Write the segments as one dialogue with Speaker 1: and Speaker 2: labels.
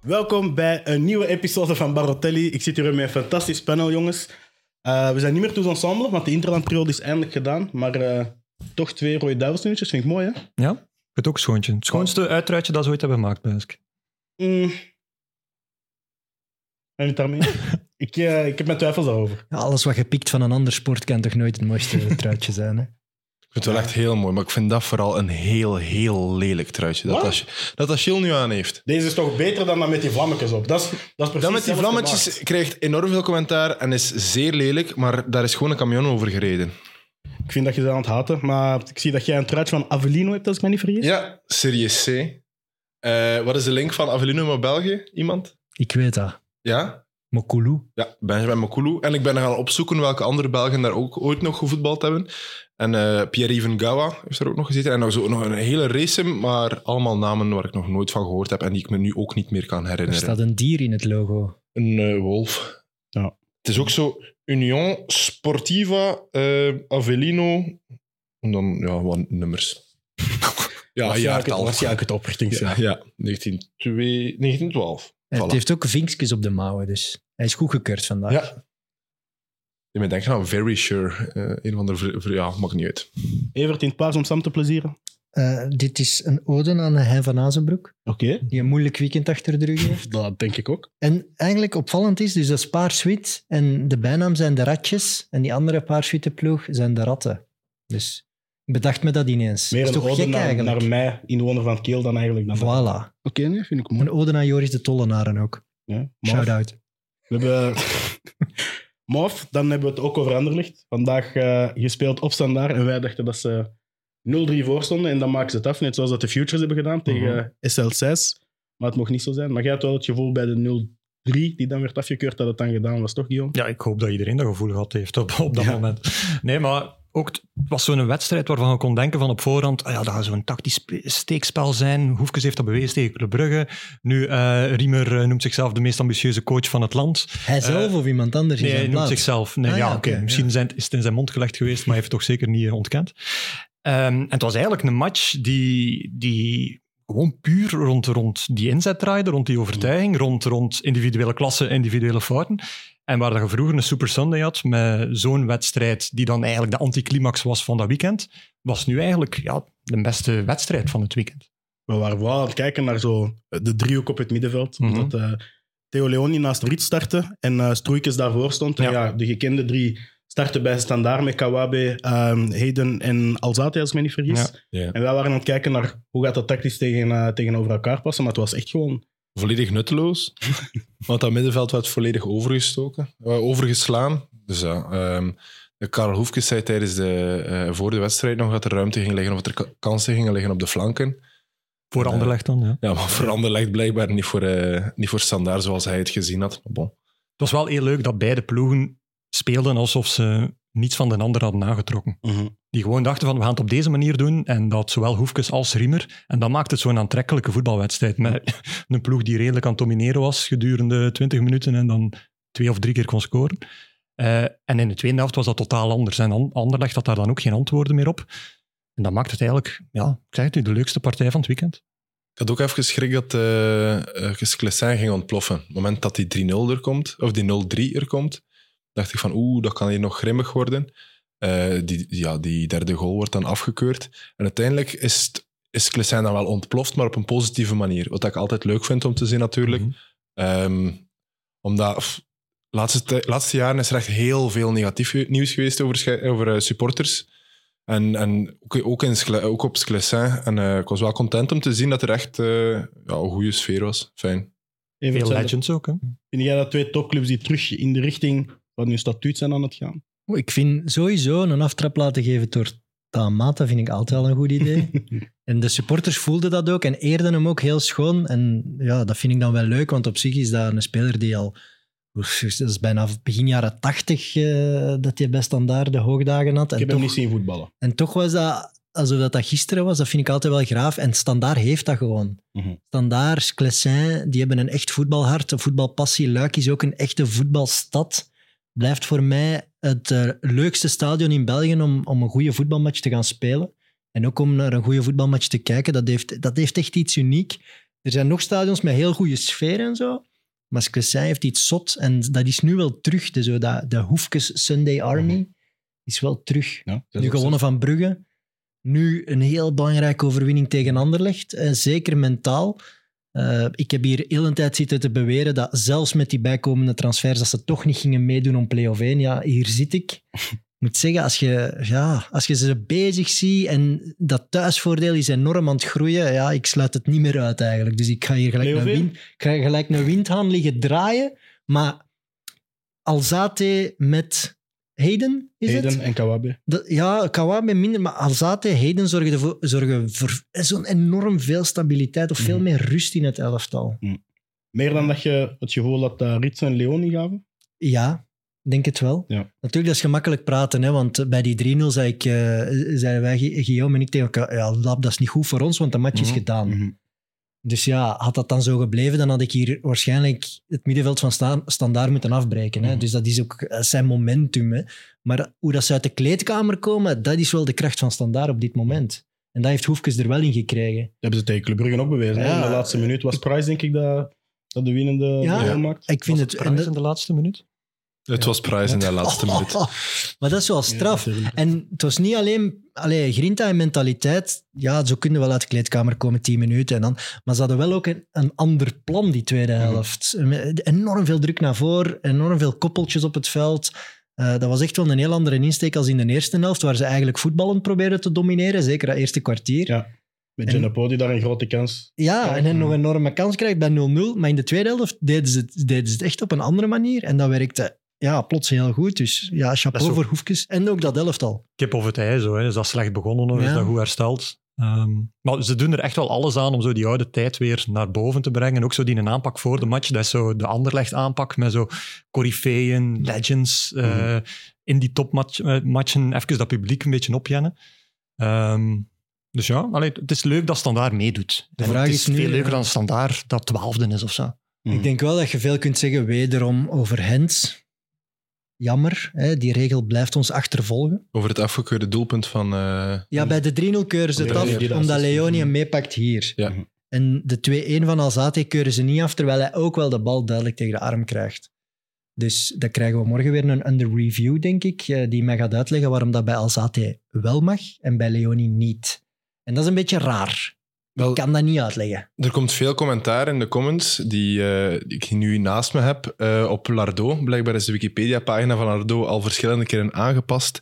Speaker 1: Welkom bij een nieuwe episode van Barotelli. Ik zit hier weer met een fantastisch panel, jongens. Eh, we zijn niet meer tous ensemble, want de interlandperiode is eindelijk gedaan. Maar eh, toch twee rode duivelsnuntjes, vind ik mooi, hè?
Speaker 2: Ja, het ook schoontje. Het schoonste uitruitje dat ze ooit hebben gemaakt, denk ik.
Speaker 1: Mm. Ben je het daarmee? eens? ik, eh, ik heb mijn twijfels daarover.
Speaker 3: Ja, alles wat je pikt van een ander sport kan toch nooit het mooiste truitje zijn, hè?
Speaker 4: Ik vind het wel echt heel mooi, maar ik vind dat vooral een heel, heel lelijk truitje. Dat,
Speaker 1: Wat?
Speaker 4: Ach- dat Achille nu aan heeft.
Speaker 1: Deze is toch beter dan dat met die vlammetjes op? Dat is, dat is precies
Speaker 4: Dat met die
Speaker 1: zelfs
Speaker 4: vlammetjes
Speaker 1: gemaakt.
Speaker 4: krijgt enorm veel commentaar en is zeer lelijk, maar daar is gewoon een camion over gereden.
Speaker 1: Ik vind dat je ze aan het haten, maar ik zie dat jij een truitje van Avellino hebt, als ik me niet vergis.
Speaker 4: Ja, Series C. Eh, wat is de link van Avellino met België? Iemand?
Speaker 3: Ik weet dat.
Speaker 4: Ja?
Speaker 3: Mokulu.
Speaker 4: Ja, Benjamin Makulu. En ik ben gaan opzoeken welke andere Belgen daar ook ooit nog gevoetbald hebben. En eh Pierre-Yves Gawa heeft er ook nog gezeten. En nog, zo, nog een hele race, maar allemaal namen waar ik nog nooit van gehoord heb en die ik me nu ook niet meer kan
Speaker 3: Er
Speaker 4: herinneren.
Speaker 3: staat een dier in het logo.
Speaker 4: Een eh, wolf.
Speaker 1: Ja.
Speaker 4: Het is ook zo Union Sportiva eh, Avellino. En dan ja, wat nummers. ja,
Speaker 1: was
Speaker 4: jaartal.
Speaker 1: Was je eigenlijk het oprichtingsjaar?
Speaker 4: Ja, ja, 1902 1912.
Speaker 3: En
Speaker 4: Voilà.
Speaker 3: Het heeft ook vinkjes op de mouwen, dus hij is goedgekeurd vandaag.
Speaker 4: Ja. Ik ben denken aan Very Sure. eh, een van de... vri- vri- Ja, maakt niet uit.
Speaker 1: Evert in het paars om Sam te plezieren.
Speaker 3: Eh, dit is een ode aan Hein van Azenbroek,
Speaker 1: Oké,
Speaker 3: die een moeilijk weekend achter de rug heeft.
Speaker 1: dat denk ik ook.
Speaker 3: En eigenlijk opvallend is, dus dat is paars-wit en de bijnaam zijn de ratjes en die andere paars-witte ploeg zijn de ratten. Dus ik bedacht me dat ineens.
Speaker 1: Meer
Speaker 3: is
Speaker 1: een
Speaker 3: toch
Speaker 1: ode
Speaker 3: gek
Speaker 1: naar,
Speaker 3: eigenlijk?
Speaker 1: naar mij, inwoner van Keel, dan eigenlijk. Dan
Speaker 3: Voilà.
Speaker 1: Oké, nee, vind ik
Speaker 3: Een ode aan Joris de Tollenaren ook.
Speaker 1: Ja, Mof.
Speaker 3: Shout-out.
Speaker 1: We hebben... Mof, dan hebben we het ook over Anderlicht. Vandaag eh, gespeeld op standaard en wij dachten dat ze 0-3 voor stonden en dan maken ze het af, net zoals dat de Futures hebben gedaan
Speaker 3: Mhm.
Speaker 1: tegen SL6. Maar het mocht niet zo zijn. Maar jij had wel het gevoel bij de 0-3 die dan werd afgekeurd dat het dan gedaan was, toch Guillaume?
Speaker 2: Ja, ik hoop dat iedereen dat gevoel gehad heeft op, op dat
Speaker 1: Ja.
Speaker 2: moment. Nee, maar ook t- het was zo'n wedstrijd waarvan je kon denken van op voorhand, ah ja, dat gaat zo'n tactisch spe- steekspel zijn. Hoefkes heeft dat bewezen tegen Club Brugge. Nu, eh, Riemer eh, noemt zichzelf de meest ambitieuze coach van het land.
Speaker 3: Hij zelf of iemand anders
Speaker 2: Nee,
Speaker 3: in
Speaker 2: hij
Speaker 3: zijn
Speaker 2: noemt
Speaker 3: plaats?
Speaker 2: zichzelf. Nee,
Speaker 3: Ah,
Speaker 2: ja,
Speaker 3: ja,
Speaker 2: oké.
Speaker 3: oké,
Speaker 2: Misschien zijn, is het in zijn mond gelegd geweest, maar hij heeft het toch zeker niet eh, ontkend. Ehm, en het was eigenlijk een match die, die gewoon puur rond, rond die inzet draaide, rond die overtuiging, rond, rond individuele klassen, individuele fouten. En waar dat je vroeger een Super Sunday had met zo'n wedstrijd die dan eigenlijk de anticlimax was van dat weekend, was nu eigenlijk ja, de beste wedstrijd van het weekend.
Speaker 1: We waren vooral aan het kijken naar zo eh, de driehoek op het middenveld.
Speaker 2: Mhm.
Speaker 1: Omdat eh, Theo Leoni naast Riet startte en eh Stroeikens daarvoor stond. En
Speaker 2: Ja.
Speaker 1: ja, de gekende drie starten bij Standaard met Kawabe, ehm Heden en Alzate, als ik me niet vergis.
Speaker 4: Ja.
Speaker 1: En wij waren aan het kijken naar hoe gaat dat tactisch tegen, eh, tegenover elkaar passen. Maar het was echt gewoon...
Speaker 4: Volledig nutteloos. Want dat middenveld werd volledig overgestoken. eh, overgeslaan. Dus ja, ehm, Karel Hoefkes zei tijdens de, eh, voor de wedstrijd nog dat er ruimte ging liggen of dat er ka- kansen gingen liggen op de flanken.
Speaker 2: Voor
Speaker 4: Ja.
Speaker 2: Anderlecht dan, ja.
Speaker 4: Ja, maar voor Anderlecht blijkbaar niet voor, eh, niet voor standaard zoals hij het gezien had. Maar bon.
Speaker 2: Het was wel heel leuk dat beide ploegen speelden alsof ze niets van de ander hadden nagetrokken.
Speaker 3: Mhm.
Speaker 2: Die gewoon dachten van, we gaan het op deze manier doen. En dat zowel Hoefkes als Riemer. En dat maakt het zo'n aantrekkelijke voetbalwedstrijd. Met een ploeg die redelijk aan het domineren was gedurende 20 minuten. En dan twee of drie keer kon scoren. Eh, en in de tweede helft was dat totaal anders. En An- Anderlecht had daar dan ook geen antwoorden meer op. En dat maakt het eigenlijk, ja, ik zeg het u, de leukste partij van het weekend.
Speaker 4: Ik had ook even geschrik dat eh eh, Sclessin ging ontploffen. Op het moment dat die 3-0 er komt, of die 0-3 er komt, dacht ik van oeh, dat kan hier nog grimmig worden. Eh, die, ja, die derde goal wordt dan afgekeurd. En uiteindelijk is, het- is Sclessin dan wel ontploft, maar op een positieve manier. Wat ik altijd leuk vind om te zien natuurlijk. Ehm, omdat pff, laatste, tij- laatste jaren is er echt heel veel negatief ge- nieuws geweest over, sche- over eh, supporters. En, en ook, ook, in, Scle- ook op Sclessin. En eh, ik was wel content om te zien dat er echt eh, ja, een goede sfeer was. Fijn.
Speaker 1: Evert,
Speaker 2: Veel
Speaker 1: zijn-
Speaker 2: legends ook, hè.
Speaker 1: Vind jij dat twee topclubs die terug in de richting van hun statuut zijn aan het gaan?
Speaker 3: Oh, Ik vind sowieso een aftrap laten geven door Tamata vind ik altijd wel een goed idee. en de supporters voelden dat ook en eerden hem ook heel schoon. En ja, dat vind ik dan wel leuk, want op zich is dat een speler die al... oef, Dat is bijna begin jaren tachtig eh, dat hij bij Standaard de hoogdagen
Speaker 1: Ik
Speaker 3: had. En
Speaker 1: heb hem
Speaker 3: toch,
Speaker 1: niet zien voetballen.
Speaker 3: en toch was dat alsof dat, dat gisteren was. Dat vind ik altijd wel graaf. En Standaard heeft dat gewoon.
Speaker 1: Mhm.
Speaker 3: Standaard, Clessin, die hebben een echt voetbalhart, een voetbalpassie. Luik is ook een echte voetbalstad. Blijft voor mij het eh, leukste stadion in België om, om een goede voetbalmatch te gaan spelen. En ook om naar een goede voetbalmatch te kijken. Dat heeft, dat heeft echt iets uniek. Er zijn nog stadions met heel goede sfeer en zo. Maar Sclessin heeft iets zot. En dat is nu wel terug. De, zo, dat, de Hoefkes Sunday Army is wel terug.
Speaker 1: Ja,
Speaker 3: Nu gewonnen van Brugge. Nu een heel belangrijke overwinning tegen Anderlecht. En zeker mentaal. Eh, ik heb hier heel een tijd zitten te beweren dat zelfs met die bijkomende transfers, dat ze toch niet gingen meedoen om play-off 1. Ja, hier zit ik. Ik moet zeggen, als je, ja, als je ze bezig ziet en dat thuisvoordeel is enorm aan het groeien, ja, ik sluit het niet meer uit eigenlijk. Dus ik ga hier gelijk, een,
Speaker 1: Play-off
Speaker 3: wind, ik ga hier gelijk een windhaan liggen draaien. Maar Alzate met Hayden, is het?
Speaker 1: Eden en Kawabe.
Speaker 3: Dat- ja, Kawabe minder, maar Alzate, Heden zorgen, ervoor- zorgen voor zo'n enorm veel stabiliteit of veel
Speaker 1: Mhm.
Speaker 3: meer rust in het elftal.
Speaker 1: Meer dan dat je het gevoel had dat Rits en Leoni gaven.
Speaker 3: Ja, ik denk het wel.
Speaker 1: Ja.
Speaker 3: Natuurlijk, dat is gemakkelijk praten, hè, want bij die 3-0 zei ik, eh, zeiden wij, Gu- Guillaume en ik tegen elkaar, ja, Lab, dat is niet goed voor ons, want de match is
Speaker 4: Mhm.
Speaker 3: gedaan. Dus ja, had dat dan zo gebleven, dan had ik hier waarschijnlijk het middenveld van sta standaard moeten afbreken. Hè?
Speaker 1: Mhm.
Speaker 3: Dus dat is ook dat is zijn momentum. Hè? Maar hoe dat ze uit de kleedkamer komen, dat is wel de kracht van standaard op dit moment. En dat heeft Hoefkes er wel in gekregen.
Speaker 1: Dat hebben ze tegen Club Brugge ook bewezen. hè.
Speaker 3: Ja.
Speaker 1: In de laatste minuut was Price, denk ik, dat, dat de winnende
Speaker 3: Ja.
Speaker 1: goal
Speaker 4: Ja.
Speaker 1: maakt.
Speaker 3: Ik vind
Speaker 2: Was
Speaker 3: het...
Speaker 2: het Price in de laatste minuut?
Speaker 4: Het was prijs in de laatste minuut.
Speaker 3: Oh, maar dat is wel straf. En het was niet alleen allee, grinta en mentaliteit. Ja, zo kunnen wel uit de kleedkamer komen, tien minuten. En dan, maar ze hadden wel ook een, een ander plan, die tweede helft. Met Enorm veel druk naar voren, enorm veel koppeltjes op het veld. Eh, dat was echt wel een heel andere insteek als in de eerste helft, waar ze eigenlijk voetballend probeerden te domineren, zeker dat eerste kwartier.
Speaker 1: Ja. Met Genepo, die daar een grote kans...
Speaker 3: Ja, en dan nog een enorme kans krijgt bij 0-0. Maar in de tweede helft deden ze, het, deden ze het echt op een andere manier. En dat werkte ja, plots heel goed. Dus ja,
Speaker 2: Dat
Speaker 3: chapeau
Speaker 2: is
Speaker 3: voor Hoefkes. En ook dat elftal.
Speaker 2: Kip of het ei, zo. Hè. Is dat slecht begonnen of
Speaker 3: Ja.
Speaker 2: is dat goed hersteld? Ehm, maar ze doen er echt wel alles aan om zo die oude tijd weer naar boven te brengen. En ook zo die een aanpak voor de match, dat is zo de Anderlecht-aanpak met zo coryfeeën, legends, eh,
Speaker 1: Mhm.
Speaker 2: in die topmatchen even dat publiek een beetje opjennen. Ehm, dus ja, allee, het is leuk dat Standaard meedoet.
Speaker 3: De
Speaker 2: En
Speaker 3: vraag
Speaker 2: het is,
Speaker 3: is nu,
Speaker 2: veel leuker
Speaker 3: ja.
Speaker 2: dan Standaard dat twaalfde is of zo.
Speaker 1: Mhm.
Speaker 3: Ik denk wel dat je veel kunt zeggen wederom over Hens. Jammer, hè, die regel blijft ons achtervolgen.
Speaker 4: Over het afgekeurde doelpunt van... eh,
Speaker 3: Ja, bij de 3-0 keuren ze het
Speaker 1: Omdat
Speaker 3: af,
Speaker 1: Leoni dat
Speaker 3: omdat
Speaker 1: assist-
Speaker 3: Leoni hem meepakt hier.
Speaker 4: Ja.
Speaker 3: En de 2-1 van Alzate keuren ze niet af, terwijl hij ook wel de bal duidelijk tegen de arm krijgt. Dus dan krijgen we morgen weer een under review, denk ik, eh, die mij gaat uitleggen waarom dat bij Alzate wel mag en bij Leoni niet. En dat is een beetje raar.
Speaker 4: Wel-
Speaker 3: Ik kan dat niet uitleggen.
Speaker 4: Er komt veel commentaar in de comments die, eh, die ik nu naast me heb eh, op Lardo. Blijkbaar is de Wikipedia-pagina van Lardo al verschillende keren aangepast.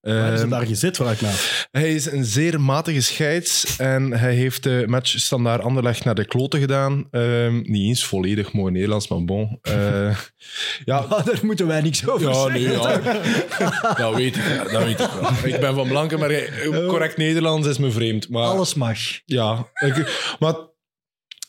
Speaker 1: Waar hebben ze
Speaker 4: Ehm,
Speaker 1: Eh, daar gezet, vraag ik me af.
Speaker 4: hij is een zeer matige scheids en hij heeft de match standaard Anderlecht naar de kloten gedaan. Ehm, niet eens volledig mooi Nederlands, maar bon. Eh, ja,
Speaker 3: daar moeten wij niks over
Speaker 4: ja, nee, ja. dat, weet ik, dat weet ik wel. Ik ben van Blankenberg. Correct Nederlands is me vreemd. Maar...
Speaker 3: Alles mag.
Speaker 4: Ja, ik- maar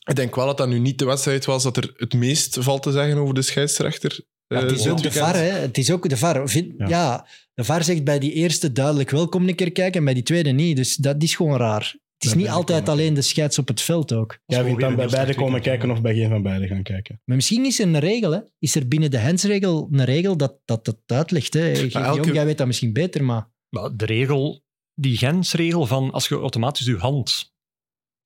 Speaker 4: ik denk wel dat dat nu niet de wedstrijd was dat er het meest valt te zeggen over de scheidsrechter. eh,
Speaker 3: Het is
Speaker 4: dit
Speaker 3: ook de
Speaker 4: weekend.
Speaker 3: VAR, hè. Het is ook de VAR. Vind-
Speaker 1: Ja.
Speaker 3: ja. de VAR zegt bij die eerste duidelijk wel, kom een keer kijken, en bij die tweede niet. Dus dat is gewoon raar. Het
Speaker 1: Bij
Speaker 3: is niet
Speaker 1: beide
Speaker 3: altijd
Speaker 1: komen
Speaker 3: alleen de scheids op het veld ook.
Speaker 1: Jij
Speaker 2: gewoon
Speaker 1: vindt dan
Speaker 2: weer
Speaker 1: bij
Speaker 2: een heel
Speaker 1: beide
Speaker 2: slecht
Speaker 1: komen
Speaker 2: weekend.
Speaker 1: kijken of bij geen van beide gaan kijken.
Speaker 3: Maar misschien is er een regel, hè. Is er binnen de hensregel een regel dat dat, dat uitlegt, hè. Guillaume,
Speaker 4: elke-
Speaker 3: jij weet dat misschien beter, maar...
Speaker 2: Maar de regel, die grensregel van als je automatisch je hand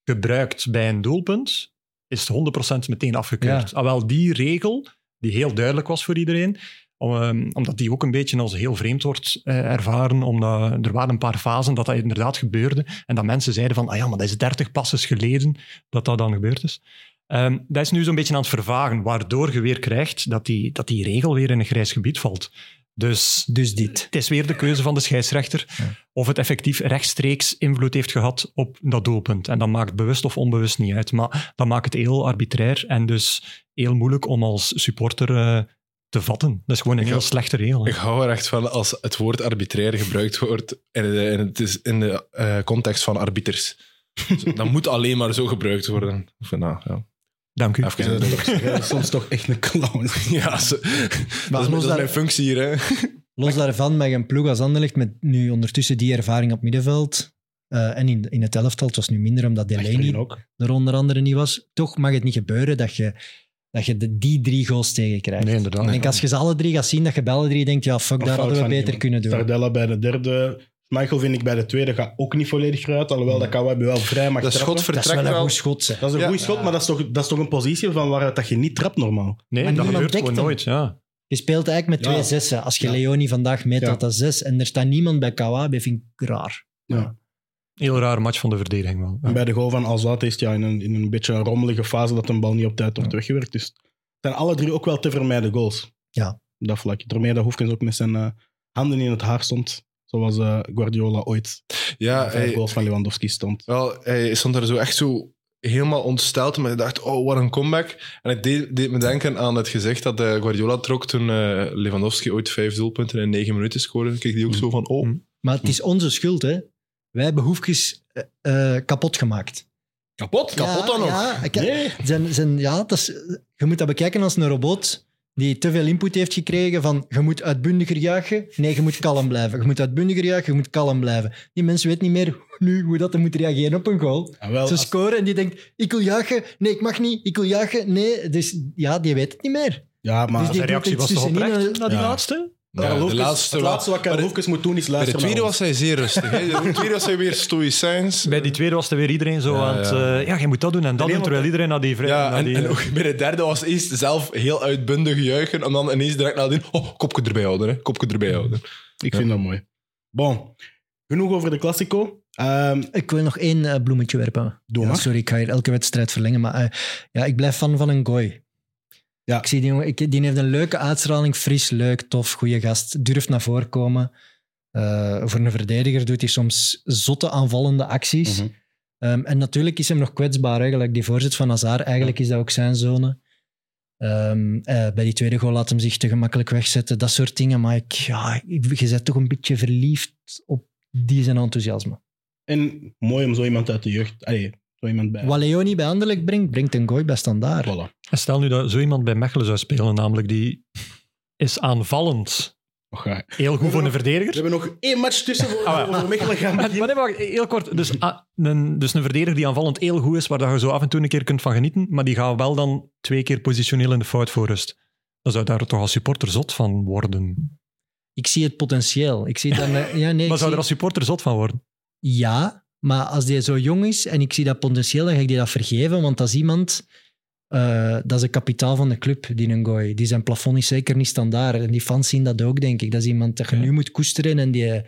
Speaker 2: gebruikt bij een doelpunt, is het 100% meteen afgekeurd. Ah, wel, die regel, die heel duidelijk was voor iedereen, om, ehm, omdat die ook een beetje als heel vreemd wordt eh, ervaren, omdat er waren een paar fasen dat dat inderdaad gebeurde en dat mensen zeiden van, ah ja, maar dat is 30 passes geleden dat dat dan gebeurd is. Ehm, dat is nu zo'n beetje aan het vervagen, waardoor je weer krijgt dat die, dat die regel weer in een grijs gebied valt. Dus
Speaker 3: Dus dit.
Speaker 2: het is weer de keuze van de scheidsrechter of het effectief rechtstreeks invloed heeft gehad op dat doelpunt. En dat maakt bewust of onbewust niet uit. Maar dat maakt het heel arbitrair en dus heel moeilijk om als supporter eh, te vatten. Dat is gewoon een
Speaker 4: Ik
Speaker 2: heel
Speaker 4: ga-
Speaker 2: slechte regel. hè.
Speaker 4: Ik hou er echt van als het woord arbitrair gebruikt wordt en, eh, en het is in de eh, context van arbiters. Zo, Dat moet alleen maar zo gebruikt worden. Ik vind, nou, ja.
Speaker 2: Dank u.
Speaker 4: Even dat-
Speaker 1: Dat is soms toch echt een clown.
Speaker 4: ja, zo- dat, is,
Speaker 3: los
Speaker 4: dat is
Speaker 3: daar-
Speaker 4: mijn functie hier. Hè.
Speaker 3: Los daarvan, met een ploeg als Anderlecht, met nu ondertussen die ervaring op middenveld... eh, en in, in het elftal, het was nu minder omdat Delaney
Speaker 1: Achterin ook.
Speaker 3: er onder andere niet was. Toch mag het niet gebeuren dat je, dat je de, die drie goals tegenkrijgt.
Speaker 2: Nee, inderdaad.
Speaker 3: Ik denk, als je ze alle drie gaat zien, dat je bij alle drie denkt, ja, fuck,
Speaker 1: Een
Speaker 3: daar
Speaker 1: fout
Speaker 3: hadden we
Speaker 1: van
Speaker 3: beter
Speaker 1: iemand.
Speaker 3: kunnen doen.
Speaker 1: Tardella bij de derde, Michael vind ik bij de tweede gaat ook niet volledig eruit. Alhoewel Hmm. dat Kawaii wel vrij mag
Speaker 4: Dat
Speaker 1: trappen.
Speaker 4: schot
Speaker 3: Dat is wel
Speaker 4: vertrekt
Speaker 3: een
Speaker 4: wel.
Speaker 3: goed schot, zeg.
Speaker 1: Dat is een
Speaker 4: Ja.
Speaker 1: goed schot, maar dat is, toch, dat is toch een positie van waaruit dat je niet trapt normaal.
Speaker 2: Nee,
Speaker 3: Maar
Speaker 2: dat
Speaker 3: niemand
Speaker 2: gebeurt
Speaker 3: dekt
Speaker 2: gewoon
Speaker 3: hem.
Speaker 2: nooit. Ja.
Speaker 3: Je speelt eigenlijk met
Speaker 1: Ja.
Speaker 3: twee zessen. Als je
Speaker 1: Ja.
Speaker 3: Leoni vandaag meet
Speaker 1: Ja.
Speaker 3: dat dat zes en er staat niemand bij Kawabe, vind ik raar.
Speaker 2: Heel raar match van de verdediging wel. Ja.
Speaker 1: En bij de goal van Alzate is het ja, in, een, in een beetje een rommelige fase dat een bal niet op tijd wordt
Speaker 2: Ja.
Speaker 1: weggewerkt. Dus het zijn alle drie ook wel te vermijden goals.
Speaker 3: Ja.
Speaker 1: Op Dat vlak. Daarmee dat Hoefkens ook met zijn eh, handen in het haar stond. Zoals eh, Guardiola ooit
Speaker 4: Ja,
Speaker 1: vijf
Speaker 4: hij,
Speaker 1: goals van Lewandowski stond.
Speaker 4: wel, hij stond daar zo echt zo helemaal ontsteld. Maar ik dacht, oh, wat een comeback. En het deed, deed me denken aan het gezicht dat eh, Guardiola trok toen eh, Lewandowski ooit vijf doelpunten in negen minuten scoorde. Kijk, die ook
Speaker 1: Mm.
Speaker 4: zo van, oh.
Speaker 2: Mm.
Speaker 3: Maar het is onze schuld, hè. Wij hebben Hoefkes eh, eh, kapot gemaakt.
Speaker 4: Kapot? Kapot
Speaker 3: Ja,
Speaker 4: dan nog?
Speaker 3: Ja, ik-
Speaker 1: Nee.
Speaker 3: zijn, zijn, ja dat is, je moet dat bekijken als een robot die te veel input heeft gekregen van je moet uitbundiger juichen. Nee, je moet kalm blijven. Je moet uitbundiger juichen, je moet kalm blijven. Die mensen weten niet meer nu hoe dat ze moeten reageren op een goal.
Speaker 1: En wel,
Speaker 3: Ze
Speaker 1: als-
Speaker 3: scoren en die denkt, ik wil juichen. Nee, ik mag niet. Ik wil juichen. Nee, dus ja, die weet het niet meer.
Speaker 1: ja, maar
Speaker 3: Dus
Speaker 1: als-
Speaker 2: Zijn
Speaker 3: doet
Speaker 2: reactie
Speaker 3: iets
Speaker 2: was toch
Speaker 3: tussenin
Speaker 2: oprecht
Speaker 3: en-
Speaker 2: na die
Speaker 1: Ja.
Speaker 2: laatste?
Speaker 4: Ja,
Speaker 1: Karel
Speaker 4: de
Speaker 1: Hoefkens-
Speaker 4: laatste
Speaker 1: het laatste wat Karel
Speaker 4: maar de-
Speaker 1: Hoefkens moet doen is
Speaker 4: Bij de
Speaker 1: luisteren
Speaker 4: tweede
Speaker 1: naar
Speaker 4: was hij zeer rustig. Hè. De tweede was hij weer stoïcijns.
Speaker 2: Bij die tweede was er weer iedereen zo
Speaker 4: Ja,
Speaker 2: aan het...
Speaker 4: ja.
Speaker 2: eh, ja, je moet dat doen en dat
Speaker 1: Nee,
Speaker 2: doen, terwijl iedereen naar die... vri-
Speaker 4: Ja,
Speaker 2: naar
Speaker 4: en,
Speaker 2: die
Speaker 1: eh.
Speaker 4: en ook bij de derde was eerst zelf heel uitbundig juichen. En dan ineens direct nadien, oh, kopje erbij houden. Hè. Kopje erbij houden.
Speaker 1: ons. Ik vind dat mooi. Bon. Genoeg over de Classico. Ehm,
Speaker 3: Ik wil nog één eh, bloemetje werpen.
Speaker 1: doe
Speaker 3: Ja,
Speaker 1: maar.
Speaker 3: sorry, ik ga hier elke wedstrijd verlengen. Maar eh, ja, ik blijf fan van een gooi.
Speaker 1: Ja.
Speaker 3: Ik zie die jongen, ik, die heeft een leuke uitstraling. Fris, leuk, tof, goede gast. Durft naar voren komen. Eh, voor een verdediger doet hij soms zotte aanvallende acties.
Speaker 1: Mhm.
Speaker 3: Ehm, en natuurlijk is hem nog kwetsbaar. Eigenlijk. Die voorzet van Hazard, eigenlijk is dat ook zijn zone. Ehm, eh, bij die tweede goal laat hem zich te gemakkelijk wegzetten. Dat soort dingen. Maar ik, ja, ik, je bent toch een beetje verliefd op die zijn enthousiasme.
Speaker 1: En mooi om zo iemand uit de jeugd... Allee, zo iemand bij...
Speaker 3: Wat Leoni bij Anderlecht brengt, brengt een gooi bij standaard.
Speaker 1: Voilà.
Speaker 2: En stel nu dat zo iemand bij Mechelen zou spelen, namelijk die is aanvallend
Speaker 1: Och, ja.
Speaker 2: heel goed voor een verdediger.
Speaker 1: Oh, We hebben nog één match tussen voor,
Speaker 2: Ah,
Speaker 1: voor Mechelen gaan
Speaker 2: Maar, maar
Speaker 1: beginnen.
Speaker 2: nee, wacht, heel kort. Dus, ah, een, dus een verdediger die aanvallend heel goed is, waar dat je zo af en toe een keer kunt van genieten, maar die gaat wel dan twee keer positioneel in de fout voor rust. Dan zou je daar toch als supporter zot van worden.
Speaker 3: Ik zie het potentieel. Ik zie dan, eh, ja, nee, ik
Speaker 2: maar zou je
Speaker 3: zie-
Speaker 2: er als supporter zot van worden?
Speaker 3: ja, maar als die zo jong is en ik zie dat potentieel, dan ga ik die dat vergeven. Want dat is iemand, eh, dat is een kapitaal van de club, die een gooi. Die zijn plafond is zeker niet standaard. En die fans zien dat ook, denk ik. Dat is iemand dat je
Speaker 2: Ja.
Speaker 3: nu moet koesteren en die,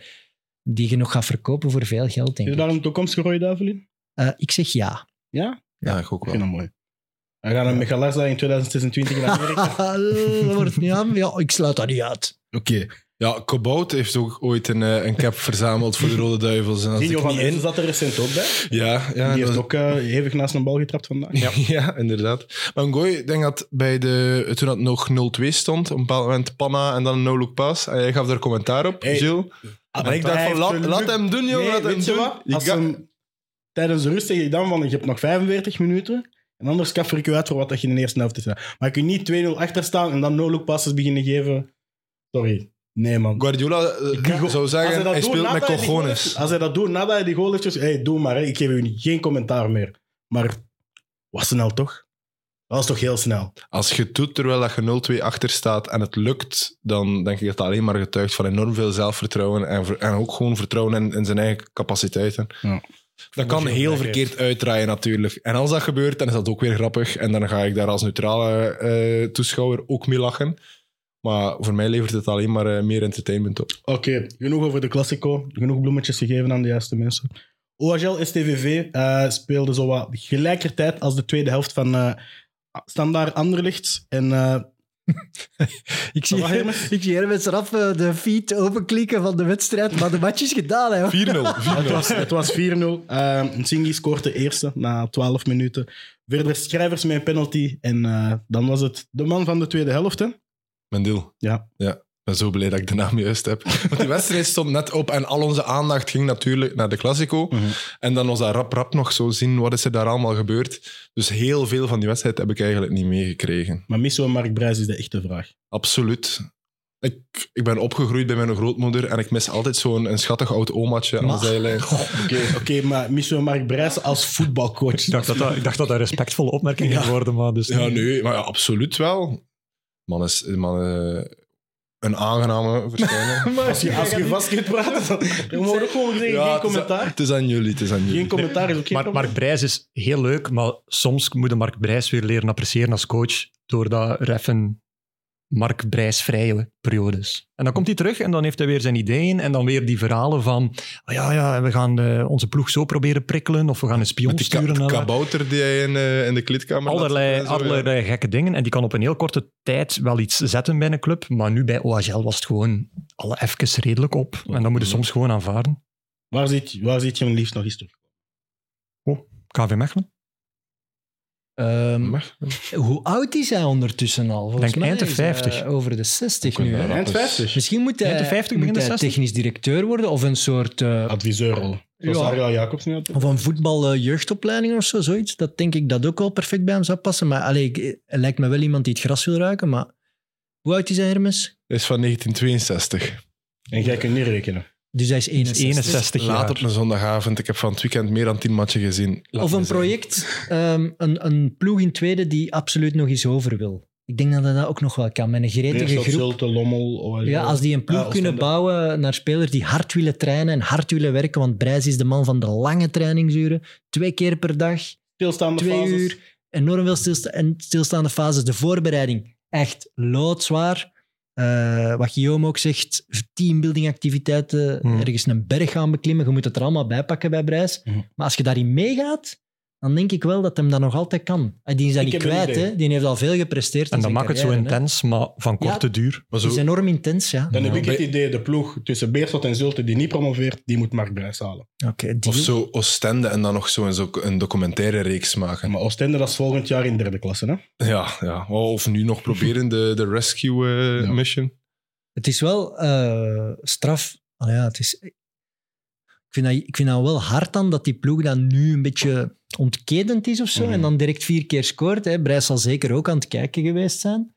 Speaker 3: die je nog gaat verkopen voor veel geld, denk
Speaker 1: Is
Speaker 3: ik.
Speaker 1: daar een toekomstgerooide duivel in?
Speaker 3: Eh, ik zeg ja.
Speaker 1: Ja?
Speaker 4: Ja, ik ook
Speaker 1: Ik vind dat mooi. We gaan een Megalarza in 2026 in Amerika.
Speaker 3: dat wordt niet aan. Ja, ik sluit dat niet uit.
Speaker 4: Oké. Ja, Cobout heeft ook ooit een, eh, een cap verzameld voor de Rode Duivels. En als
Speaker 1: Gino
Speaker 4: ik
Speaker 1: van
Speaker 4: niet
Speaker 1: Essen
Speaker 4: in...
Speaker 1: zat er recent ook bij.
Speaker 4: Ja, ja.
Speaker 1: die
Speaker 4: dat-
Speaker 1: heeft ook eh, hevig naast een bal getrapt vandaag.
Speaker 4: Ja. inderdaad. Maar Ngoy, ik denk dat bij de, toen dat nog 0-2 stond, op een bepaald moment Panna en dan een no-look pass. En jij gaf daar commentaar op,
Speaker 1: Hey.
Speaker 4: Gilles. en Ah, ik dacht van, laat, laat hem doen, jongen,
Speaker 1: Nee,
Speaker 4: laat hem
Speaker 1: weet je
Speaker 4: doen.
Speaker 1: wat?
Speaker 4: Je
Speaker 1: Als
Speaker 4: ga-
Speaker 1: hem- tijdens de rust zeg ik dan van, je hebt nog 45 minuten. En anders kaffer ik je uit voor wat dat je in de eerste helft is. Maar je kunt niet 2-0 achter staan en dan no-look passes beginnen geven. Sorry. Nee, man.
Speaker 4: Guardiola eh,
Speaker 1: Go-
Speaker 4: zou
Speaker 1: Als
Speaker 4: zeggen,
Speaker 1: dat
Speaker 4: hij
Speaker 1: doet
Speaker 4: speelt
Speaker 1: nadat
Speaker 4: met
Speaker 1: hij die goal heeft-
Speaker 4: cojones.
Speaker 1: Als hij dat doet nadat hij die goal heeft, dus, hey, doe maar, hè, ik geef u geen commentaar meer. Maar was snel toch? Dat was toch heel snel.
Speaker 4: Als je het doet terwijl dat je 0-2 achter staat en het lukt, dan denk ik dat dat alleen maar getuigt van enorm veel zelfvertrouwen en, ver- en ook gewoon vertrouwen in, in zijn eigen capaciteiten.
Speaker 1: Ja.
Speaker 4: Dat kan
Speaker 1: je ook
Speaker 4: heel
Speaker 1: bij
Speaker 4: verkeerd uitdraaien natuurlijk. En als dat gebeurt, dan is dat ook weer grappig. En dan ga ik daar als neutrale eh, toeschouwer ook mee lachen. Maar voor mij levert het alleen maar eh, meer entertainment op.
Speaker 1: Oké, genoeg over de Classico. Genoeg bloemetjes gegeven aan de juiste mensen. OHL STVV eh speelde zo wat gelijkertijd als de tweede helft van eh, Standaard Anderlicht. En eh,
Speaker 3: Ik zie,
Speaker 1: Wat, Hermes?
Speaker 3: ik zie Hermes eraf eh, de feed openklikken van de wedstrijd, maar de match is gedaan. Hè, hoor.
Speaker 4: 4-0. 4-0.
Speaker 1: het was, het was 4-0. Eh Ntsingi scoort de eerste na 12 minuten. Verder schrijvers met een penalty. En eh, dan was het de man van de tweede helft. Hè?
Speaker 4: Mendil.
Speaker 1: Ja.
Speaker 4: ja. Ik ben zo blij dat ik de naam juist heb. Want die wedstrijd stond net op en al onze aandacht ging natuurlijk naar de Classico.
Speaker 1: Mhm.
Speaker 4: En dan was dat rap rap nog zo zien, wat is er daar allemaal gebeurd. Dus heel veel van die wedstrijd heb ik eigenlijk niet meegekregen.
Speaker 1: Maar Misso en Mark Brijs is de echte vraag.
Speaker 4: Absoluut. Ik, ik ben opgegroeid bij mijn grootmoeder en ik mis altijd zo'n een schattig oud omaatje aan de
Speaker 3: Maar-
Speaker 4: zijlijn.
Speaker 1: Oké, oké, maar Misso en Mark Brijs als voetbalcoach.
Speaker 2: Ik dacht dat dat, ik dacht dat, dat respectvolle opmerkingen
Speaker 1: Ja.
Speaker 2: worden, maar dus...
Speaker 4: Ja, nee, maar ja, absoluut wel. Man is, man, eh, een aangename verschijning.
Speaker 1: Als je, als je vastkunt praten, dan dan moet je ook gewoon zeggen,
Speaker 4: Ja,
Speaker 1: geen
Speaker 4: het is-
Speaker 1: commentaar.
Speaker 4: Het is aan jullie, het is aan
Speaker 1: Geen
Speaker 4: jullie.
Speaker 1: commentaar is ook geen
Speaker 2: Mark, Mark Brijs is heel leuk, maar soms moet je Mark Brijs weer leren appreciëren als coach door dat reffen Mark Brijs vrije periodes. En dan komt hij terug en dan heeft hij weer zijn ideeën en dan weer die verhalen van "Ah, ja, ja, we gaan eh, onze ploeg zo proberen prikkelen of we gaan een spion
Speaker 4: Met die
Speaker 2: sturen.
Speaker 4: ka-
Speaker 2: naar waar."
Speaker 4: kabouter die hij in, eh, in de kleedkamer had
Speaker 2: allerlei,
Speaker 4: zitten en zo, ja.
Speaker 2: allerlei gekke dingen. En die kan op een heel korte tijd wel iets zetten bij een club. Maar nu bij OHL was het gewoon alle even redelijk op. En dan moet je soms gewoon aanvaarden.
Speaker 1: Waar zit, waar zit je hem liefst nog eens terug?
Speaker 2: KV Mechelen.
Speaker 3: Ehm,
Speaker 4: Mag.
Speaker 3: hoe oud is hij ondertussen al? Volgens
Speaker 2: Denk
Speaker 3: mij
Speaker 2: eind de
Speaker 3: is hij
Speaker 2: 50.
Speaker 3: over de 60
Speaker 4: Kunnen
Speaker 3: nu.
Speaker 4: we
Speaker 3: Hè?
Speaker 4: dat
Speaker 1: Eind
Speaker 4: eens-
Speaker 1: 50.
Speaker 3: Misschien moet
Speaker 2: Eind
Speaker 3: hij,
Speaker 2: de 50,
Speaker 3: moet
Speaker 2: begin de
Speaker 3: hij
Speaker 2: 60.
Speaker 3: technisch directeur worden of een soort... eh,
Speaker 1: Adviseurrol. Zoals
Speaker 3: Ja.
Speaker 1: Ariel Jacobs nu had.
Speaker 3: Of een voetbaljeugdopleiding of zo, zoiets. Dat denk ik dat ook wel perfect bij hem zou passen. Maar allee, ik- hij lijkt me wel iemand die het gras wil ruiken. Maar hoe oud is hij, Hermes?
Speaker 4: Hij is van 1962.
Speaker 1: En jij kunt niet rekenen.
Speaker 3: Dus hij is 61.
Speaker 2: 61
Speaker 4: Laat
Speaker 2: jaar.
Speaker 4: op een zondagavond. Ik heb van het weekend meer dan 10 matchen gezien. Laat
Speaker 3: Of
Speaker 4: me
Speaker 3: een
Speaker 4: zeggen.
Speaker 3: project, ehm, een, een ploeg in tweede die absoluut nog eens over wil. Ik denk dat hij dat ook nog wel kan, met een gretige
Speaker 1: Beerschot,
Speaker 3: groep.
Speaker 1: Zulte, Lommel. OLO.
Speaker 3: Ja, als die een ploeg
Speaker 1: Ah,
Speaker 3: kunnen
Speaker 1: Oostende.
Speaker 3: bouwen naar spelers die hard willen trainen en hard willen werken, want Brijs is de man van de lange trainingsuren. Twee keer per dag,
Speaker 1: Stilstaande
Speaker 3: twee
Speaker 1: fases.
Speaker 3: uur, enorm veel stilsta en stilstaande fases. De voorbereiding, echt loodzwaar. Eh, wat Guillaume ook zegt, teambuildingactiviteiten,
Speaker 2: Mhm.
Speaker 3: ergens een berg gaan beklimmen. Je moet het er allemaal bij pakken bij Brijs.
Speaker 1: Mhm.
Speaker 3: Maar als je daarin meegaat, dan denk ik wel dat hem dat nog altijd kan. Eh, Die is dat
Speaker 1: Ik
Speaker 3: niet
Speaker 1: heb een
Speaker 3: kwijt,
Speaker 1: idee.
Speaker 3: hè. Die heeft al veel gepresteerd
Speaker 2: En dat
Speaker 3: in zijn
Speaker 2: maakt het zo
Speaker 3: carrière, hè.
Speaker 2: intens, maar van
Speaker 3: Ja.
Speaker 2: korte duur.
Speaker 4: Maar
Speaker 3: Het is
Speaker 4: zo,
Speaker 3: enorm intens, ja.
Speaker 1: Dan heb
Speaker 4: Ja.
Speaker 1: ik het idee, de ploeg tussen Beerschot en Zulte die niet promoveert, die moet Mark Brijs halen.
Speaker 3: Oké, die-
Speaker 4: of zo Oostende en dan nog zo een, zo een documentaire reeks maken.
Speaker 1: Maar Oostende, dat is volgend jaar in derde klasse. Hè?
Speaker 4: Ja, ja. Of nu nog proberen de, de rescue eh,
Speaker 1: Ja.
Speaker 4: mission.
Speaker 3: Het is wel eh, straf. Allee, ja, het is, ik, vind dat, ik vind dat wel hard dan dat die ploeg dan nu een beetje ontketend is of zo.
Speaker 1: Mhm.
Speaker 3: En dan direct vier keer scoort. Hè. Brijs zal zeker ook aan het kijken geweest zijn.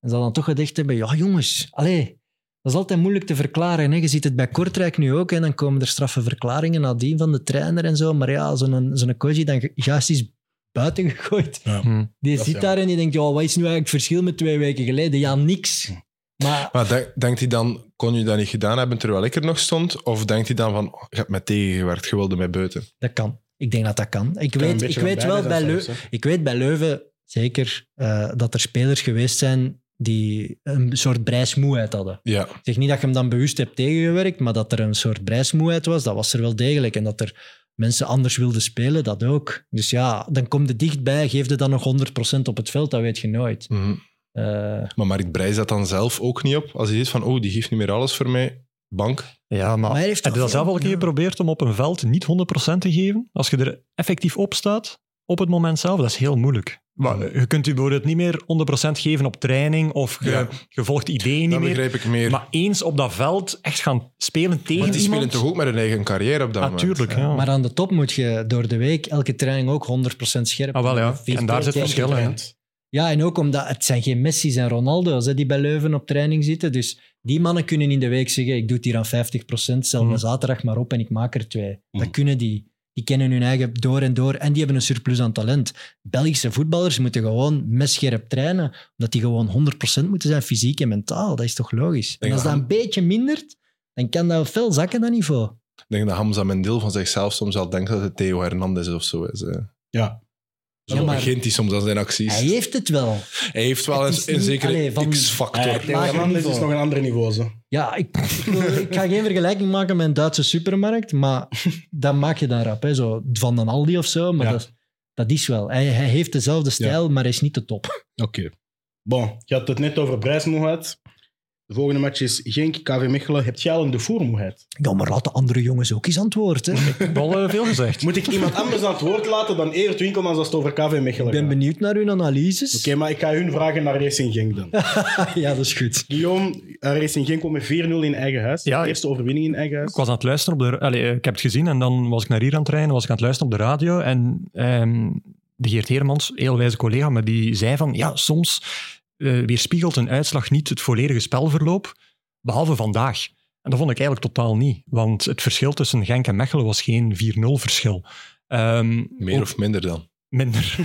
Speaker 3: En zal dan toch gedacht hebben, ja jongens, allee, dat is altijd moeilijk te verklaren. Hè. Je ziet het bij Kortrijk nu ook. En dan komen er straffe verklaringen nadien van de trainer en zo. Maar ja, zo'n zo'n coach die dan ju- juist is buiten gegooid.
Speaker 2: Hm.
Speaker 3: Die
Speaker 1: Dat is
Speaker 3: zit daar en die denkt, ja, wat is nu eigenlijk het verschil met twee weken geleden? Ja,
Speaker 1: Hm.
Speaker 3: niks. Maar
Speaker 4: Maar denk- denkt hij dan, kon je dat niet gedaan hebben terwijl ik er nog stond? Of denkt hij dan van, oh, je hebt mij tegengewerkt, je wilde mij buiten?
Speaker 3: Dat kan. Ik denk dat dat kan. Ik
Speaker 1: Kan een
Speaker 3: weet, ik
Speaker 1: beetje
Speaker 3: weet
Speaker 1: van
Speaker 3: wel
Speaker 1: beide
Speaker 3: bij
Speaker 1: zijn
Speaker 3: Leuven,
Speaker 1: soms, hè.
Speaker 3: ik weet bij Leuven zeker eh, dat er spelers geweest zijn die een soort brijsmoeheid hadden.
Speaker 4: Ja,
Speaker 3: Ik zeg niet dat je hem dan bewust hebt tegengewerkt, maar dat er een soort brijsmoeheid was, dat was er wel degelijk. En dat er mensen anders wilden spelen, dat ook. Dus ja, dan kom je dichtbij, geef je dan nog 100% op het veld, dat weet je nooit.
Speaker 4: mhm.
Speaker 3: Eh,
Speaker 4: maar Mark Brijs dat dan zelf ook niet op. Als hij is van, oh, die geeft niet meer alles voor mij. Bank.
Speaker 2: Ja, maar,
Speaker 3: Maar hij heeft
Speaker 2: heb je dat
Speaker 3: toch
Speaker 2: zelf al een keer
Speaker 3: veel-
Speaker 2: geprobeerd om op een veld niet 100% te geven? Als je er effectief op staat, op het moment zelf, dat is heel moeilijk. Maar, eh, je kunt je bijvoorbeeld niet meer 100% geven op training of je,
Speaker 4: Ja.
Speaker 2: je volgt ideeën niet
Speaker 4: Dat
Speaker 2: meer.
Speaker 4: begrijp ik meer.
Speaker 2: Maar eens op dat veld echt gaan spelen tegen
Speaker 4: Want die
Speaker 2: iemand... Ah,
Speaker 4: spelen toch ook met hun eigen carrière op dat moment?
Speaker 2: Natuurlijk, ja.
Speaker 3: Maar aan de top moet je door de week elke training ook 100% scherp.
Speaker 2: Ah, wel, ja.
Speaker 3: Vier
Speaker 2: En daar
Speaker 3: keer
Speaker 2: zit
Speaker 3: kijken.
Speaker 2: verschil in. hè.
Speaker 3: Ja, en ook omdat het zijn geen Messi's en Ronaldo's hè, die bij Leuven op training zitten. Dus die mannen kunnen in de week zeggen, ik doe het hier aan 50%, stel me
Speaker 2: Mhm.
Speaker 3: zaterdag maar op en ik maak er twee. Dat
Speaker 1: Mhm.
Speaker 3: kunnen die. Die kennen hun eigen door en door en die hebben een surplus aan talent. Belgische voetballers moeten gewoon messcherp trainen, omdat die gewoon 100% moeten zijn, fysiek en mentaal. Dat is toch logisch? En
Speaker 4: Denk
Speaker 3: als dat
Speaker 4: aan-
Speaker 3: een beetje mindert, dan kan dat veel zakken, dat niveau.
Speaker 4: Ik denk dat Hamza Mendil van zichzelf soms al denkt dat het Theo Hernandez of zo is. hè.
Speaker 1: Ja.
Speaker 4: Zo
Speaker 3: maar-
Speaker 4: begint hij soms aan zijn acties.
Speaker 3: Hij heeft het wel.
Speaker 4: Hij heeft wel
Speaker 3: Het
Speaker 4: een,
Speaker 3: is
Speaker 4: een
Speaker 3: niet-
Speaker 4: zekere
Speaker 3: allee, van-
Speaker 4: X-factor.
Speaker 1: Hey, Theo
Speaker 3: Lager
Speaker 1: Hernandez
Speaker 3: niveau.
Speaker 1: is nog een ander niveau. Zo.
Speaker 3: Ja, ik, ik wil- ik ga geen vergelijking maken met een Duitse supermarkt, maar dat maak je dan rap. Hè? Zo van een Aldi of zo, maar
Speaker 1: Ja.
Speaker 3: dat, dat is wel. Hij, hij heeft dezelfde stijl, maar hij is niet de top.
Speaker 1: Oké. Bon, je had het net over prijsmoeheid. De volgende match is Genk, KV Mechelen. Heb jij al een de voermoeheid?
Speaker 3: Ja, maar laat de andere jongens ook eens antwoorden. hè.
Speaker 2: Ik heb al eh, veel gezegd.
Speaker 1: Moet ik iemand anders aan het woord laten dan Eert Winkelmans als het over KV Mechelen
Speaker 3: Ik ben
Speaker 1: gaat?
Speaker 3: benieuwd naar
Speaker 1: Oké,
Speaker 3: hun analyses.
Speaker 1: maar ik ga hun vragen naar Racing Genk dan.
Speaker 3: ja, dat is goed.
Speaker 1: Guillaume, eh, Racing Genk won met 4-0 in eigen huis.
Speaker 2: Ja,
Speaker 1: de eerste overwinning in eigen huis.
Speaker 2: Ik was aan het luisteren op de... Allee, eh, ik heb het gezien en dan was ik naar hier aan het rijden, was ik aan het luisteren op de radio en ehm, de Geert Hermans, heel wijze collega, maar die zei van, ja, soms eh, weerspiegelt een uitslag niet het volledige spelverloop, behalve vandaag. En dat vond ik eigenlijk totaal niet, want het verschil tussen Genk en Mechelen was geen 4-0 verschil. Ehm,
Speaker 4: Meer
Speaker 2: ook-
Speaker 4: of minder dan.
Speaker 2: Minder.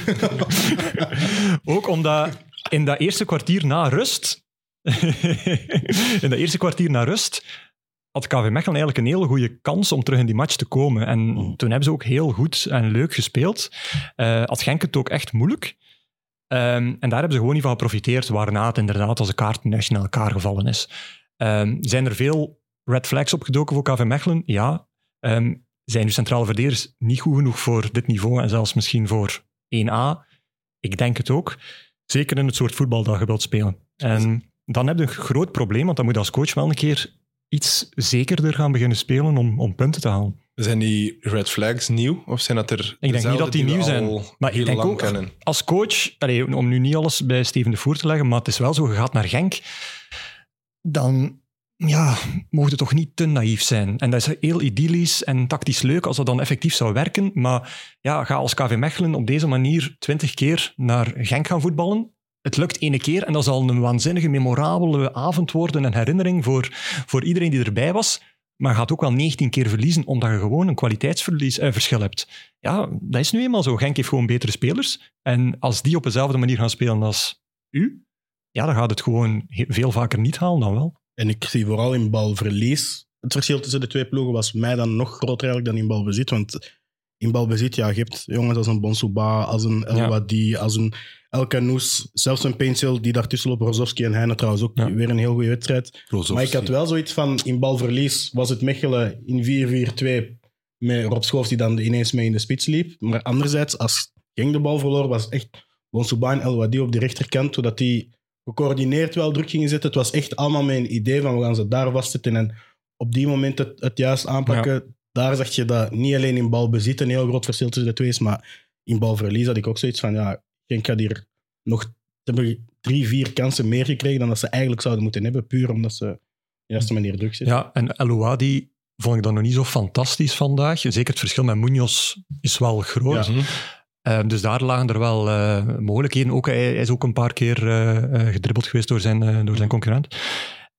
Speaker 2: ook omdat in dat eerste kwartier na rust in dat eerste kwartier naar rust had KV Mechelen eigenlijk een hele goede kans om terug in die match te komen. En toen hebben ze ook heel goed en leuk gespeeld. Eh had Genk het ook echt moeilijk. Ehm, en daar hebben ze gewoon niet van geprofiteerd, waarna het inderdaad als een kaart net in elkaar gevallen is. Ehm, zijn er veel red flags opgedoken voor KV Mechelen? Ja. Ehm, zijn uw centrale verdedigers niet goed genoeg voor dit niveau en zelfs misschien voor 1A? Ik denk het ook. Zeker in het soort voetbal dat je wilt spelen. En dan heb je een groot probleem, want dan moet je als coach wel een keer iets zekerder gaan beginnen spelen om, om punten te halen.
Speaker 4: Zijn die red flags nieuw? Of zijn dat er
Speaker 2: niet
Speaker 4: dezelfde
Speaker 2: dat die
Speaker 4: we
Speaker 2: nieuw zijn,
Speaker 4: al
Speaker 2: maar ik
Speaker 4: heel
Speaker 2: denk
Speaker 4: lang
Speaker 2: ook-
Speaker 4: kennen?
Speaker 2: Als coach, allee, om nu niet alles bij Steven de Voer te leggen, maar het is wel zo, je gaat naar Genk, dan ja, mocht je toch niet te naïef zijn. En dat is heel idyllisch en tactisch leuk als dat dan effectief zou werken, maar ja, ga als KV Mechelen op deze manier twintig keer naar Genk gaan voetballen, het lukt ene keer en dat zal een waanzinnige, memorabele avond worden, een herinnering voor, voor iedereen die erbij was. Maar je gaat ook wel 19 keer verliezen omdat je gewoon een kwaliteitsverschil hebt. Ja, dat is nu eenmaal zo. Genk heeft gewoon betere spelers. En als die op dezelfde manier gaan spelen als u, ja, dan gaat het gewoon he- veel vaker niet halen dan wel.
Speaker 1: En ik zie vooral in balverlies. Het verschil tussen de twee ploegen was mij dan nog groter eigenlijk dan in balbezit. Want in balbezit, ja, je hebt jongens als een Bonsouba, als een El
Speaker 2: Ja.
Speaker 1: Wadi, als een El Kanoes, zelfs een Pencil die daartussen loopt. Rozovski en Heine trouwens ook
Speaker 2: Ja.
Speaker 1: weer een heel goede wedstrijd.
Speaker 4: Rozovski.
Speaker 1: Maar ik had wel zoiets van, in balverlies was het Mechelen in 4-4-2 met Rob Schoofs die dan ineens mee in de spits liep. Maar anderzijds, als Genk de bal verloor, was het echt Bonsouba en El Wadi op de rechterkant, zodat die gecoördineerd wel druk gingen zetten. Het was echt allemaal met een idee van, we gaan ze daar vastzetten en op die moment het, het juist aanpakken. Daar zag je dat niet alleen in balbezit een heel groot verschil tussen de twee is, maar in balverlies had ik ook zoiets van, ja, Genk had hier nog ze hebben drie, vier kansen meer gekregen dan dat ze eigenlijk zouden moeten hebben, puur omdat ze op de juiste manier druk zitten.
Speaker 2: Ja, en El Ouadi vond ik dan nog niet zo fantastisch vandaag. Zeker het verschil met Munoz is wel groot.
Speaker 1: Ja.
Speaker 4: Mhm.
Speaker 2: Eh, dus daar lagen er wel eh, mogelijkheden. Ook, hij, hij is ook een paar keer eh, eh, gedribbeld geweest door zijn, eh, door zijn concurrent.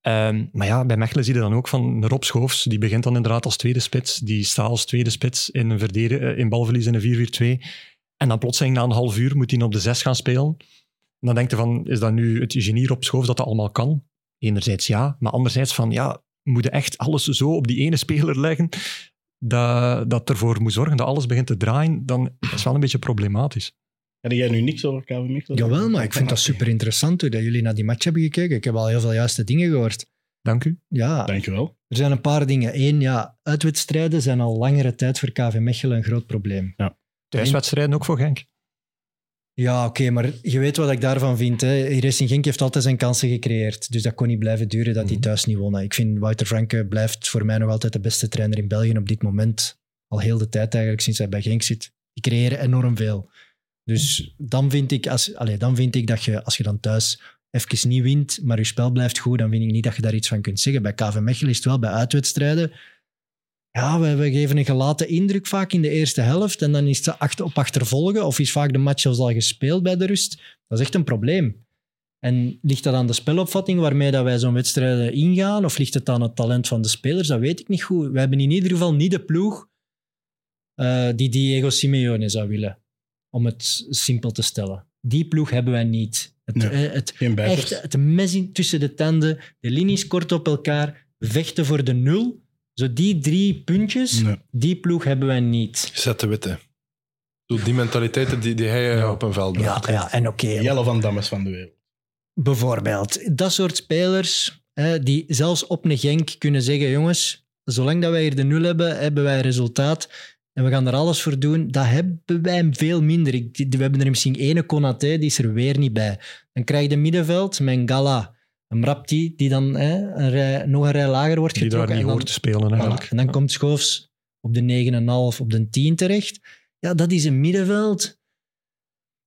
Speaker 2: Ehm, maar ja, bij Mechelen zie je dan ook van Rob Schoofs. Die begint dan inderdaad als tweede spits. Die staat als tweede spits in, een verdedig- eh, in balverlies in een 4-4-2. En dan plotseling na een half uur moet hij op de zes gaan spelen. En dan denk je van, is dat nu het genie Rob Schoofs dat dat allemaal kan? Enerzijds ja, maar anderzijds van, ja, moet je echt alles zo op die ene speler leggen? dat, dat ervoor moet zorgen dat alles begint te draaien, dan is wel een beetje problematisch.
Speaker 1: Had jij nu niks over KV Mechelen?
Speaker 3: Jawel, maar ik vind dat super interessant hoe dat jullie naar die match hebben gekeken. Ik heb al heel veel juiste dingen gehoord.
Speaker 2: Dank u.
Speaker 3: Ja,
Speaker 1: Dankjewel.
Speaker 3: er zijn een paar dingen. Eén, ja, uitwedstrijden zijn al langere tijd voor KV Mechelen een groot probleem.
Speaker 2: Thuiswedstrijden ook voor Genk.
Speaker 3: Ja, oké, maar je weet wat ik daarvan vind. Hè. Racing Genk heeft altijd zijn kansen gecreëerd. Dus dat kon niet blijven duren dat die
Speaker 2: Mhm.
Speaker 3: thuis niet wonnen. Ik vind Wouter Franke blijft voor mij nog altijd de beste trainer in België op dit moment. Al heel de tijd eigenlijk, sinds hij bij Genk zit. Die creëren enorm veel. Dus dan vind ik, als, allee, dan vind ik dat je, als je dan thuis even niet wint, maar je spel blijft goed, dan vind ik niet dat je daar iets van kunt zeggen. Bij KV Mechelen is het wel bij uitwedstrijden. Ja, we, we geven een gelaten indruk vaak in de eerste helft. En dan is het achter, op achtervolgen of is vaak de match zelfs al gespeeld bij de rust. Dat is echt een probleem. En ligt dat aan de spelopvatting waarmee dat wij zo'n wedstrijd ingaan? Of ligt het aan het talent van de spelers? Dat weet ik niet goed. We hebben in ieder geval niet de ploeg eh, die Diego Simeone zou willen. Om het simpel te stellen. Die ploeg hebben wij niet. Het,
Speaker 1: Nee.
Speaker 3: eh, het,
Speaker 1: Geen bijters.
Speaker 3: Echt het mes in tussen de tanden, de linies kort op elkaar, vechten voor de nul. Zo die drie puntjes,
Speaker 1: Nee.
Speaker 3: die plag hebben wij niet.
Speaker 4: Zet de witte. Zo Die mentaliteiten die, die hij eh, op een veld brengt.
Speaker 3: Ja, ja en oké.
Speaker 1: Jelle van Dammes van de wereld.
Speaker 3: Bijvoorbeeld, dat soort spelers hè, die zelfs op een genk kunnen zeggen: jongens, zolang dat wij hier de nul hebben, hebben wij resultaat en we gaan er alles voor doen. Dat hebben wij veel minder. Ik, we hebben er misschien ene Konaté, die is er weer niet bij. Dan krijg je middenveld, Mengala, Mrapti, die dan hè, een rij- nog een rij lager wordt
Speaker 2: Die daar
Speaker 3: getrokken.
Speaker 2: niet
Speaker 3: en dan-
Speaker 2: hoort te spelen
Speaker 3: Voilà.
Speaker 2: eigenlijk.
Speaker 3: En dan komt Schoofs op de 9,5, op de 10 terecht. Ja, dat is een middenveld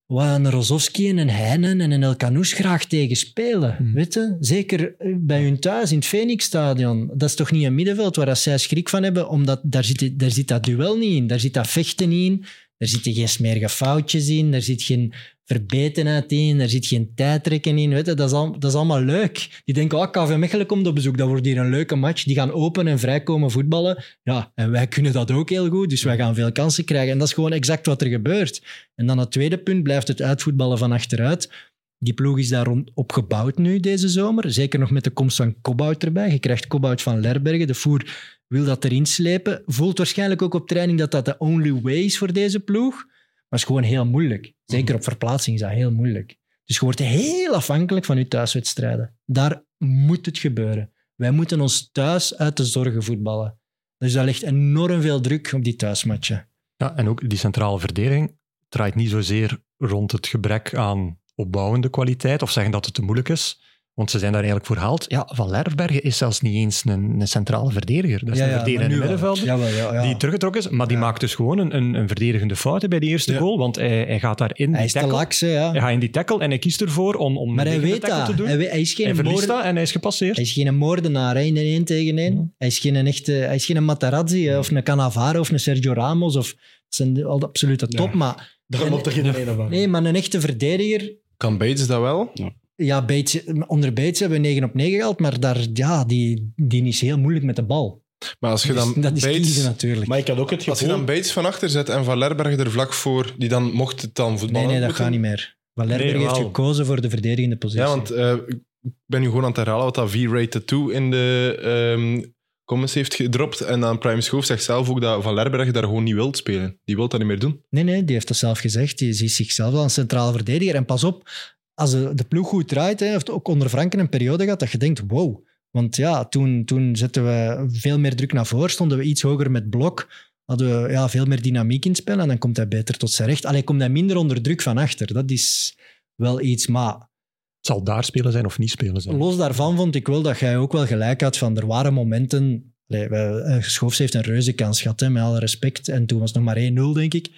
Speaker 3: waar een Rozovski en een Heinen en een Elkanous graag tegen spelen.
Speaker 2: Hmm.
Speaker 3: Weet je? Zeker eh, bij hun thuis in het Phoenixstadion. Dat is toch niet een middenveld waar dat zij schrik van hebben, omdat daar zit, daar zit dat duel niet in, daar zit dat vechten niet in, daar zitten geen smerige foutjes in, daar zit geen verbetenheid in, daar zit geen tijdrekken in. Weet je? Dat, is al, dat is allemaal leuk. Die denken, oh, KV Mechelen komt op bezoek, dat wordt hier een leuke match. Die gaan open en vrij komen voetballen. Ja, en wij kunnen dat ook heel goed, dus wij gaan veel kansen krijgen. En dat is gewoon exact wat er gebeurt. En dan het tweede punt blijft het uitvoetballen van achteruit. Die ploeg is daar rond opgebouwd nu deze zomer. Zeker nog met de komst van Kobout erbij. Je krijgt Kobout van Lerbergen. De voer wil dat erin slepen. Voelt waarschijnlijk ook op training dat dat de only way is voor deze ploeg. Maar het is gewoon heel moeilijk. Zeker op verplaatsing is dat heel moeilijk. Dus je wordt heel afhankelijk van je thuiswedstrijden. Daar moet het gebeuren. Wij moeten ons thuis uit de zorgen voetballen. Dus daar ligt enorm veel druk op die thuismatchen.
Speaker 2: Ja, en ook die centrale verdediging draait niet zozeer rond het gebrek aan opbouwende kwaliteit of zeggen dat het te moeilijk is, want ze zijn daar eigenlijk voor gehaald. Ja, Van Lerbergen is zelfs niet eens een, een centrale verdediger. Dat is een verdedigende
Speaker 3: nu wel.
Speaker 2: middenvelder
Speaker 3: Jawel, ja, ja.
Speaker 2: die teruggetrokken is, maar die
Speaker 3: Ja.
Speaker 2: maakt dus gewoon een, een, een verdedigende fout bij die eerste
Speaker 4: Ja.
Speaker 2: goal, want hij, hij gaat daarin,
Speaker 3: Hij
Speaker 2: die
Speaker 3: is te
Speaker 2: tackle,
Speaker 3: laks, hè, ja.
Speaker 2: hij gaat in die tackle en hij kiest ervoor om, om
Speaker 3: Maar
Speaker 2: een
Speaker 3: hij
Speaker 2: liggende
Speaker 3: weet
Speaker 2: tackle
Speaker 3: dat.
Speaker 2: te doen.
Speaker 3: Hij, weet- hij is
Speaker 2: Hij
Speaker 3: geen
Speaker 2: verliest
Speaker 3: moord-
Speaker 2: dat en hij is gepasseerd.
Speaker 3: Hij is geen moordenaar hè, in een 1 tegen 1.
Speaker 2: Ja.
Speaker 3: Hij is geen echte, hij is geen Materazzi hè, of een Cannavaro of een Sergio Ramos. Of, dat zijn de- al de absolute
Speaker 1: Ja.
Speaker 3: top, maar,
Speaker 1: Daar loopt er geen reden van.
Speaker 3: nee, maar een echte verdediger.
Speaker 4: Kan Bates dat wel?
Speaker 3: Ja, Bates, onder Bates hebben we 9 op 9 gehaald, maar daar, ja, die, die is heel moeilijk met de bal.
Speaker 4: Maar als je dan,
Speaker 3: Dus dat is kiezen
Speaker 4: Bates,
Speaker 3: natuurlijk.
Speaker 1: Maar ik had ook het
Speaker 4: als je
Speaker 1: gevoel...
Speaker 4: dan Bates van achter zet en Van Lerberg er vlak voor, die dan mocht het dan
Speaker 3: nee,
Speaker 4: voetballen.
Speaker 3: nee, dat
Speaker 4: moeten-
Speaker 3: gaat niet meer. Van Lerberg
Speaker 2: Nee,
Speaker 3: heeft
Speaker 2: wel.
Speaker 3: gekozen voor de verdedigende positie.
Speaker 4: Ja, want eh, ik ben nu gewoon aan het herhalen wat dat V-Rated 2 in de ehm, comments heeft gedropt. En dan Prime Schoof zegt zelf ook dat Van Lerberg daar gewoon niet wilt spelen. Die wil dat niet meer doen.
Speaker 3: Nee, nee, die heeft dat zelf gezegd. Die ziet zichzelf als een centrale verdediger. En pas op, als de, de ploeg goed draait, hè, heeft ook onder Franken een periode gehad dat je denkt, wow. Want ja, toen, toen zetten we veel meer druk naar voren, stonden we iets hoger met blok, hadden we ja, veel meer dynamiek in het spel en dan komt hij beter tot zijn recht. Alleen komt hij minder onder druk van achter. Dat is wel iets, maar
Speaker 2: Het zal daar spelen zijn of niet spelen zijn.
Speaker 3: Los daarvan vond ik wel dat jij ook wel gelijk had van er waren momenten. Allee, we- eh, Schoofs heeft een reuze kans gehad, hè, met alle respect. En toen was het nog maar 1-0, denk ik.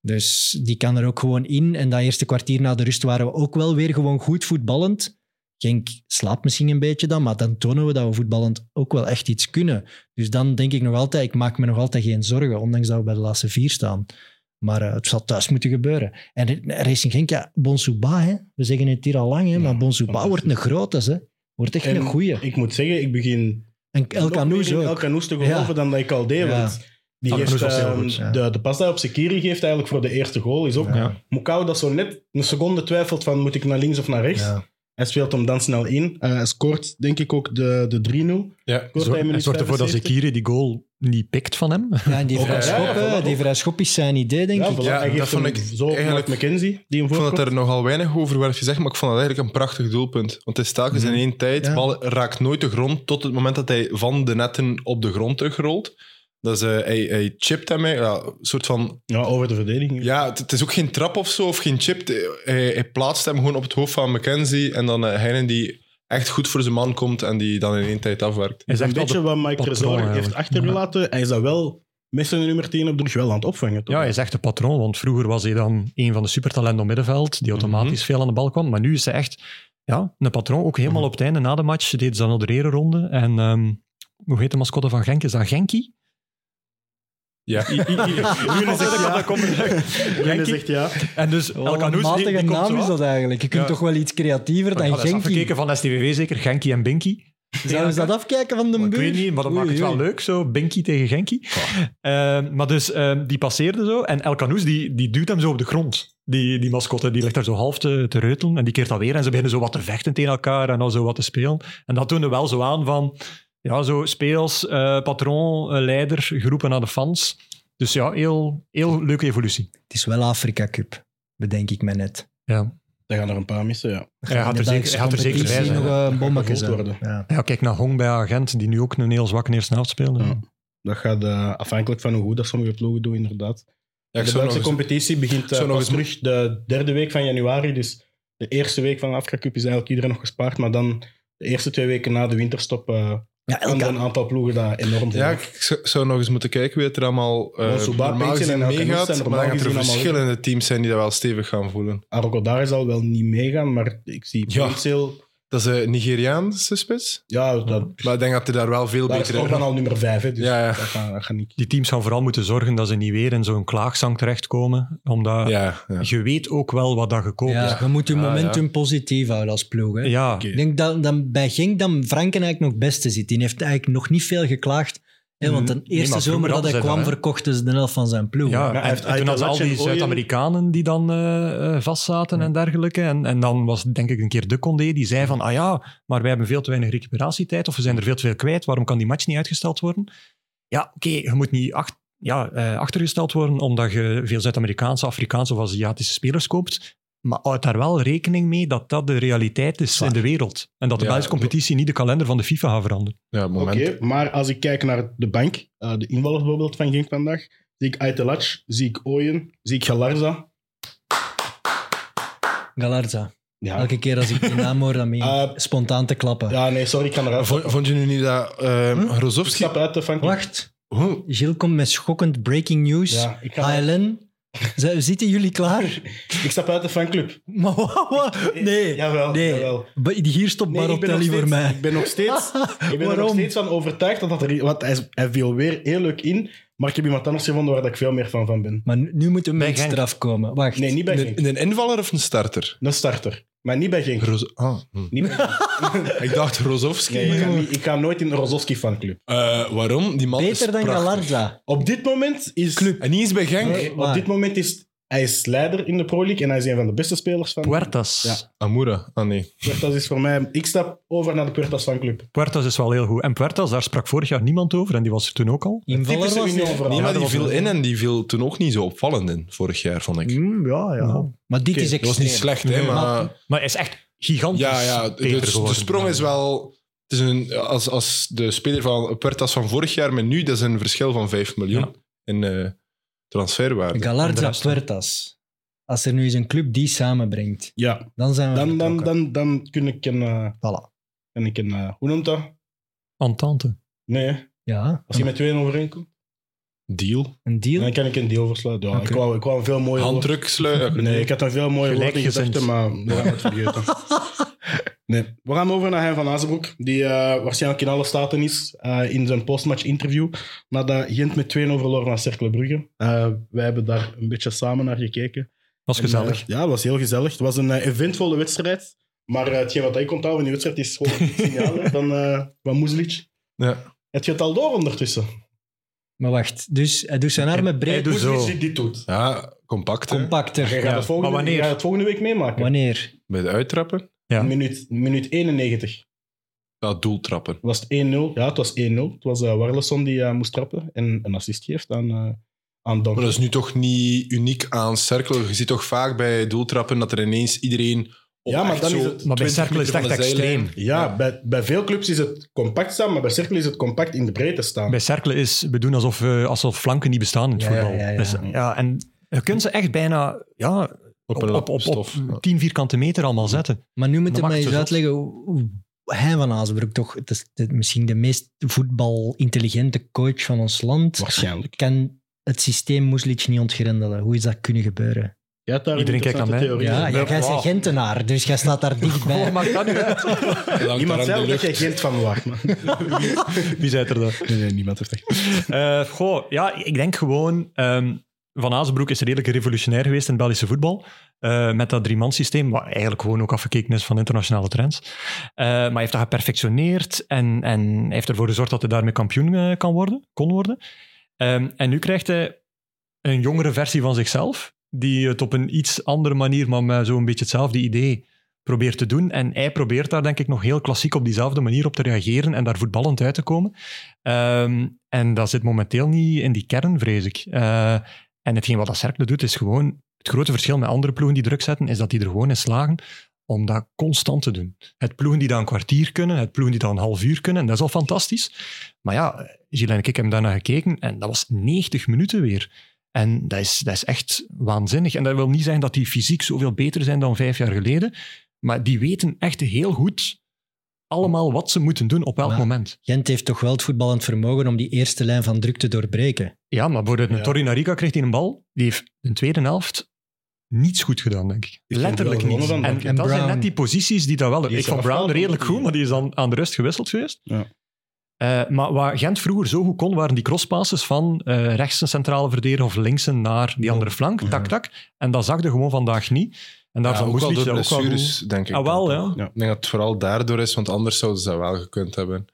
Speaker 3: Dus die kan er ook gewoon in. En dat eerste kwartier na de rust waren we ook wel weer gewoon goed voetballend. Genk slaapt misschien een beetje dan, maar dan tonen we dat we voetballend ook wel echt iets kunnen. Dus dan denk ik nog altijd, ik maak me nog altijd geen zorgen, ondanks dat we bij de laatste vier staan. Maar eh, het zal thuis moeten gebeuren. En eh, Racing Genk, ja, Bonsouba, hè. we zeggen het hier al lang, hè,
Speaker 1: Ja,
Speaker 3: maar Bonsouba
Speaker 1: fantastisch.
Speaker 3: wordt een grote, hè. wordt echt
Speaker 1: En
Speaker 3: een goeie.
Speaker 1: Ik moet zeggen, ik begin
Speaker 3: En El
Speaker 1: nog meer
Speaker 3: Canoes
Speaker 1: in El
Speaker 3: ook.
Speaker 1: Canoes te geloven
Speaker 3: Ja.
Speaker 1: dan dat ik al deed.
Speaker 3: Ja.
Speaker 1: Want die
Speaker 2: El Canoes
Speaker 1: geeft,
Speaker 2: was heel
Speaker 1: ehm,
Speaker 3: goed, ja.
Speaker 1: de, de pas die hij op Sekiri geeft eigenlijk voor de eerste goal is ook...
Speaker 3: Ja.
Speaker 1: Mukau dat zo net een seconde twijfelt van moet ik naar links of naar rechts.
Speaker 3: Ja.
Speaker 1: Hij speelt hem dan snel in. Eh, hij scoort denk ik ook de, de 3-0.
Speaker 4: Ja.
Speaker 1: Kort
Speaker 2: Zor- Hij zorgt ervoor dat Zekiri die goal niet pikt van hem.
Speaker 3: Ja, en die
Speaker 1: Ook
Speaker 3: vrij
Speaker 4: al-
Speaker 3: schop,
Speaker 1: ja,
Speaker 3: hè,
Speaker 1: voilà,
Speaker 3: die
Speaker 1: ook.
Speaker 3: vrij schop is zijn idee, denk
Speaker 1: Ja,
Speaker 3: ik.
Speaker 1: voilà.
Speaker 4: Ja,
Speaker 1: hij geeft
Speaker 4: dat vond
Speaker 1: hem
Speaker 4: ik
Speaker 1: zo
Speaker 4: eigenlijk-
Speaker 1: eigenlijk McKenzie die hem
Speaker 4: Ik vond
Speaker 1: voorkomt.
Speaker 4: dat er nogal weinig over werd gezegd, maar ik vond dat eigenlijk een prachtig doelpunt. Want het is telkens in één tijd,
Speaker 3: Mhm. Ja.
Speaker 4: bal raakt nooit de grond tot het moment dat hij van de netten op de grond terugrolt. Dat is, eh, hij, hij chipt hem, hij- ja, een soort van...
Speaker 1: Ja, over de verdediging.
Speaker 4: Ja, het, het is ook geen trap of zo, of geen chip. Hij, hij plaatst hem gewoon op het hoofd van McKenzie en dan eh Heinen die echt goed voor zijn man komt en die dan in één tijd afwerkt.
Speaker 1: Dat
Speaker 2: Hij
Speaker 1: is
Speaker 2: zegt
Speaker 1: een
Speaker 2: wel
Speaker 1: beetje
Speaker 2: de-
Speaker 1: wat Mike
Speaker 2: patroon
Speaker 1: Trezor heeft
Speaker 2: eigenlijk.
Speaker 1: achtergelaten. Hij is dat wel met zijn nummer 10 op de rug wel aan het opvangen. toch?
Speaker 2: ja, hij is echt een patroon, want vroeger was hij dan een van de supertalenten op middenveld,
Speaker 3: Mhm.
Speaker 2: die automatisch veel aan de bal kwam. Maar nu is hij echt ja, een patroon. Ook helemaal
Speaker 3: Mhm.
Speaker 2: op het einde, na de match, deden ze dan nog de ereronde. En ehm, hoe heet de mascotte van Genk? Is dat Genki?
Speaker 4: Ja.
Speaker 1: June zegt ja. June zegt ja.
Speaker 2: En dus El
Speaker 3: Wat een
Speaker 2: Canoes, die,
Speaker 3: matige
Speaker 2: die komt zo
Speaker 3: naam is
Speaker 2: af.
Speaker 3: dat eigenlijk. Je kunt
Speaker 2: Ja.
Speaker 3: toch wel iets creatiever
Speaker 2: Maar ja,
Speaker 3: dan
Speaker 2: dat is
Speaker 3: Genki.
Speaker 2: afgekeken van STVV zeker, Genki en Binky.
Speaker 3: Zouden ze dat afkijken van de
Speaker 2: Maar
Speaker 3: buurt?
Speaker 2: ik weet niet, maar dat maakt het wel leuk zo. Binky tegen Genki. Ehm, maar dus, ehm, die passeerde zo. En El Canoes, die, die duwt hem zo op de grond. Die, die mascotte, die ligt daar zo half te, te reutelen. En die keert dat weer. En ze beginnen zo wat te vechten tegen elkaar. En dan zo wat te spelen. En dat toonde wel zo aan van... Ja, zo speels, eh, patroon, eh, leider, geroepen naar de fans. Dus ja, heel, heel leuke evolutie.
Speaker 3: Het is wel Afrika Cup, bedenk ik me net.
Speaker 2: Ja.
Speaker 1: Daar gaan er een paar missen, ja.
Speaker 2: Hij gaat er zeker, hij gaat er zeker bij
Speaker 3: competitie
Speaker 2: zijn.
Speaker 3: nog
Speaker 2: hè.
Speaker 3: eh, een bommetje
Speaker 1: gevolgd
Speaker 3: zijn.
Speaker 1: worden.
Speaker 3: Ja.
Speaker 2: Ja, kijk naar Hong bij Agent, die nu ook een heel zwakke eerste helft speelde.
Speaker 1: Ja. Dat gaat eh, afhankelijk van hoe goed dat sommige ploegen doen, inderdaad.
Speaker 4: Ja, ik
Speaker 1: de
Speaker 4: zou nog
Speaker 1: Belgische
Speaker 4: eens-
Speaker 1: competitie begint
Speaker 4: zou
Speaker 1: eh
Speaker 4: nog
Speaker 1: pas terug
Speaker 4: eens-
Speaker 1: de derde week van januari. Dus de eerste week van de Afrika Cup is eigenlijk iedereen nog gespaard. Maar dan de eerste twee weken na de winterstop eh
Speaker 3: Ja,
Speaker 1: kan
Speaker 3: elke
Speaker 1: een aantal ploegen daar enorm voor.
Speaker 4: Ja, ik z- zou nog eens moeten kijken wie het er allemaal eh,
Speaker 1: Want Soba,
Speaker 4: normaal
Speaker 1: Peetsen
Speaker 4: gezien
Speaker 1: en El Canoes
Speaker 4: meegaat.
Speaker 1: zijn er
Speaker 4: Maar
Speaker 1: normaal
Speaker 4: dan gaan er
Speaker 1: gezien allemaal
Speaker 4: verschillende teams zijn die dat wel stevig gaan voelen.
Speaker 1: Arokodare zal wel niet meegaan, maar ik zie
Speaker 4: Ja.
Speaker 1: potentieel...
Speaker 4: Dat is een Nigeriaanse spits.
Speaker 1: Ja, dat,
Speaker 4: Maar ik denk dat hij daar wel veel
Speaker 1: daar is
Speaker 4: beter
Speaker 1: Orban al nummer vijf, hè, dus
Speaker 4: Ja, ja.
Speaker 1: Dat, gaat, dat gaat niet.
Speaker 2: die teams gaan vooral moeten zorgen dat ze niet weer in zo'n klaagzang terechtkomen. Omdat
Speaker 4: Ja, ja.
Speaker 2: je weet ook wel wat dat gekoopt
Speaker 3: ja,
Speaker 2: is.
Speaker 3: je moet je
Speaker 4: Ja,
Speaker 3: momentum
Speaker 4: ja.
Speaker 3: positief houden als ploeg. Hè.
Speaker 2: Ja,
Speaker 1: Oké.
Speaker 3: Ik denk dat, dat bij Genk dan Franken eigenlijk nog het beste zit. Die heeft eigenlijk nog niet veel geklaagd. Ja, want de
Speaker 2: Mhm. Nee,
Speaker 3: eerste
Speaker 2: maar
Speaker 3: zomer
Speaker 2: vroeger
Speaker 3: dat hij
Speaker 2: hadden ze
Speaker 3: kwam,
Speaker 2: dat, hè?
Speaker 3: verkochten ze de helft van zijn ploeg.
Speaker 2: Ja,
Speaker 1: hij
Speaker 2: en,
Speaker 1: heeft
Speaker 2: en toen had ze al
Speaker 1: Ayatollah
Speaker 2: die
Speaker 1: en Ooyen-
Speaker 2: Zuid-Amerikanen die dan eh, eh, vastzaten en dergelijke. En, en dan was het denk ik een keer de Condé die zei van, ah ja, maar wij hebben veel te weinig recuperatietijd of we zijn er veel te veel kwijt, waarom kan die match niet uitgesteld worden? Ja, oké, je moet niet ach- ja, eh, achtergesteld worden omdat je veel Zuid-Amerikaanse, Afrikaanse of Aziatische spelers koopt. Maar houd daar wel rekening mee dat dat de realiteit is in de wereld. En dat de
Speaker 4: Ja,
Speaker 2: Belgische competitie niet de kalender van de FIFA gaat veranderen.
Speaker 4: Ja, op het moment.
Speaker 1: Oké, maar als ik kijk naar de bank, eh, de invallers bijvoorbeeld van Genk vandaag, zie ik Aitelac, zie ik Ooyen, zie ik Galarza.
Speaker 3: Galarza.
Speaker 1: Ja.
Speaker 3: Elke keer als ik die naam hoor, dan meen ik
Speaker 1: Eh,
Speaker 3: spontaan te klappen.
Speaker 1: ja, nee, sorry, ik kan eruit.
Speaker 4: Vond, vond je nu niet dat eh
Speaker 3: Hm?
Speaker 1: Ik
Speaker 4: Rozovski...
Speaker 1: stap uit de van.
Speaker 3: Wacht,
Speaker 4: Huh?
Speaker 3: Gilles komt met schokkend breaking news.
Speaker 1: Ja, ik, ga-
Speaker 3: ALN, zijn- zitten jullie klaar?
Speaker 1: ik stap uit de fanclub.
Speaker 3: Maar wat, wat? Nee,
Speaker 1: Jawel,
Speaker 3: nee.
Speaker 1: jawel.
Speaker 3: Ba- Hier stopt
Speaker 1: Nee, ik ben nog
Speaker 3: Barotelli voor
Speaker 1: steeds-
Speaker 3: mij.
Speaker 1: Ik ben nog steeds, ik ben er nog
Speaker 3: Waarom?
Speaker 1: steeds van overtuigd dat dat er... Want hij, is- hij viel weer heel leuk in, maar ik heb iemand anders gevonden waar dat ik veel meer van, van ben.
Speaker 3: Maar nu, nu moet een
Speaker 2: Bij
Speaker 3: mens
Speaker 2: Genk.
Speaker 3: eraf komen. Wacht.
Speaker 1: Nee, niet bij
Speaker 4: Een,
Speaker 1: Genk.
Speaker 4: een invaller of een starter?
Speaker 1: Een starter. Maar niet bij Genk.
Speaker 4: Roz ah, hm.
Speaker 1: Niet bij Genk.
Speaker 4: Ik dacht Rozovski.
Speaker 1: Nee, ik, ga niet- ik ga nooit in de Rozovski fanclub.
Speaker 4: Eh, waarom? Die man is
Speaker 3: Beter dan
Speaker 4: prachtig.
Speaker 3: Galarza.
Speaker 1: Op dit moment is...
Speaker 4: En niet eens bij Genk.
Speaker 1: Nee, op
Speaker 3: waar.
Speaker 1: dit moment is... Hij is leider in de Pro League en hij is een van de beste spelers van...
Speaker 2: Puertas.
Speaker 1: Ja.
Speaker 4: Amura. Ah nee.
Speaker 1: Puertas is voor mij... Ik stap over naar de Puertas fanclub.
Speaker 2: Puertas is wel heel goed. En Puertas, daar sprak vorig jaar niemand over en die was er toen ook al.
Speaker 3: Invaller
Speaker 1: Typische
Speaker 3: was
Speaker 1: Union
Speaker 3: hij.
Speaker 1: verhaal.
Speaker 4: Nee, maar
Speaker 1: Ja,
Speaker 4: die
Speaker 1: dat
Speaker 4: viel
Speaker 1: was-
Speaker 4: in en die viel toen ook niet zo opvallend in, vorig jaar, vond ik.
Speaker 3: Mm, ja, ja.
Speaker 2: Nou,
Speaker 3: Maar dit
Speaker 1: oké,
Speaker 3: is
Speaker 1: dat
Speaker 4: Het
Speaker 3: extreem.
Speaker 4: was niet slecht, hè,
Speaker 2: Nee,
Speaker 4: maar...
Speaker 2: Maar hij is echt gigantisch.
Speaker 4: Ja, ja, de,
Speaker 2: beter
Speaker 4: de- de
Speaker 2: geworden.
Speaker 4: sprong is wel... Het is een, als, als de speler van Puertas van vorig jaar met nu, dat is een verschil van 5 miljoen
Speaker 2: Ja.
Speaker 4: in eh, transferwaarde.
Speaker 2: En de
Speaker 3: Galarza
Speaker 2: rest,
Speaker 3: Puertas. Als er nu eens een club die samenbrengt,
Speaker 1: Ja.
Speaker 3: dan zijn we
Speaker 1: Dan, dan, dan,
Speaker 3: vertrokken.
Speaker 1: dan kun ik een... eh,
Speaker 3: Voilà.
Speaker 1: kan ik een eh, hoe noemt dat?
Speaker 2: Entente.
Speaker 1: Nee.
Speaker 3: Ja,
Speaker 1: Als je met tweeën overeenkomt,
Speaker 4: Deal.
Speaker 3: een deal.
Speaker 1: dan kan ik een deal versluiten. Ja,
Speaker 3: Oké.
Speaker 1: ik, wou, ik wou een veel mooier woord.
Speaker 4: Handdruk sluiten.
Speaker 1: Nee, ik had een veel mooier woord in
Speaker 2: Gelijkgezind.
Speaker 1: gedachten, maar we gaan het vergeten. Nee. We gaan over naar Hein van Azenbroek, die eh, waarschijnlijk in alle staten is eh, in zijn postmatch interview. Nadat Gent met 2-0 verloor van Cercle Brugge. Eh, wij hebben daar een beetje samen naar gekeken.
Speaker 2: Was
Speaker 1: En,
Speaker 2: gezellig.
Speaker 1: eh, ja, het was heel gezellig. Het was een eh, eventvolle wedstrijd. Maar eh, hetgeen wat ik onthoud van die wedstrijd is gewoon het signaal van, eh van Muzlic.
Speaker 4: Ja.
Speaker 1: Het gaat al door ondertussen.
Speaker 3: Maar wacht, dus hij doet zijn armen breed.
Speaker 2: Hij doet Dus zo.
Speaker 1: Muzlic die dit doet.
Speaker 4: ja, compact, hè.
Speaker 1: Je
Speaker 3: Compacter.
Speaker 1: gaat,
Speaker 2: Ja,
Speaker 1: het volgende,
Speaker 2: maar wanneer?
Speaker 1: je gaat het volgende week meemaken.
Speaker 3: Wanneer?
Speaker 4: Bij de uittrappen.
Speaker 2: Ja.
Speaker 1: Minuut, minuut 91
Speaker 4: Ja, doeltrappen.
Speaker 1: was het 1-0. Ja, het was 1-0. Het was eh Warleson die eh, moest trappen en een assist geeft aan, eh aan Don.
Speaker 4: Maar dat is nu toch niet uniek aan cirkel. Je ziet toch vaak bij doeltrappen dat er ineens iedereen op
Speaker 1: Ja, maar
Speaker 4: echt
Speaker 1: dan
Speaker 4: zo
Speaker 1: is het-
Speaker 2: Maar bij
Speaker 4: 20
Speaker 2: Cercle is het
Speaker 4: meter
Speaker 2: echt
Speaker 4: van de zijlijn-
Speaker 2: extreem.
Speaker 1: ja, Bij, bij veel clubs is het compact staan, maar bij Cirkel is het compact in de breedte staan.
Speaker 2: Bij Cercle is, we doen alsof, eh, alsof flanken niet bestaan in het
Speaker 3: Ja,
Speaker 2: voetbal.
Speaker 3: ja, ja, ja.
Speaker 2: Dus, ja, en je kunt ze echt bijna ja,
Speaker 4: Op
Speaker 2: op,
Speaker 4: een
Speaker 2: op, op,
Speaker 4: lap
Speaker 2: Mm. op,
Speaker 4: stof. Ja.
Speaker 2: 10 vierkante meter allemaal zetten.
Speaker 3: Maar nu moet
Speaker 2: Dat
Speaker 3: hij mij
Speaker 2: maakt
Speaker 3: eens
Speaker 2: zo
Speaker 3: uitleggen hoe- hoe hij van Azenbroek toch... Het is de- misschien de meest voetbalintelligente coach van ons land.
Speaker 1: Waarschijnlijk.
Speaker 3: Kan het systeem Moeslic niet ontgrendelen. Hoe is dat kunnen gebeuren?
Speaker 1: Jij hebt daar een
Speaker 2: Iedereen kijkt naar mij.
Speaker 1: interessante
Speaker 3: Ja,
Speaker 1: theorie.
Speaker 3: jij jij bent
Speaker 2: wauw.
Speaker 3: Gentenaar, dus jij staat daar dichtbij.
Speaker 2: maakt dat nu uit?
Speaker 4: Dat hangt
Speaker 1: Iemand
Speaker 4: daar aan
Speaker 1: zei
Speaker 4: de
Speaker 1: ook dat
Speaker 4: lucht.
Speaker 1: jij Gent van wacht.
Speaker 2: Wie zei het er dan?
Speaker 1: Nee, nee, niemand heeft echt.
Speaker 2: Eh, goh, ja, ik denk gewoon... ehm, Van Azenbroek is redelijk revolutionair geweest in het Belgische voetbal. eh, met dat driemanssysteem, wat eigenlijk gewoon ook afgekeken is van internationale trends. Eh, maar hij heeft dat geperfectioneerd en, en hij heeft ervoor gezorgd dat hij daarmee kampioen eh, kan worden, kon worden. Ehm, en nu krijgt hij een jongere versie van zichzelf, die het op een iets andere manier, maar met zo'n beetje hetzelfde idee probeert te doen. En hij probeert daar denk ik nog heel klassiek op diezelfde manier op te reageren en daar voetballend uit te komen. Ehm, en dat zit momenteel niet in die kern, vrees ik. Eh, en hetgeen wat dat Cercle doet, is gewoon... Het grote verschil met andere ploegen die druk zetten, is dat die er gewoon in slagen om dat constant te doen. Het ploegen die dat een kwartier kunnen, het ploegen die dat een half uur kunnen, dat is al fantastisch. Maar ja, Gilles en ik hebben daarna gekeken en dat was 90 minuten weer. En dat is, dat is echt waanzinnig. En dat wil niet zeggen dat die fysiek zoveel beter zijn dan vijf jaar geleden, maar die weten echt heel goed allemaal wat ze moeten doen op welk
Speaker 3: Ja.
Speaker 2: moment.
Speaker 3: Gent heeft toch wel het voetballend vermogen om die eerste lijn van druk te doorbreken.
Speaker 2: Ja, maar bijvoorbeeld een
Speaker 1: Ja.
Speaker 2: Torrinarica kreeg hij een bal. Die heeft in de tweede helft niets goed gedaan, denk ik.
Speaker 1: vond
Speaker 2: Letterlijk
Speaker 1: wel
Speaker 2: niets.
Speaker 1: gewonnen
Speaker 2: En,
Speaker 1: van
Speaker 3: Duncan.
Speaker 2: dat
Speaker 3: En
Speaker 2: zijn
Speaker 3: Brown.
Speaker 2: net die posities die dat wel...
Speaker 1: Die is
Speaker 2: ik
Speaker 1: eraf
Speaker 2: vond Brown
Speaker 1: gehaald,
Speaker 2: redelijk
Speaker 1: want die-
Speaker 2: goed, maar die is dan aan de rust gewisseld geweest.
Speaker 1: Ja.
Speaker 2: Eh, maar waar Gent vroeger zo goed kon, waren die crosspasses van eh, rechts een centrale verdediger of linksen naar die andere flank.
Speaker 1: Mhm.
Speaker 2: Tak, tak. En dat zag je gewoon vandaag niet. En
Speaker 4: Ja,
Speaker 2: daarvan
Speaker 4: ook
Speaker 2: moest
Speaker 4: wel
Speaker 2: Lietz
Speaker 4: door
Speaker 2: dat ook wel
Speaker 4: blessures,
Speaker 2: goed-
Speaker 4: denk ik.
Speaker 2: Ah, wel,
Speaker 4: dan
Speaker 2: ja.
Speaker 4: toch. Ik denk dat het vooral daardoor is, want anders zouden ze dat wel gekund hebben.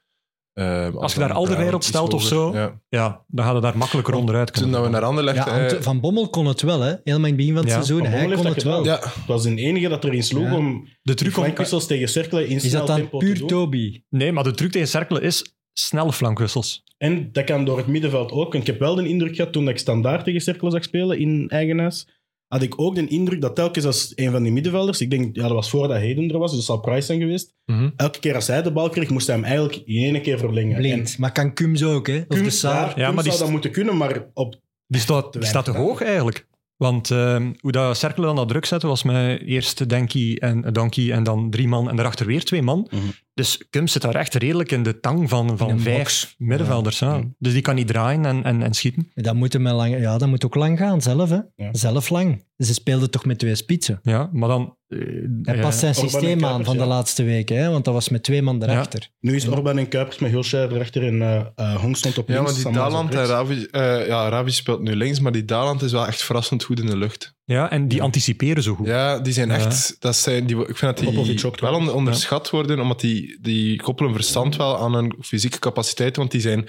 Speaker 4: eh, als,
Speaker 2: je daar
Speaker 4: dan
Speaker 2: Alderweireld
Speaker 4: Brabant iets
Speaker 2: stelt of zo,
Speaker 4: hoger. Ja.
Speaker 2: Ja, dan gaat het daar makkelijker onderuit
Speaker 4: Toen
Speaker 2: kunnen.
Speaker 4: dat we naar Anderlecht...
Speaker 3: Ja,
Speaker 4: eh,
Speaker 3: want Van Bommel kon het wel, hè? Helemaal in het begin van het
Speaker 2: Ja,
Speaker 3: seizoen.
Speaker 1: Van
Speaker 3: Hij
Speaker 1: Bommel
Speaker 3: kon
Speaker 1: heeft
Speaker 3: het
Speaker 1: dat
Speaker 3: wel.
Speaker 1: gedaan.
Speaker 4: ja,
Speaker 1: Het was de enige dat erin sloeg
Speaker 3: Ja.
Speaker 1: om
Speaker 2: de truc om...
Speaker 1: flankwissels tegen Cercle in
Speaker 3: Is
Speaker 1: snel
Speaker 3: dat dan
Speaker 1: tempo te
Speaker 3: puur
Speaker 1: doen.
Speaker 3: Toby?
Speaker 2: Nee, maar de truc tegen cerkelen is snelle flankwissels.
Speaker 1: En dat kan door het middenveld ook. En ik heb wel de indruk gehad toen ik standaard tegen Cercle zag spelen in eigen huis. Had ik ook de indruk dat telkens als een van die middenvelders, ik denk, ja, dat was voordat Heden er was, dus dat zal Price zijn geweest.
Speaker 4: mhm.
Speaker 1: Elke keer als hij de bal kreeg, moest hij hem eigenlijk in één keer verlengen.
Speaker 3: Blind. Maar kan Kums ook, hè? Of
Speaker 1: En
Speaker 3: de
Speaker 1: Kums, ja,
Speaker 3: Saar.
Speaker 1: Kums
Speaker 2: maar die
Speaker 1: zou
Speaker 2: is-
Speaker 1: dat moeten kunnen, maar op
Speaker 2: Die staat
Speaker 1: Te
Speaker 2: te, staat te
Speaker 1: weinig
Speaker 2: hoog eigenlijk. Want eh, hoe dat Cerkelen dan dat druk zette, was met eerst Denki en Donkey en dan drie man en daarachter weer twee man.
Speaker 1: Mhm.
Speaker 2: Dus Kums zit daar echt redelijk in de tang van,
Speaker 3: In
Speaker 2: van
Speaker 3: een
Speaker 2: vijf
Speaker 3: box.
Speaker 2: middenvelders. Ja.
Speaker 1: Mhm.
Speaker 2: Dus die kan niet draaien en, en, en schieten.
Speaker 3: Dat moet, hem lang, ja, dat moet ook lang gaan, zelf, hè?
Speaker 1: Ja.
Speaker 3: Zelf lang. Ze speelden toch met twee spitsen.
Speaker 2: Ja, maar dan... eh,
Speaker 3: Hij
Speaker 2: ja,
Speaker 3: past zijn
Speaker 1: Orban en
Speaker 3: systeem aan
Speaker 1: Kuipers,
Speaker 3: van de
Speaker 1: ja.
Speaker 3: laatste weken, hè? Want dat was met twee man erachter.
Speaker 1: Nu is Orban en Kuipers met Hulscher erachter en eh eh, Hong stond op
Speaker 4: Ja,
Speaker 1: links.
Speaker 4: maar die
Speaker 1: Samuels op
Speaker 4: Daland en
Speaker 1: rechts.
Speaker 4: Ravi... eh, ja, Ravi speelt nu links, maar die Daland is wel echt verrassend goed in de lucht.
Speaker 2: ja, en die
Speaker 1: Ja.
Speaker 2: anticiperen zo goed.
Speaker 4: Ja, die zijn
Speaker 2: Ja.
Speaker 4: echt... Dat zijn, die, ik vind dat
Speaker 1: Popovic
Speaker 4: die
Speaker 1: ook
Speaker 4: wel
Speaker 1: trouwens.
Speaker 4: on- onderschat worden, omdat die, die koppelen verstand wel aan hun fysieke capaciteit, want die zijn...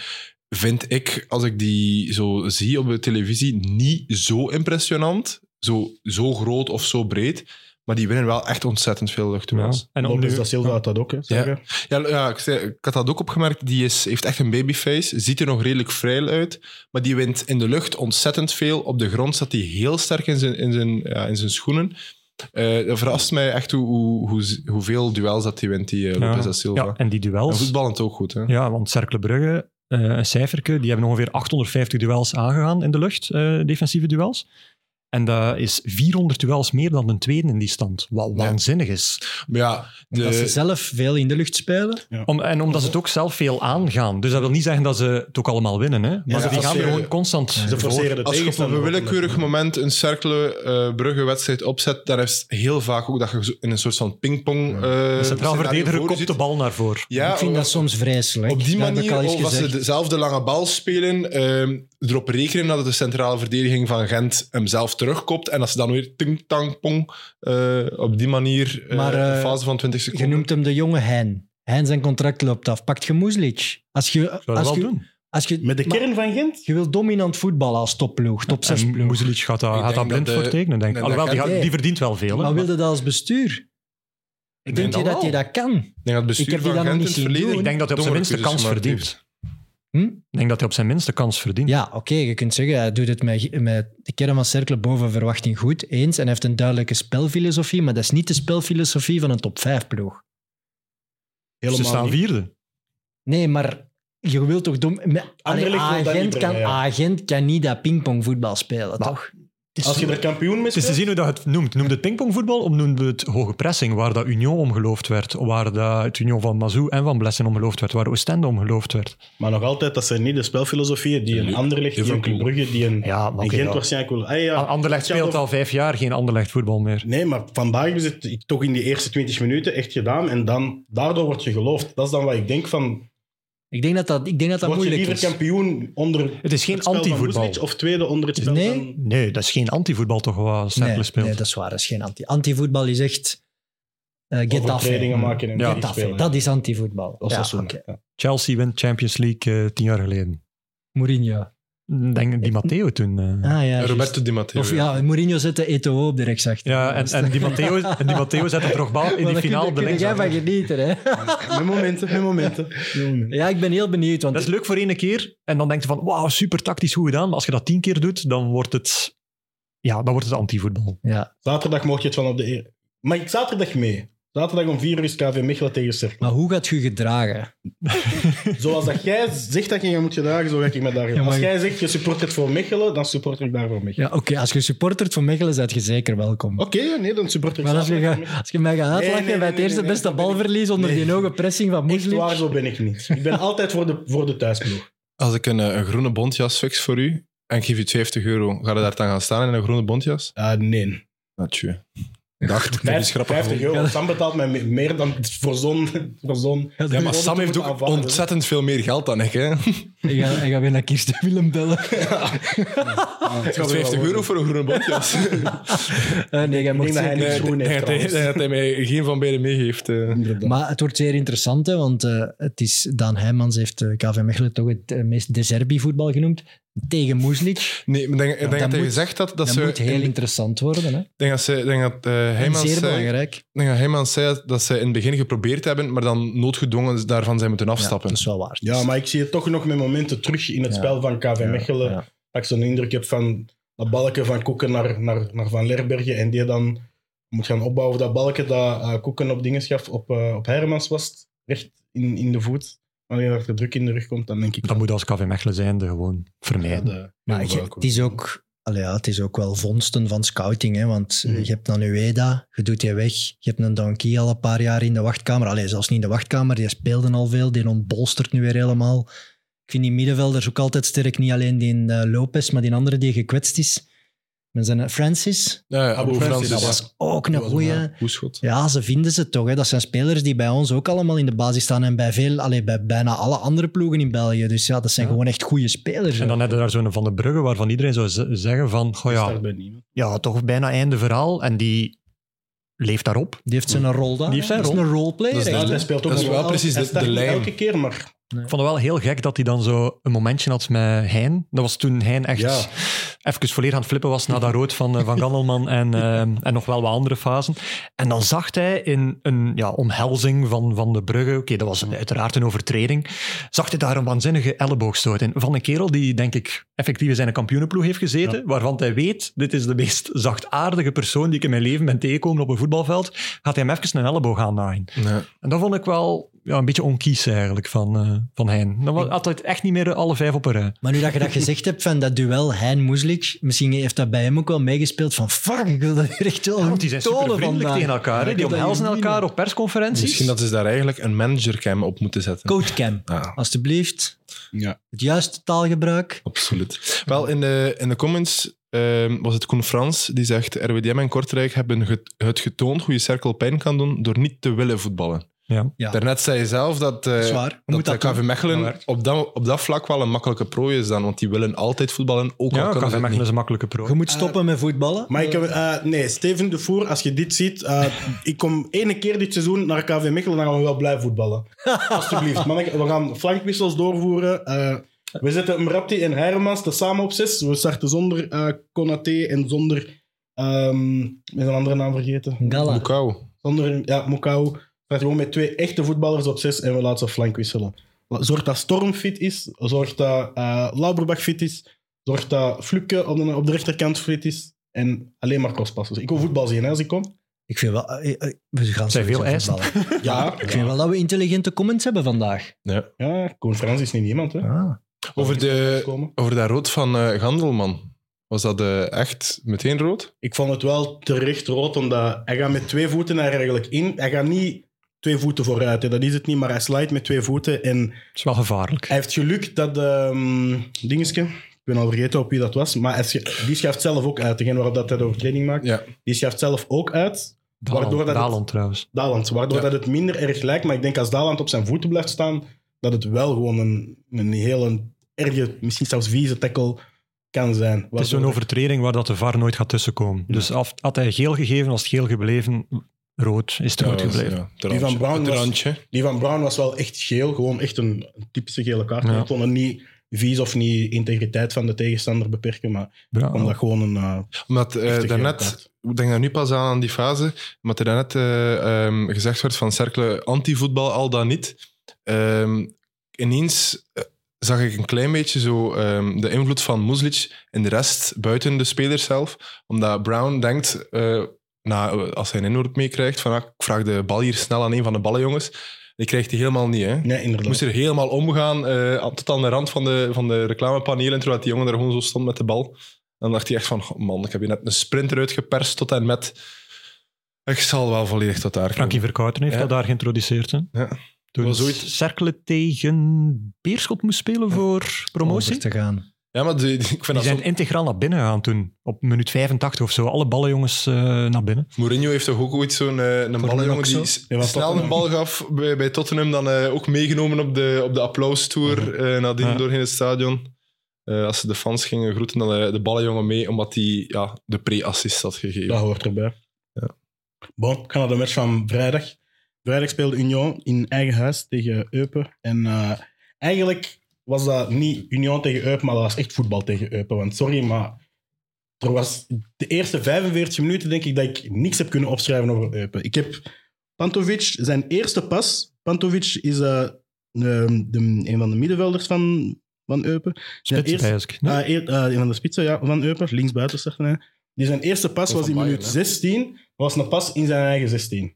Speaker 4: Vind ik, als ik die zo zie op de televisie, niet zo impressionant. Zo, zo groot of zo breed. Maar die winnen wel echt ontzettend veel
Speaker 2: Ja.
Speaker 4: luchtduels.
Speaker 2: En om
Speaker 1: Lopez
Speaker 2: nu-
Speaker 1: da Silva had dat ook, hè, zeggen.
Speaker 4: Ja, ja ik, zei, ik had dat ook opgemerkt. Die is, heeft echt een babyface. Ziet er nog redelijk vrij uit. Maar die wint in de lucht ontzettend veel. Op de grond staat hij heel sterk in zijn, in zijn, ja, in zijn schoenen. Eh dat verrast mij echt hoe, hoe, hoe, hoeveel duels dat hij wint, die eh, Lopez da Silva.
Speaker 2: Ja, en die
Speaker 4: En
Speaker 2: duels...
Speaker 4: voetballend ook goed. Hè?
Speaker 2: Ja, want Cercle Brugge, eh, een cijferke, die hebben ongeveer 850 duels aangegaan in de lucht, eh, defensieve duels. En dat is 400 duels meer dan de tweede in die stand. Wat waanzinnig is.
Speaker 4: Maar ja, de,
Speaker 3: Dat ze zelf veel in de lucht spelen.
Speaker 2: Om, en omdat ze het ook zelf veel aangaan. Dus dat wil niet zeggen dat ze het ook allemaal winnen. Hè? Maar
Speaker 1: Ja,
Speaker 2: ze die gaan er
Speaker 1: forceren-
Speaker 2: gewoon constant
Speaker 1: Ze
Speaker 2: voor.
Speaker 1: forceren de
Speaker 4: als je op
Speaker 1: tegenstander.
Speaker 4: een willekeurig moment een cerkelen-bruggen-wedstrijd opzet, daar is heel vaak ook dat je zo- in een soort van pingpong... eh
Speaker 2: De centraal
Speaker 4: scenario
Speaker 2: verdediger
Speaker 4: voor
Speaker 2: kopt
Speaker 4: zit.
Speaker 2: de bal naar voren.
Speaker 4: Ja,
Speaker 3: ik vind dat soms vreselijk.
Speaker 4: Op die
Speaker 3: Dat heb ik
Speaker 4: manier,
Speaker 3: al eens
Speaker 4: of als ze
Speaker 3: gezegd.
Speaker 4: dezelfde lange bal spelen, ehm, erop rekenen dat de centrale verdediging van Gent hem zelf terugkopt. En dat ze dan weer ting tang pong eh, op die manier eh,
Speaker 3: Maar, eh,
Speaker 4: een fase van 20
Speaker 3: Je
Speaker 4: seconden.
Speaker 3: noemt hem de jonge Hein. Hein, zijn contract loopt af. Pakt je Moeslic. Als je,
Speaker 2: Zou dat
Speaker 3: als
Speaker 2: wel
Speaker 3: je,
Speaker 2: doen.
Speaker 3: als je,
Speaker 1: Met de
Speaker 3: maar
Speaker 1: kern van Gent?
Speaker 3: je wil dominant voetballen als topploeg, top 6
Speaker 2: En
Speaker 3: ploeg.
Speaker 2: Muzelic gaat daar
Speaker 4: Ik
Speaker 2: gaat
Speaker 4: denk
Speaker 2: daar blind
Speaker 4: dat de-
Speaker 2: voor tekenen, denk ik.
Speaker 4: Nee,
Speaker 2: Alhoewel,
Speaker 4: dat
Speaker 2: die,
Speaker 3: gaat-
Speaker 2: gaat- die
Speaker 3: nee.
Speaker 2: verdient wel veel. hè.
Speaker 3: Maar wilde dat als bestuur?
Speaker 4: ik denk,
Speaker 3: Denk
Speaker 4: dat,
Speaker 3: je dat
Speaker 2: wel.
Speaker 3: je dat kan?
Speaker 4: ik denk dat het bestuur
Speaker 3: ik heb die
Speaker 4: van
Speaker 3: dan nog
Speaker 4: Gent
Speaker 3: niet zien
Speaker 4: in het verleden...
Speaker 3: doen.
Speaker 2: Ik denk dat hij op zijn
Speaker 4: domme
Speaker 2: minste
Speaker 4: keuzes
Speaker 2: kans
Speaker 4: gemaakt
Speaker 2: verdient.
Speaker 4: heeft.
Speaker 3: Hm?
Speaker 2: Ik denk dat hij op zijn minste kans verdient.
Speaker 3: Ja, oké, je kunt zeggen, hij doet het met, met de kern van Cercle boven verwachting goed, eens, en hij heeft een duidelijke spelfilosofie, maar dat is niet de spelfilosofie van een top 5 ploeg.
Speaker 1: Helemaal
Speaker 2: Ze staan
Speaker 1: niet.
Speaker 2: vierde.
Speaker 3: Nee, maar je wilt toch... Dom... met- Allee,
Speaker 1: wil dat niet
Speaker 3: agent,
Speaker 1: brengen,
Speaker 3: kan,
Speaker 1: ja.
Speaker 3: agent kan niet dat pingpongvoetbal spelen,
Speaker 2: Maar-
Speaker 3: toch?
Speaker 1: Als je er kampioen mee
Speaker 2: Het is te
Speaker 1: speelt,
Speaker 2: zien hoe dat je het noemt. Noemde het pingpongvoetbal of noemde het hoge pressing, waar dat Union om geloofd werd, waar dat het Union van Mazou en van Blessen om geloofd werd, waar Oostende om geloofd werd.
Speaker 1: Maar nog altijd, dat zijn niet de spelfilosofieën die een
Speaker 4: Leuk.
Speaker 1: ander ligt, die een
Speaker 4: Liverpool.
Speaker 1: Club Brugge, die een,
Speaker 2: Ja, maar
Speaker 1: een
Speaker 2: oké,
Speaker 1: Gent
Speaker 2: ja.
Speaker 1: waarschijnlijk wil. Ah, ja.
Speaker 2: Anderlecht
Speaker 1: Tja,
Speaker 2: speelt
Speaker 1: toch-
Speaker 2: al vijf jaar geen Anderlecht voetbal meer.
Speaker 1: Nee, maar vandaag is het toch in die eerste 20 minuten echt gedaan en dan, daardoor word je geloofd. Dat is dan wat ik denk van,
Speaker 3: Ik denk dat dat, ik denk dat, dat
Speaker 1: word je
Speaker 3: moeilijk
Speaker 1: liever
Speaker 3: is.
Speaker 1: kampioen onder
Speaker 2: Het is geen
Speaker 1: het spel van
Speaker 2: antivoetbal.
Speaker 1: Vucelic of tweede onder het spel
Speaker 3: Nee.
Speaker 1: van...
Speaker 2: Nee, dat is geen antivoetbal toch waar Cercle
Speaker 3: nee,
Speaker 2: speelt.
Speaker 3: nee, dat is waar, dat is geen anti. Antivoetbal is echt eh
Speaker 1: Overtredingen
Speaker 3: Getafe.
Speaker 1: maken en
Speaker 2: Ja,
Speaker 1: ja,
Speaker 3: Getafe,
Speaker 1: spelen.
Speaker 3: dat is antivoetbal.
Speaker 1: Dat is
Speaker 3: Ja,
Speaker 1: Osasuna.
Speaker 3: oké.
Speaker 1: Ja.
Speaker 2: Chelsea wint Champions League eh, tien jaar geleden.
Speaker 3: Mourinho.
Speaker 2: Denk die Matteo toen. eh.
Speaker 3: Ah, ja, juist.
Speaker 4: Roberto Di Matteo.
Speaker 3: Of
Speaker 4: ja.
Speaker 3: ja, Mourinho zette Eto'o op de rechtsachter.
Speaker 2: Ja, en, en die Matteo, en die Matteo zette Drogba in
Speaker 3: Maar
Speaker 2: die
Speaker 3: daar
Speaker 2: finale
Speaker 3: kun-
Speaker 2: op de
Speaker 3: daar kun jij van
Speaker 2: links.
Speaker 3: genieten, hè?
Speaker 1: Met momenten, met momenten.
Speaker 3: Ja, ik ben heel benieuwd. Want
Speaker 2: Dat is leuk voor één keer. En dan denk je van, wauw, super tactisch, goed gedaan. Maar als je dat tien keer doet, dan wordt het... Ja, dan wordt het antivoetbal.
Speaker 3: ja,
Speaker 1: Zaterdag mocht je het van op de... eer- Maar ik zaterdag mee. Zaterdag om 4 uur is KV Mechelen tegen Cercle.
Speaker 3: maar hoe gaat u gedragen?
Speaker 1: Zoals dat jij zegt dat je je moet gedragen, zo ga ik me daar.
Speaker 3: maar-
Speaker 1: Als jij zegt je support voor Mechelen, dan support ik daarvoor Mechelen.
Speaker 3: Ja, oké, als je supportert van Mechelen, bent je zeker welkom.
Speaker 1: Oké, ja, nee, dan support Oh, ik
Speaker 3: Maar als
Speaker 1: Zaterdag
Speaker 3: je,
Speaker 1: voor
Speaker 3: ga-
Speaker 1: Mechelen.
Speaker 3: als je mij gaat uitlachen
Speaker 1: Nee, nee,
Speaker 3: bij het
Speaker 1: nee,
Speaker 3: eerste
Speaker 1: nee, nee,
Speaker 3: beste
Speaker 1: dat ben ik-
Speaker 3: balverlies onder
Speaker 1: Nee.
Speaker 3: die hoge pressing van
Speaker 1: Echt
Speaker 3: Moeslic.
Speaker 1: waar, zo ben ik niet. Ik ben altijd voor de, voor de thuisploeg.
Speaker 4: Als ik een, eh, een groene bontjas fix voor u en ik geef u 50 euro, ga je daar dan gaan staan in een groene bontjas?
Speaker 1: Ah, nee.
Speaker 4: Natuurlijk. Dacht, dat is grappig.
Speaker 1: 50 euro. Sam betaalt mij me- meer dan voor zo'n... Voor zo'n
Speaker 4: Ja, maar Sam heeft ook
Speaker 1: aanvaarden.
Speaker 4: ontzettend veel meer geld dan ik. Hè.
Speaker 3: Hij gaat, hij gaat weer naar Kirsten Willem bellen.
Speaker 1: Ja, het gaat
Speaker 4: 50
Speaker 1: wel
Speaker 4: euro voor een groene bondjas.
Speaker 3: Eh, nee, jij mocht
Speaker 1: denk dat hij niet-
Speaker 3: zeker-
Speaker 4: Nee,
Speaker 1: schoen heeft
Speaker 4: nee, dat hij-
Speaker 1: trouwens.
Speaker 4: dat hij mij geen van beiden meegeeft. eh.
Speaker 1: worden.
Speaker 3: Maar het wordt zeer interessant, hè, want eh, het is, Daan Heijmans heeft eh, KV Mechelen toch het eh, meest deserbi-voetbal genoemd. Tegen Moeslik.
Speaker 4: Nee, maar denk, ik denk
Speaker 3: dat
Speaker 4: dat, hij
Speaker 3: moet-
Speaker 4: gezegd had dat
Speaker 3: Dat,
Speaker 4: ze...
Speaker 3: moet heel interessant worden. Hè.
Speaker 4: Ik denk dat, ze, ik denk dat eh,
Speaker 3: En
Speaker 4: Heijmans
Speaker 3: zeer
Speaker 4: zei-
Speaker 3: belangrijk.
Speaker 4: ik denk dat Heijmans zei dat ze in het begin geprobeerd hebben, maar dan noodgedwongen daarvan zijn moeten
Speaker 3: Ja,
Speaker 4: afstappen.
Speaker 3: dat is wel waar.
Speaker 1: Ja, maar ik zie het toch nog met momenten terug in het
Speaker 3: Ja.
Speaker 1: spel van KV Mechelen.
Speaker 3: ja.
Speaker 1: Dat ik zo'n indruk heb van dat balken van Koeken naar, naar, naar Van Lerbergen. En die dan moet gaan opbouwen. Dat balken dat eh, Koeken op dingen gaf, op, eh, op Hermans was. Recht in, in de voet. Wanneer er druk in de rug komt, dan denk ik... eh,
Speaker 2: Dat moet als KV Mechelen zijnde gewoon
Speaker 1: Ja,
Speaker 2: vermijden.
Speaker 1: de-
Speaker 3: Maar
Speaker 1: Ja,
Speaker 3: je-
Speaker 1: wel,
Speaker 3: het, is ook, allee, ja, het is ook wel vondsten van scouting. Hè, want eh, je hebt dan Ueda, je doet die weg. Je hebt een Donkey al een paar jaar in de wachtkamer. Allee, zelfs niet in de wachtkamer, die speelde al veel. Die ontbolstert nu weer helemaal. Ik vind die middenvelders ook altijd sterk. Niet alleen die in, eh, Lopez, maar die andere die gekwetst is. Met zijn eh, Francis.
Speaker 4: Ja, ja,
Speaker 1: Abu
Speaker 4: Abu
Speaker 1: Francis,
Speaker 4: Francis.
Speaker 1: dat
Speaker 4: Dus ja.
Speaker 1: was-
Speaker 3: Ook
Speaker 4: Die
Speaker 3: een
Speaker 4: was
Speaker 3: goeie.
Speaker 4: een hoeschot.
Speaker 3: Ja, ze vinden ze toch. Hè. Dat zijn spelers die bij ons ook allemaal in de basis staan. En bij, veel, allee, bij bijna alle andere ploegen in België. Dus ja, dat zijn
Speaker 2: Ja.
Speaker 3: gewoon echt goede spelers.
Speaker 2: En dan heb je daar zo'n Van de Brugge waarvan iedereen zou z- zeggen van,
Speaker 3: Oh
Speaker 2: goh ja,
Speaker 1: start bij niemand.
Speaker 2: ja, toch bijna einde verhaal. En die leeft daarop.
Speaker 3: Die heeft zijn rol daar.
Speaker 2: Die heeft zijn
Speaker 3: Dat is
Speaker 2: rol.
Speaker 3: een roleplayer.
Speaker 4: Dat is
Speaker 3: hè.
Speaker 1: Ja, hij speelt ook
Speaker 4: Dat is
Speaker 1: nog
Speaker 4: wel precies
Speaker 1: hij
Speaker 4: de-
Speaker 1: start
Speaker 4: de
Speaker 1: niet
Speaker 4: lijn.
Speaker 1: elke keer, maar
Speaker 2: Ik vond het wel heel gek dat hij dan zo een momentje had met Hein. Dat was toen Hein echt
Speaker 1: Ja.
Speaker 2: even volledig aan het flippen was na dat rood van, eh, van Gandelman en, eh, en nog wel wat andere fasen. En dan zag hij in een ja, omhelzing van, van de Brugge, oké, dat was een- uiteraard een overtreding, zag hij daar een waanzinnige elleboogstoot in. Van een kerel die, denk ik, effectief in zijn kampioenenploeg heeft gezeten, waarvan hij weet, dit is de meest zachtaardige persoon die ik in mijn leven ben tegengekomen op een voetbalveld, gaat hij hem even een elleboog aannaaien.
Speaker 4: Ja.
Speaker 2: En dat vond ik wel ja, een beetje onkies eigenlijk van, eh van hen. Dan wa- had het echt niet meer alle vijf op een rij.
Speaker 3: Maar nu dat je dat gezegd hebt van dat duel hein moeslik misschien heeft dat bij hem ook wel meegespeeld van fuck, ik wil dat hier echt wel
Speaker 2: Want die zijn
Speaker 3: tonen
Speaker 2: super vriendelijk
Speaker 3: vandaag.
Speaker 2: tegen elkaar. hè.
Speaker 3: Ik
Speaker 2: die
Speaker 3: wil eh, dat
Speaker 2: omhelzen
Speaker 3: hier winnen.
Speaker 2: elkaar op persconferenties.
Speaker 4: Misschien dat ze daar eigenlijk een managercam op moeten zetten.
Speaker 3: Coachcam,
Speaker 4: Ah,
Speaker 3: alstublieft.
Speaker 1: Ja.
Speaker 3: Het juiste taalgebruik.
Speaker 4: absoluut. Wel, in de, in de comments ehm, was het Koen Frans die zegt RWDM en Kortrijk hebben get- het getoond hoe je cirkel pijn kan doen door niet te willen voetballen.
Speaker 2: Ja.
Speaker 3: Ja.
Speaker 4: Daarnet zei je zelf dat, eh,
Speaker 3: Dat is waar. Hoe
Speaker 4: dat,
Speaker 3: moet dat
Speaker 4: eh, KV
Speaker 3: doen?
Speaker 2: Dat
Speaker 4: Mechelen
Speaker 2: werkt.
Speaker 4: op dat, op dat vlak wel een makkelijke prooi is dan, want die willen altijd voetballen, ook al
Speaker 2: Ja,
Speaker 4: kunnen
Speaker 2: KV
Speaker 4: ze het
Speaker 2: Mechelen
Speaker 4: niet.
Speaker 2: is een makkelijke pro.
Speaker 3: Je moet stoppen met voetballen.
Speaker 1: Maar ik heb, eh, nee, Steven de Voer, als je dit ziet, eh, ik kom ene keer dit seizoen naar KV Mechelen, dan gaan we wel blij voetballen. Alsjeblieft, manneke, we gaan flankwissels doorvoeren. eh, we zetten Mrapti en Hermans tezamen op zes. We starten zonder eh Konaté en zonder... ehm ik ben een andere naam vergeten.
Speaker 3: Gala.
Speaker 4: Boekau.
Speaker 1: Zonder, ja, Mokau. We starten gewoon met twee echte voetballers op zes en we laten ze flank wisselen. Zorg dat Storm fit is. Zorg dat eh Lauberbach fit is. Zorg dat Flukke op de, op de rechterkant fit is. En alleen maar crosspassen. Dus Ik wil voetbal zien hè, als ik kom.
Speaker 3: Ik vind wel... eh, eh, we gaan
Speaker 2: zijn
Speaker 3: sowieso
Speaker 2: veel eisen.
Speaker 3: voetballen.
Speaker 1: Ja,
Speaker 3: Ik vind wel dat we intelligente comments hebben vandaag.
Speaker 1: ja Koen Frans is niet niemand. Hè.
Speaker 4: Over, de,
Speaker 1: Komen.
Speaker 4: over dat rood van eh, Gandelman. Was dat eh, echt meteen rood?
Speaker 1: Ik vond het wel terecht rood, omdat hij gaat met twee voeten er eigenlijk in. Hij gaat niet twee voeten vooruit, hè. dat is het niet, maar hij slijt met twee voeten. En
Speaker 2: Het is wel gevaarlijk.
Speaker 1: Hij heeft geluk dat ehm dingetje, ik ben al vergeten op wie dat was, maar hij scha- die schaft zelf ook uit. Degene waarop dat hij de overtreding maakt,
Speaker 4: Ja.
Speaker 1: die schaft zelf ook uit.
Speaker 2: Daland,
Speaker 1: waardoor dat het-
Speaker 2: Daland trouwens.
Speaker 1: Daland, waardoor
Speaker 4: Ja.
Speaker 1: dat het minder erg lijkt. Maar ik denk als Daland op zijn voeten blijft staan, dat het wel gewoon een, een hele erge, misschien zelfs vieze tackle kan zijn.
Speaker 2: Het is zo'n
Speaker 1: Waardoor-
Speaker 2: overtreding waar dat de VAR nooit gaat tussenkomen. Dus af, had hij geel gegeven, was het geel gebleven. Rood is het rood
Speaker 4: Ja, was-
Speaker 2: gebleven.
Speaker 4: ja, het
Speaker 1: Die van
Speaker 4: randje.
Speaker 1: Brown
Speaker 4: Het
Speaker 1: was-
Speaker 4: randje.
Speaker 1: Die van Brown was wel echt geel, gewoon echt een typische gele kaart.
Speaker 2: Ja.
Speaker 1: Ik kon er niet vies of niet integriteit van de tegenstander beperken, maar
Speaker 2: Bra-
Speaker 1: omdat gewoon een... eh,
Speaker 4: Omdat eh,
Speaker 1: echte gele
Speaker 4: daarnet,
Speaker 1: kaart.
Speaker 4: ik denk daar nu pas aan aan die fase, omdat er daarnet eh, ehm, gezegd werd van cerkelen anti-voetbal, al dan niet. Ehm, ineens eh, zag ik een klein beetje zo ehm, de invloed van Muslic in de rest, buiten de speler zelf. Omdat Brown denkt, eh, na, als hij een inhoud meekrijgt, van ah, ik vraag de bal hier snel aan een van de ballenjongens. Die krijgt hij helemaal niet, hè.
Speaker 1: Nee, inderdaad.
Speaker 4: Ik moest er helemaal omgaan, eh, tot aan de rand van de, van de reclamepanelen, terwijl die jongen daar gewoon zo stond met de bal. En dan dacht hij echt van, "Goh, man, ik heb je net een sprinter uitgeperst tot en met... Ik zal wel volledig tot daar
Speaker 2: Frankie
Speaker 4: komen.
Speaker 2: Verkouten heeft
Speaker 4: Ja.
Speaker 2: dat daar geïntroduceerd. Hè?
Speaker 4: Ja.
Speaker 2: Toen
Speaker 4: Was ooit-
Speaker 2: Cercle tegen Beerschot moest spelen voor
Speaker 3: Om
Speaker 2: promotie.
Speaker 3: over te gaan.
Speaker 4: Ja, maar die- die- ik vind
Speaker 2: Die
Speaker 4: dat
Speaker 2: zijn
Speaker 4: zo-
Speaker 2: integraal naar binnen gegaan toen. Op minuut 85 of zo. Alle ballenjongens eh, naar binnen.
Speaker 4: Mourinho heeft toch ook ooit zo'n eh, een
Speaker 3: Mourinho
Speaker 4: ballenjongen
Speaker 3: ook
Speaker 4: die
Speaker 3: zo?
Speaker 4: s-
Speaker 1: Ja, wat
Speaker 4: snel een
Speaker 1: Tottenham.
Speaker 4: bal gaf bij, bij Tottenham, dan eh, ook meegenomen op de, op de applaustour eh nadien
Speaker 2: Ja.
Speaker 4: doorheen het stadion. Eh, als ze de fans gingen groeten, dan eh, de ballenjongen mee, omdat hij ja, de pre-assist had gegeven.
Speaker 1: Dat hoort erbij.
Speaker 4: Ja.
Speaker 1: Bon, ik ga naar de match van vrijdag. Vrijdag speelde Union in eigen huis tegen Eupen. En eh, eigenlijk was dat niet Union tegen Eupen, maar dat was echt voetbal tegen Eupen. Want sorry, maar er was de eerste 45 minuten denk ik dat ik niks heb kunnen opschrijven over Eupen. Ik heb Pantovic, zijn eerste pas. Pantovic is eh, de, de- een van de middenvelders van, van Eupen. Zijn
Speaker 2: Spits,
Speaker 1: eerste-
Speaker 2: eigenlijk. Nee?
Speaker 1: Ah, eer- ah, een van de spitsen ja, van Eupen, linksbuiten zegt hij. Die zijn eerste pas
Speaker 4: Van
Speaker 1: was in
Speaker 4: Bayern,
Speaker 1: minuut
Speaker 4: hè?
Speaker 1: 16, maar was een pas in zijn eigen 16.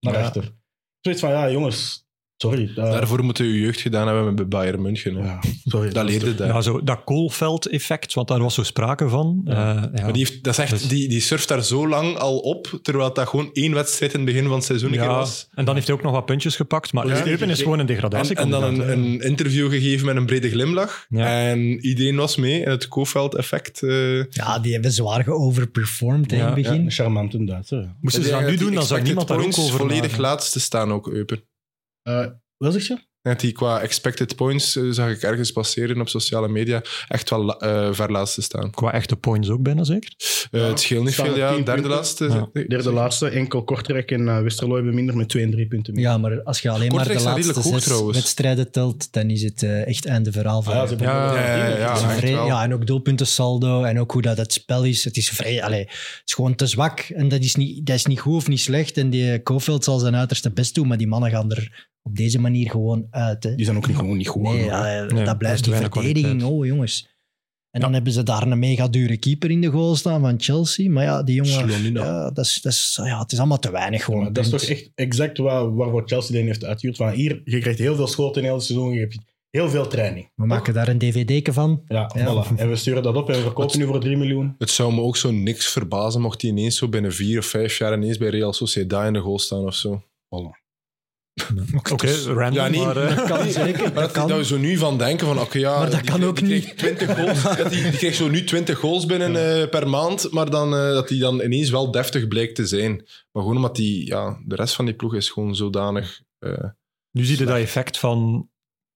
Speaker 1: Naar
Speaker 3: Ja.
Speaker 1: achter. Zoiets van, ja jongens, sorry. eh,
Speaker 4: Daarvoor moeten je jeugd gedaan hebben met Bayern München. hè.
Speaker 1: ja, sorry.
Speaker 4: Dat leerde daar.
Speaker 2: Ja, zo, dat koolveld-effect, want daar was zo sprake van. Eh, ja.
Speaker 4: Maar die, heeft, dat is echt,
Speaker 2: Dus-
Speaker 4: die, die surft daar zo lang al op, terwijl dat gewoon één wedstrijd in het begin van het seizoen een keer
Speaker 2: Ja,
Speaker 4: was.
Speaker 2: en dan heeft hij ook nog wat puntjes gepakt. Maar
Speaker 1: Ja.
Speaker 2: Eupen is gewoon een degradatie.
Speaker 4: En, en dan een, een interview gegeven met een brede glimlach.
Speaker 2: Ja.
Speaker 4: En iedereen was mee. En het Kofeld-effect. eh,
Speaker 3: Ja, die hebben zwaar geoverperformed hè, in
Speaker 2: Ja,
Speaker 3: het begin.
Speaker 1: Een charmante Duitser. ja.
Speaker 2: Moesten ze dat nu doen, dan zou niemand daar ook over
Speaker 4: volledig
Speaker 2: nadenken.
Speaker 4: laatste staan ook, Eupen.
Speaker 1: Eh, wat zeg je?
Speaker 4: Net die qua expected points eh, zag ik ergens passeren op sociale media. Echt wel la- eh, ver laatste staan.
Speaker 2: Qua echte points ook bijna zeker.
Speaker 4: Eh,
Speaker 1: Ja,
Speaker 4: het scheelt niet
Speaker 1: staan
Speaker 4: veel,
Speaker 1: op
Speaker 4: ja.
Speaker 1: tien
Speaker 4: Derde
Speaker 1: punten.
Speaker 4: laatste.
Speaker 2: Ja.
Speaker 4: eh,
Speaker 1: Derde laatste, enkel Kortrijk en eh, Westerlo hebben minder met 2 en 3 punten meer.
Speaker 3: Ja, maar als je alleen maar
Speaker 4: Kortrijk
Speaker 3: de
Speaker 4: staat
Speaker 3: laatste
Speaker 4: redelijk goed,
Speaker 3: zes
Speaker 4: trouwens.
Speaker 3: wedstrijden telt, dan is het eh, echt einde verhaal voor
Speaker 1: Ah, ja,
Speaker 3: Eupen.
Speaker 1: ze hebben
Speaker 4: Ja,
Speaker 1: wel
Speaker 4: ja,
Speaker 1: tien punten.
Speaker 4: ja,
Speaker 3: Het is
Speaker 4: ja.
Speaker 3: een vrij-
Speaker 4: echt
Speaker 3: ja,
Speaker 4: wel.
Speaker 3: en ook doelpuntensaldo en ook hoe dat het spel is. Het is, vrij, allee, het is gewoon te zwak. En dat is, niet, dat is niet goed of niet slecht. En die Kofeld zal zijn uiterste best doen, maar die mannen gaan er op deze manier gewoon uit. Hè.
Speaker 1: Die zijn ook niet, gewoon niet goed.
Speaker 3: Nee,
Speaker 1: hoor.
Speaker 3: ja,
Speaker 2: Nee, dat
Speaker 3: dat
Speaker 2: is te
Speaker 3: blijft die
Speaker 2: weinig
Speaker 3: verdediging.
Speaker 2: kwaliteit.
Speaker 3: Oh, jongens. En dan hebben ze daar een mega dure keeper in de goal staan van Chelsea. Maar ja, die jongen...
Speaker 1: Slonina.
Speaker 3: Ja, dat is, dat is, ja, het is allemaal te weinig gewoon.
Speaker 1: Maar dat is
Speaker 3: punt.
Speaker 1: toch echt exact waar, waarvoor Chelsea den heeft uitgehuurd. Van hier, je krijgt heel veel schoten in heel het seizoen, je hebt heel veel training.
Speaker 3: We maken daar een dvd'ke van.
Speaker 1: Ja,
Speaker 3: Ja.
Speaker 1: voilà. En we sturen dat op en we verkopen
Speaker 4: Het-
Speaker 1: nu voor 3 miljoen.
Speaker 4: Het zou me ook zo niks verbazen mocht hij ineens zo binnen vier of vijf jaar ineens bij Real Sociedad in de goal staan of zo.
Speaker 2: Oké, random,
Speaker 4: dus- Ja, nee.
Speaker 2: maar... eh,
Speaker 3: kan zeker,
Speaker 4: Maar dat,
Speaker 3: kan.
Speaker 4: dat we zo nu van denken van, oké ja...
Speaker 3: Maar dat
Speaker 4: die
Speaker 3: kan
Speaker 4: kreeg-
Speaker 3: ook
Speaker 4: die
Speaker 3: niet.
Speaker 4: kreeg 20 goals, dat die, die kreeg zo nu 20 goals binnen eh, per maand, maar dan, eh, dat hij dan ineens wel deftig blijkt te zijn. Maar gewoon omdat die, ja, de rest van die ploeg is gewoon zodanig... eh,
Speaker 2: Nu zie je dat effect van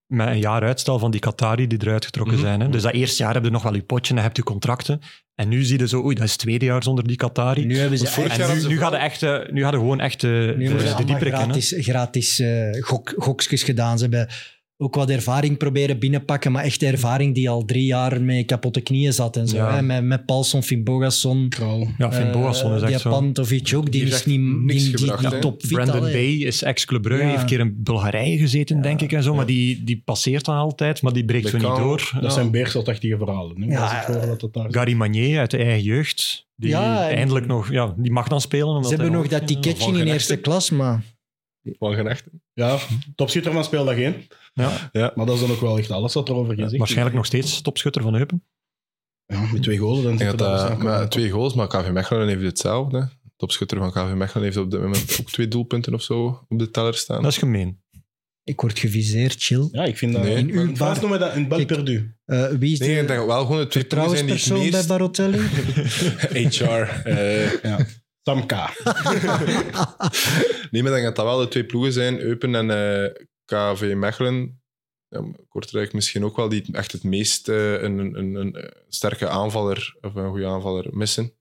Speaker 2: met een jaar uitstel van die Qatari die eruit getrokken
Speaker 4: Mhm.
Speaker 2: zijn. Hè? Dus dat eerste jaar heb je nog wel je potje en heb je contracten. En nu zie je zo, oei, dat is het tweede jaar zonder die Qatari.
Speaker 3: Nu hebben ze
Speaker 4: Want vorig
Speaker 3: echt-
Speaker 4: jaar
Speaker 2: en
Speaker 4: hadden
Speaker 2: nu,
Speaker 4: ze
Speaker 2: nu,
Speaker 4: wel-
Speaker 2: gaat de echte, nu gaat er gewoon echt eh, de,
Speaker 3: Nu hebben
Speaker 2: de,
Speaker 3: ze allemaal
Speaker 2: diepere kennen.
Speaker 3: gratis, gratis eh, gok, goksjes gedaan. Ze hebben ook wat ervaring proberen binnenpakken, maar echt ervaring die al drie jaar met kapotte knieën zat en zo.
Speaker 2: Ja.
Speaker 3: Hè? Met, met Paulson, Finn Bogason.
Speaker 1: Kral.
Speaker 2: Ja, Finn
Speaker 3: eh,
Speaker 2: Boasson is
Speaker 3: die
Speaker 2: echt zo.
Speaker 3: Pantovic ook, die
Speaker 4: Die
Speaker 3: is
Speaker 4: heeft
Speaker 3: niet
Speaker 4: niks
Speaker 3: die- die-
Speaker 4: gebracht,
Speaker 3: die
Speaker 4: hè.
Speaker 3: topfit
Speaker 2: Brandon
Speaker 3: al, hè.
Speaker 2: Bay is ex-Club Brugge,
Speaker 3: Ja.
Speaker 2: heeft een keer in Bulgarije gezeten, denk ik, en zo. Maar die, die passeert dan altijd, maar die breekt zo niet
Speaker 4: Becao,
Speaker 2: door.
Speaker 1: Dat
Speaker 2: Ja.
Speaker 1: zijn beerseltachtige verhalen. hè.
Speaker 3: Ja,
Speaker 1: Dat is het voordeel dat het daar is.
Speaker 2: Gary Magnier uit de eigen jeugd, die
Speaker 3: Ja, en-
Speaker 2: eindelijk nog... Ja, die mag dan spelen. Omdat
Speaker 3: Ze
Speaker 2: hij
Speaker 3: hebben nog dat
Speaker 2: geen-
Speaker 3: ticketje
Speaker 4: Van
Speaker 3: in
Speaker 4: Genechten.
Speaker 3: eerste klas, maar
Speaker 4: Van genecht.
Speaker 1: Ja, topschutter van speeldag 1.
Speaker 2: Ja.
Speaker 4: Ja.
Speaker 1: Maar dat is dan ook wel echt alles wat erover gezegd
Speaker 2: Ja,
Speaker 1: is.
Speaker 2: waarschijnlijk nog steeds topschutter van Eupen.
Speaker 1: Ja, met twee golen, dan
Speaker 4: Ik
Speaker 1: zit
Speaker 4: denk
Speaker 1: er
Speaker 4: dat,
Speaker 1: wel
Speaker 4: eh,
Speaker 1: eens aan
Speaker 4: maar
Speaker 1: komen.
Speaker 4: twee goals, maar KV Mechelen heeft hetzelfde. Topschutter van KV Mechelen heeft op dit moment ook twee doelpunten of zo op de teller staan.
Speaker 2: Dat is gemeen.
Speaker 3: ik word geviseerd, chill.
Speaker 1: Ja, ik vind dat...
Speaker 4: Nee. In
Speaker 3: uw
Speaker 1: in
Speaker 3: bar-
Speaker 1: noemen we dat een bal
Speaker 3: Kijk,
Speaker 1: perdu.
Speaker 3: Eh, wie is
Speaker 4: Nee, ik
Speaker 3: de
Speaker 4: denk wel gewoon de twee ploegen zijn die het
Speaker 3: trouwenspersoon bij Barotelli?
Speaker 4: meest... HR. eh,
Speaker 1: Ja. Sam K.
Speaker 4: Nee, maar ik denk dat dat wel de twee ploegen zijn, Eupen en eh, KV Mechelen. Ja, Kortrijk misschien ook wel, die het- echt het meest eh, een, een, een, een sterke aanvaller of een goede aanvaller missen.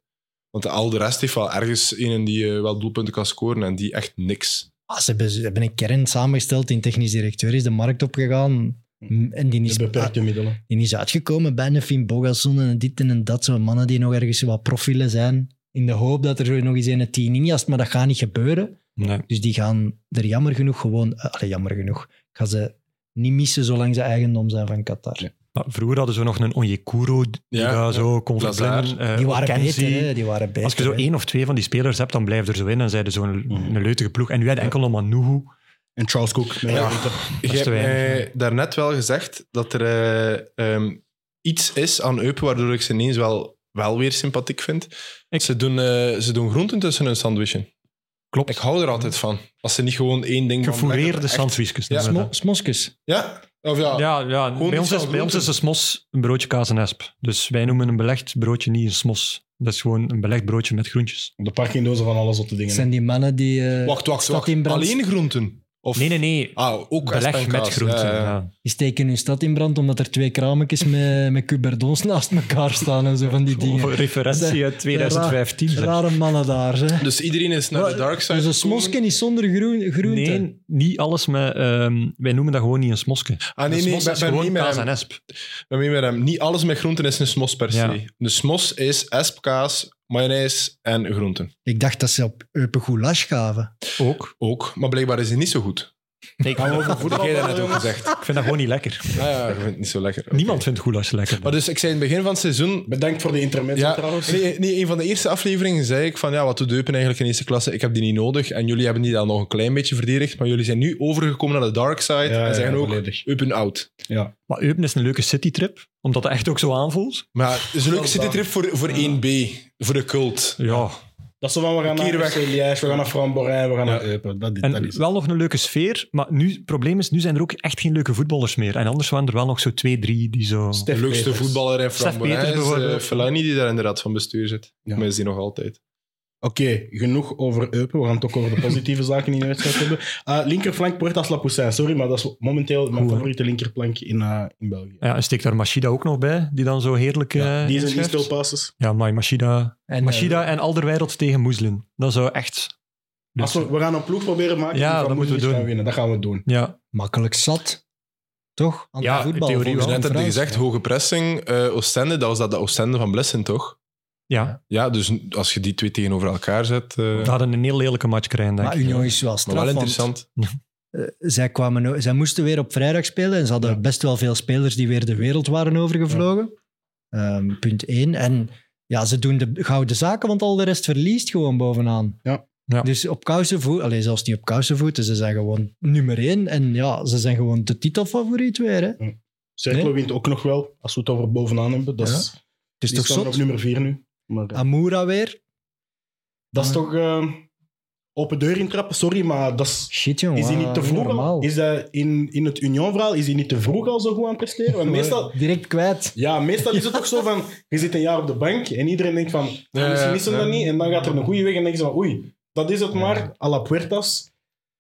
Speaker 4: Want al de rest heeft wel ergens een die eh, wel doelpunten kan scoren en die echt niks.
Speaker 3: Ah, ze, hebben, ze hebben een kern samengesteld, die technisch directeur is de markt opgegaan. M- En die
Speaker 1: De
Speaker 3: is,
Speaker 1: beperkte middelen.
Speaker 3: die is uitgekomen bij een Finn Bogason en dit en dat. Zo mannen die nog ergens wat profielen zijn. In de hoop dat er zo nog eens een tien in jast, maar dat gaat niet gebeuren.
Speaker 2: Nee.
Speaker 3: Dus die gaan er jammer genoeg gewoon... eh, Allee, jammer genoeg. Ik ga ze niet missen zolang ze eigendom zijn van Qatar.
Speaker 1: Ja.
Speaker 2: Maar vroeger hadden ze nog een Onyekuro, die
Speaker 4: Ja,
Speaker 2: daar
Speaker 4: ja.
Speaker 2: zo kon
Speaker 4: Lazar.
Speaker 2: verblinden. eh,
Speaker 3: Die waren
Speaker 2: Okenzie.
Speaker 3: beter, hè. Die waren beter.
Speaker 2: Als je zo
Speaker 3: hè.
Speaker 2: één of twee van die spelers hebt, dan blijf je er zo in en zijn er zo'n
Speaker 1: Mhm.
Speaker 2: een leutige ploeg. En nu had je enkel nog Manuhu.
Speaker 1: En Charles Cook. met
Speaker 4: Ja.
Speaker 1: Inter.
Speaker 4: Je
Speaker 2: is
Speaker 4: hebt
Speaker 2: te weinig,
Speaker 4: mij daarnet wel gezegd dat er eh, ehm, iets is aan Eupen waardoor ik ze ineens wel, wel weer sympathiek vind.
Speaker 2: Ik-
Speaker 4: Ze, doen, eh, ze doen groenten tussen hun sandwichen.
Speaker 2: Klopt.
Speaker 4: Ik hou er altijd van. Als ze niet gewoon één ding... van-
Speaker 2: Gefoureerde
Speaker 4: Echt-
Speaker 2: sandwichjes.
Speaker 4: Ja.
Speaker 2: noemen we
Speaker 3: Smo- Smoskus.
Speaker 4: Ja? Of ja?
Speaker 2: dat. Ja, ja.
Speaker 4: Gewoon
Speaker 2: Bij,
Speaker 4: iets
Speaker 2: ons is,
Speaker 4: van
Speaker 2: bij ons is
Speaker 4: groenten.
Speaker 2: een smos een broodje kaas en esp. Dus wij noemen een belegd broodje niet een smos. Dat is gewoon een belegd broodje met groentjes.
Speaker 1: Op de parkingdozen van alles op de dingen.
Speaker 3: zijn die mannen die... eh,
Speaker 4: Wacht, wacht,
Speaker 3: Staat
Speaker 4: wacht.
Speaker 3: in brand.
Speaker 4: Alleen groenten? Of...
Speaker 2: Nee, nee, nee.
Speaker 4: Ah, ook
Speaker 2: Beleg
Speaker 4: espenkaas.
Speaker 2: met groenten.
Speaker 4: Ja,
Speaker 2: Ja,
Speaker 4: ja.
Speaker 3: Die steken hun stad in brand omdat er twee krametjes met, met cuberdons naast elkaar staan en zo van die dingen.
Speaker 2: Voor referentie uit 2015. zeg.
Speaker 3: Rare mannen daar, hè.
Speaker 4: Dus iedereen is naar de dark side
Speaker 3: Dus een
Speaker 4: gekomen?
Speaker 3: smosken is zonder groen, groente.
Speaker 2: Nee, niet alles met... ehm, wij noemen dat gewoon niet een smoske.
Speaker 4: Ah nee,
Speaker 2: een
Speaker 4: nee,
Speaker 2: smos
Speaker 4: bij,
Speaker 2: is
Speaker 4: bij mij
Speaker 2: gewoon
Speaker 4: met
Speaker 2: kaas
Speaker 4: hem.
Speaker 2: en esp.
Speaker 4: Bij mij met hem. Niet alles met groenten is een smos per se.
Speaker 2: Ja.
Speaker 4: De smos is espkaas, mayonaise en groenten.
Speaker 3: Ik dacht dat ze op Eupen goulash gaven.
Speaker 2: Ook.
Speaker 4: Ook, maar blijkbaar is die niet zo goed.
Speaker 2: Nee, ik, vind dat,
Speaker 4: Heb jij dat net ook gezegd?
Speaker 2: ik vind dat gewoon niet lekker.
Speaker 4: Ja, Ah, ja, ik vind het niet zo lekker. Oké.
Speaker 2: Niemand vindt goulash lekker.
Speaker 4: Maar dus, ik zei in het begin van het seizoen...
Speaker 1: Bedankt voor de intermezzo
Speaker 4: Ja,
Speaker 1: trouwens.
Speaker 4: nee, nee, een van de eerste afleveringen zei ik van ja, wat doet Deupen eigenlijk in eerste klasse? Ik heb die niet nodig en jullie hebben die dan nog een klein beetje verdedigd, maar jullie zijn nu overgekomen naar de dark side
Speaker 1: Ja,
Speaker 4: en
Speaker 1: ja,
Speaker 4: zeggen ook
Speaker 1: volledig.
Speaker 4: Eupen out.
Speaker 1: Ja.
Speaker 2: Maar Eupen is een leuke citytrip, omdat het echt ook zo aanvoelt.
Speaker 4: Maar het is een leuke citytrip voor, voor 1B, voor de cult.
Speaker 2: Ja,
Speaker 1: Dat is zo van, we gaan
Speaker 4: Keer
Speaker 1: naar
Speaker 4: weg.
Speaker 1: FC Liège, we gaan naar Framborijn, we gaan naar Eupen. Dat,
Speaker 2: en
Speaker 1: dat is
Speaker 2: wel nog een leuke sfeer, maar nu, het probleem is, nu zijn er ook echt geen leuke voetballers meer. En anders waren er wel nog zo twee, drie die zo...
Speaker 1: Stef
Speaker 4: De leukste
Speaker 1: Peters.
Speaker 4: voetballer in Framboise
Speaker 2: Peters
Speaker 4: is eh,
Speaker 2: bijvoorbeeld.
Speaker 4: Fellaini, die daar in de raad van bestuur zit.
Speaker 1: Ja.
Speaker 4: Maar is die nog altijd.
Speaker 1: Oké, genoeg over Eupen. We gaan het ook over de positieve zaken in de wedstrijd hebben. Eh, linkerflank Puertas Lapoussin. Sorry, maar dat is momenteel mijn
Speaker 2: Goed, hè?
Speaker 1: favoriete linkerplank in, eh, in België.
Speaker 2: Ja, en steekt daar Machida ook nog bij, die dan zo heerlijk... eh,
Speaker 1: Die zijn
Speaker 2: inschrijft.
Speaker 1: inspeelpasses.
Speaker 2: Ja, maar Machida,
Speaker 3: En,
Speaker 2: Machida en Alderweireld tegen Moeslin. Dat zou echt...
Speaker 1: Als we, we gaan een ploeg proberen maken.
Speaker 2: Ja,
Speaker 1: die van
Speaker 2: dat moeten we
Speaker 1: Moeslicht
Speaker 2: doen.
Speaker 1: gaan winnen. Dat gaan we doen.
Speaker 2: Ja,
Speaker 3: eh, makkelijk zat. Toch? Aan
Speaker 2: Ja,
Speaker 3: de voetbal,
Speaker 2: in theorie
Speaker 3: volgens
Speaker 2: wel.
Speaker 4: Dus
Speaker 3: mij
Speaker 4: net heb je
Speaker 3: Frans.
Speaker 4: gezegd, hoge pressing, eh, Oostende, dat was dat de Oostende van Blessen, toch?
Speaker 2: ja.
Speaker 4: Ja, dus als je die twee tegenover elkaar zet, eh,
Speaker 2: we hadden een heel lelijke match krijgen, denk
Speaker 3: Maar
Speaker 2: ik.
Speaker 3: Union is wel straf,
Speaker 4: maar wel
Speaker 3: want,
Speaker 4: interessant.
Speaker 3: eh, zij, kwamen, o- zij moesten weer op vrijdag spelen en ze hadden
Speaker 1: Ja.
Speaker 3: best wel veel spelers die weer de wereld waren overgevlogen. Ehm, punt één. En ja, ze doen de gouden zaken, want al de rest verliest gewoon bovenaan.
Speaker 1: Ja.
Speaker 2: Ja.
Speaker 3: Dus op kousenvoet, alleen zelfs niet op kousenvoeten, ze zijn gewoon nummer één. En ja, ze zijn gewoon de titelfavoriet weer. Hè. Het
Speaker 1: Cerclo
Speaker 3: Nee.
Speaker 1: wint ook nog wel, als we het over bovenaan hebben. Dat is,
Speaker 3: is
Speaker 1: die
Speaker 3: toch
Speaker 1: staan er
Speaker 3: zot?
Speaker 1: op nummer 4 nu. Maar, eh,
Speaker 3: Amura weer.
Speaker 1: dat is toch eh, open deur intrappen? Sorry, maar dat is...
Speaker 3: Shit, jongen.
Speaker 1: Is hij niet te
Speaker 3: ah,
Speaker 1: vroeg?
Speaker 3: normaal.
Speaker 1: al? Is hij in, in het Union-verhaal is hij niet te vroeg al zo goed aan het presteren? Want meestal,
Speaker 3: Direct kwijt.
Speaker 1: Ja, meestal is het toch zo van, je zit een jaar op de bank en iedereen denkt van, ah,
Speaker 4: ja,
Speaker 1: misschien is hem
Speaker 4: ja.
Speaker 1: dat niet. En dan gaat er een goede weg en dan denk je van, oei, dat is het maar, à la Puertas.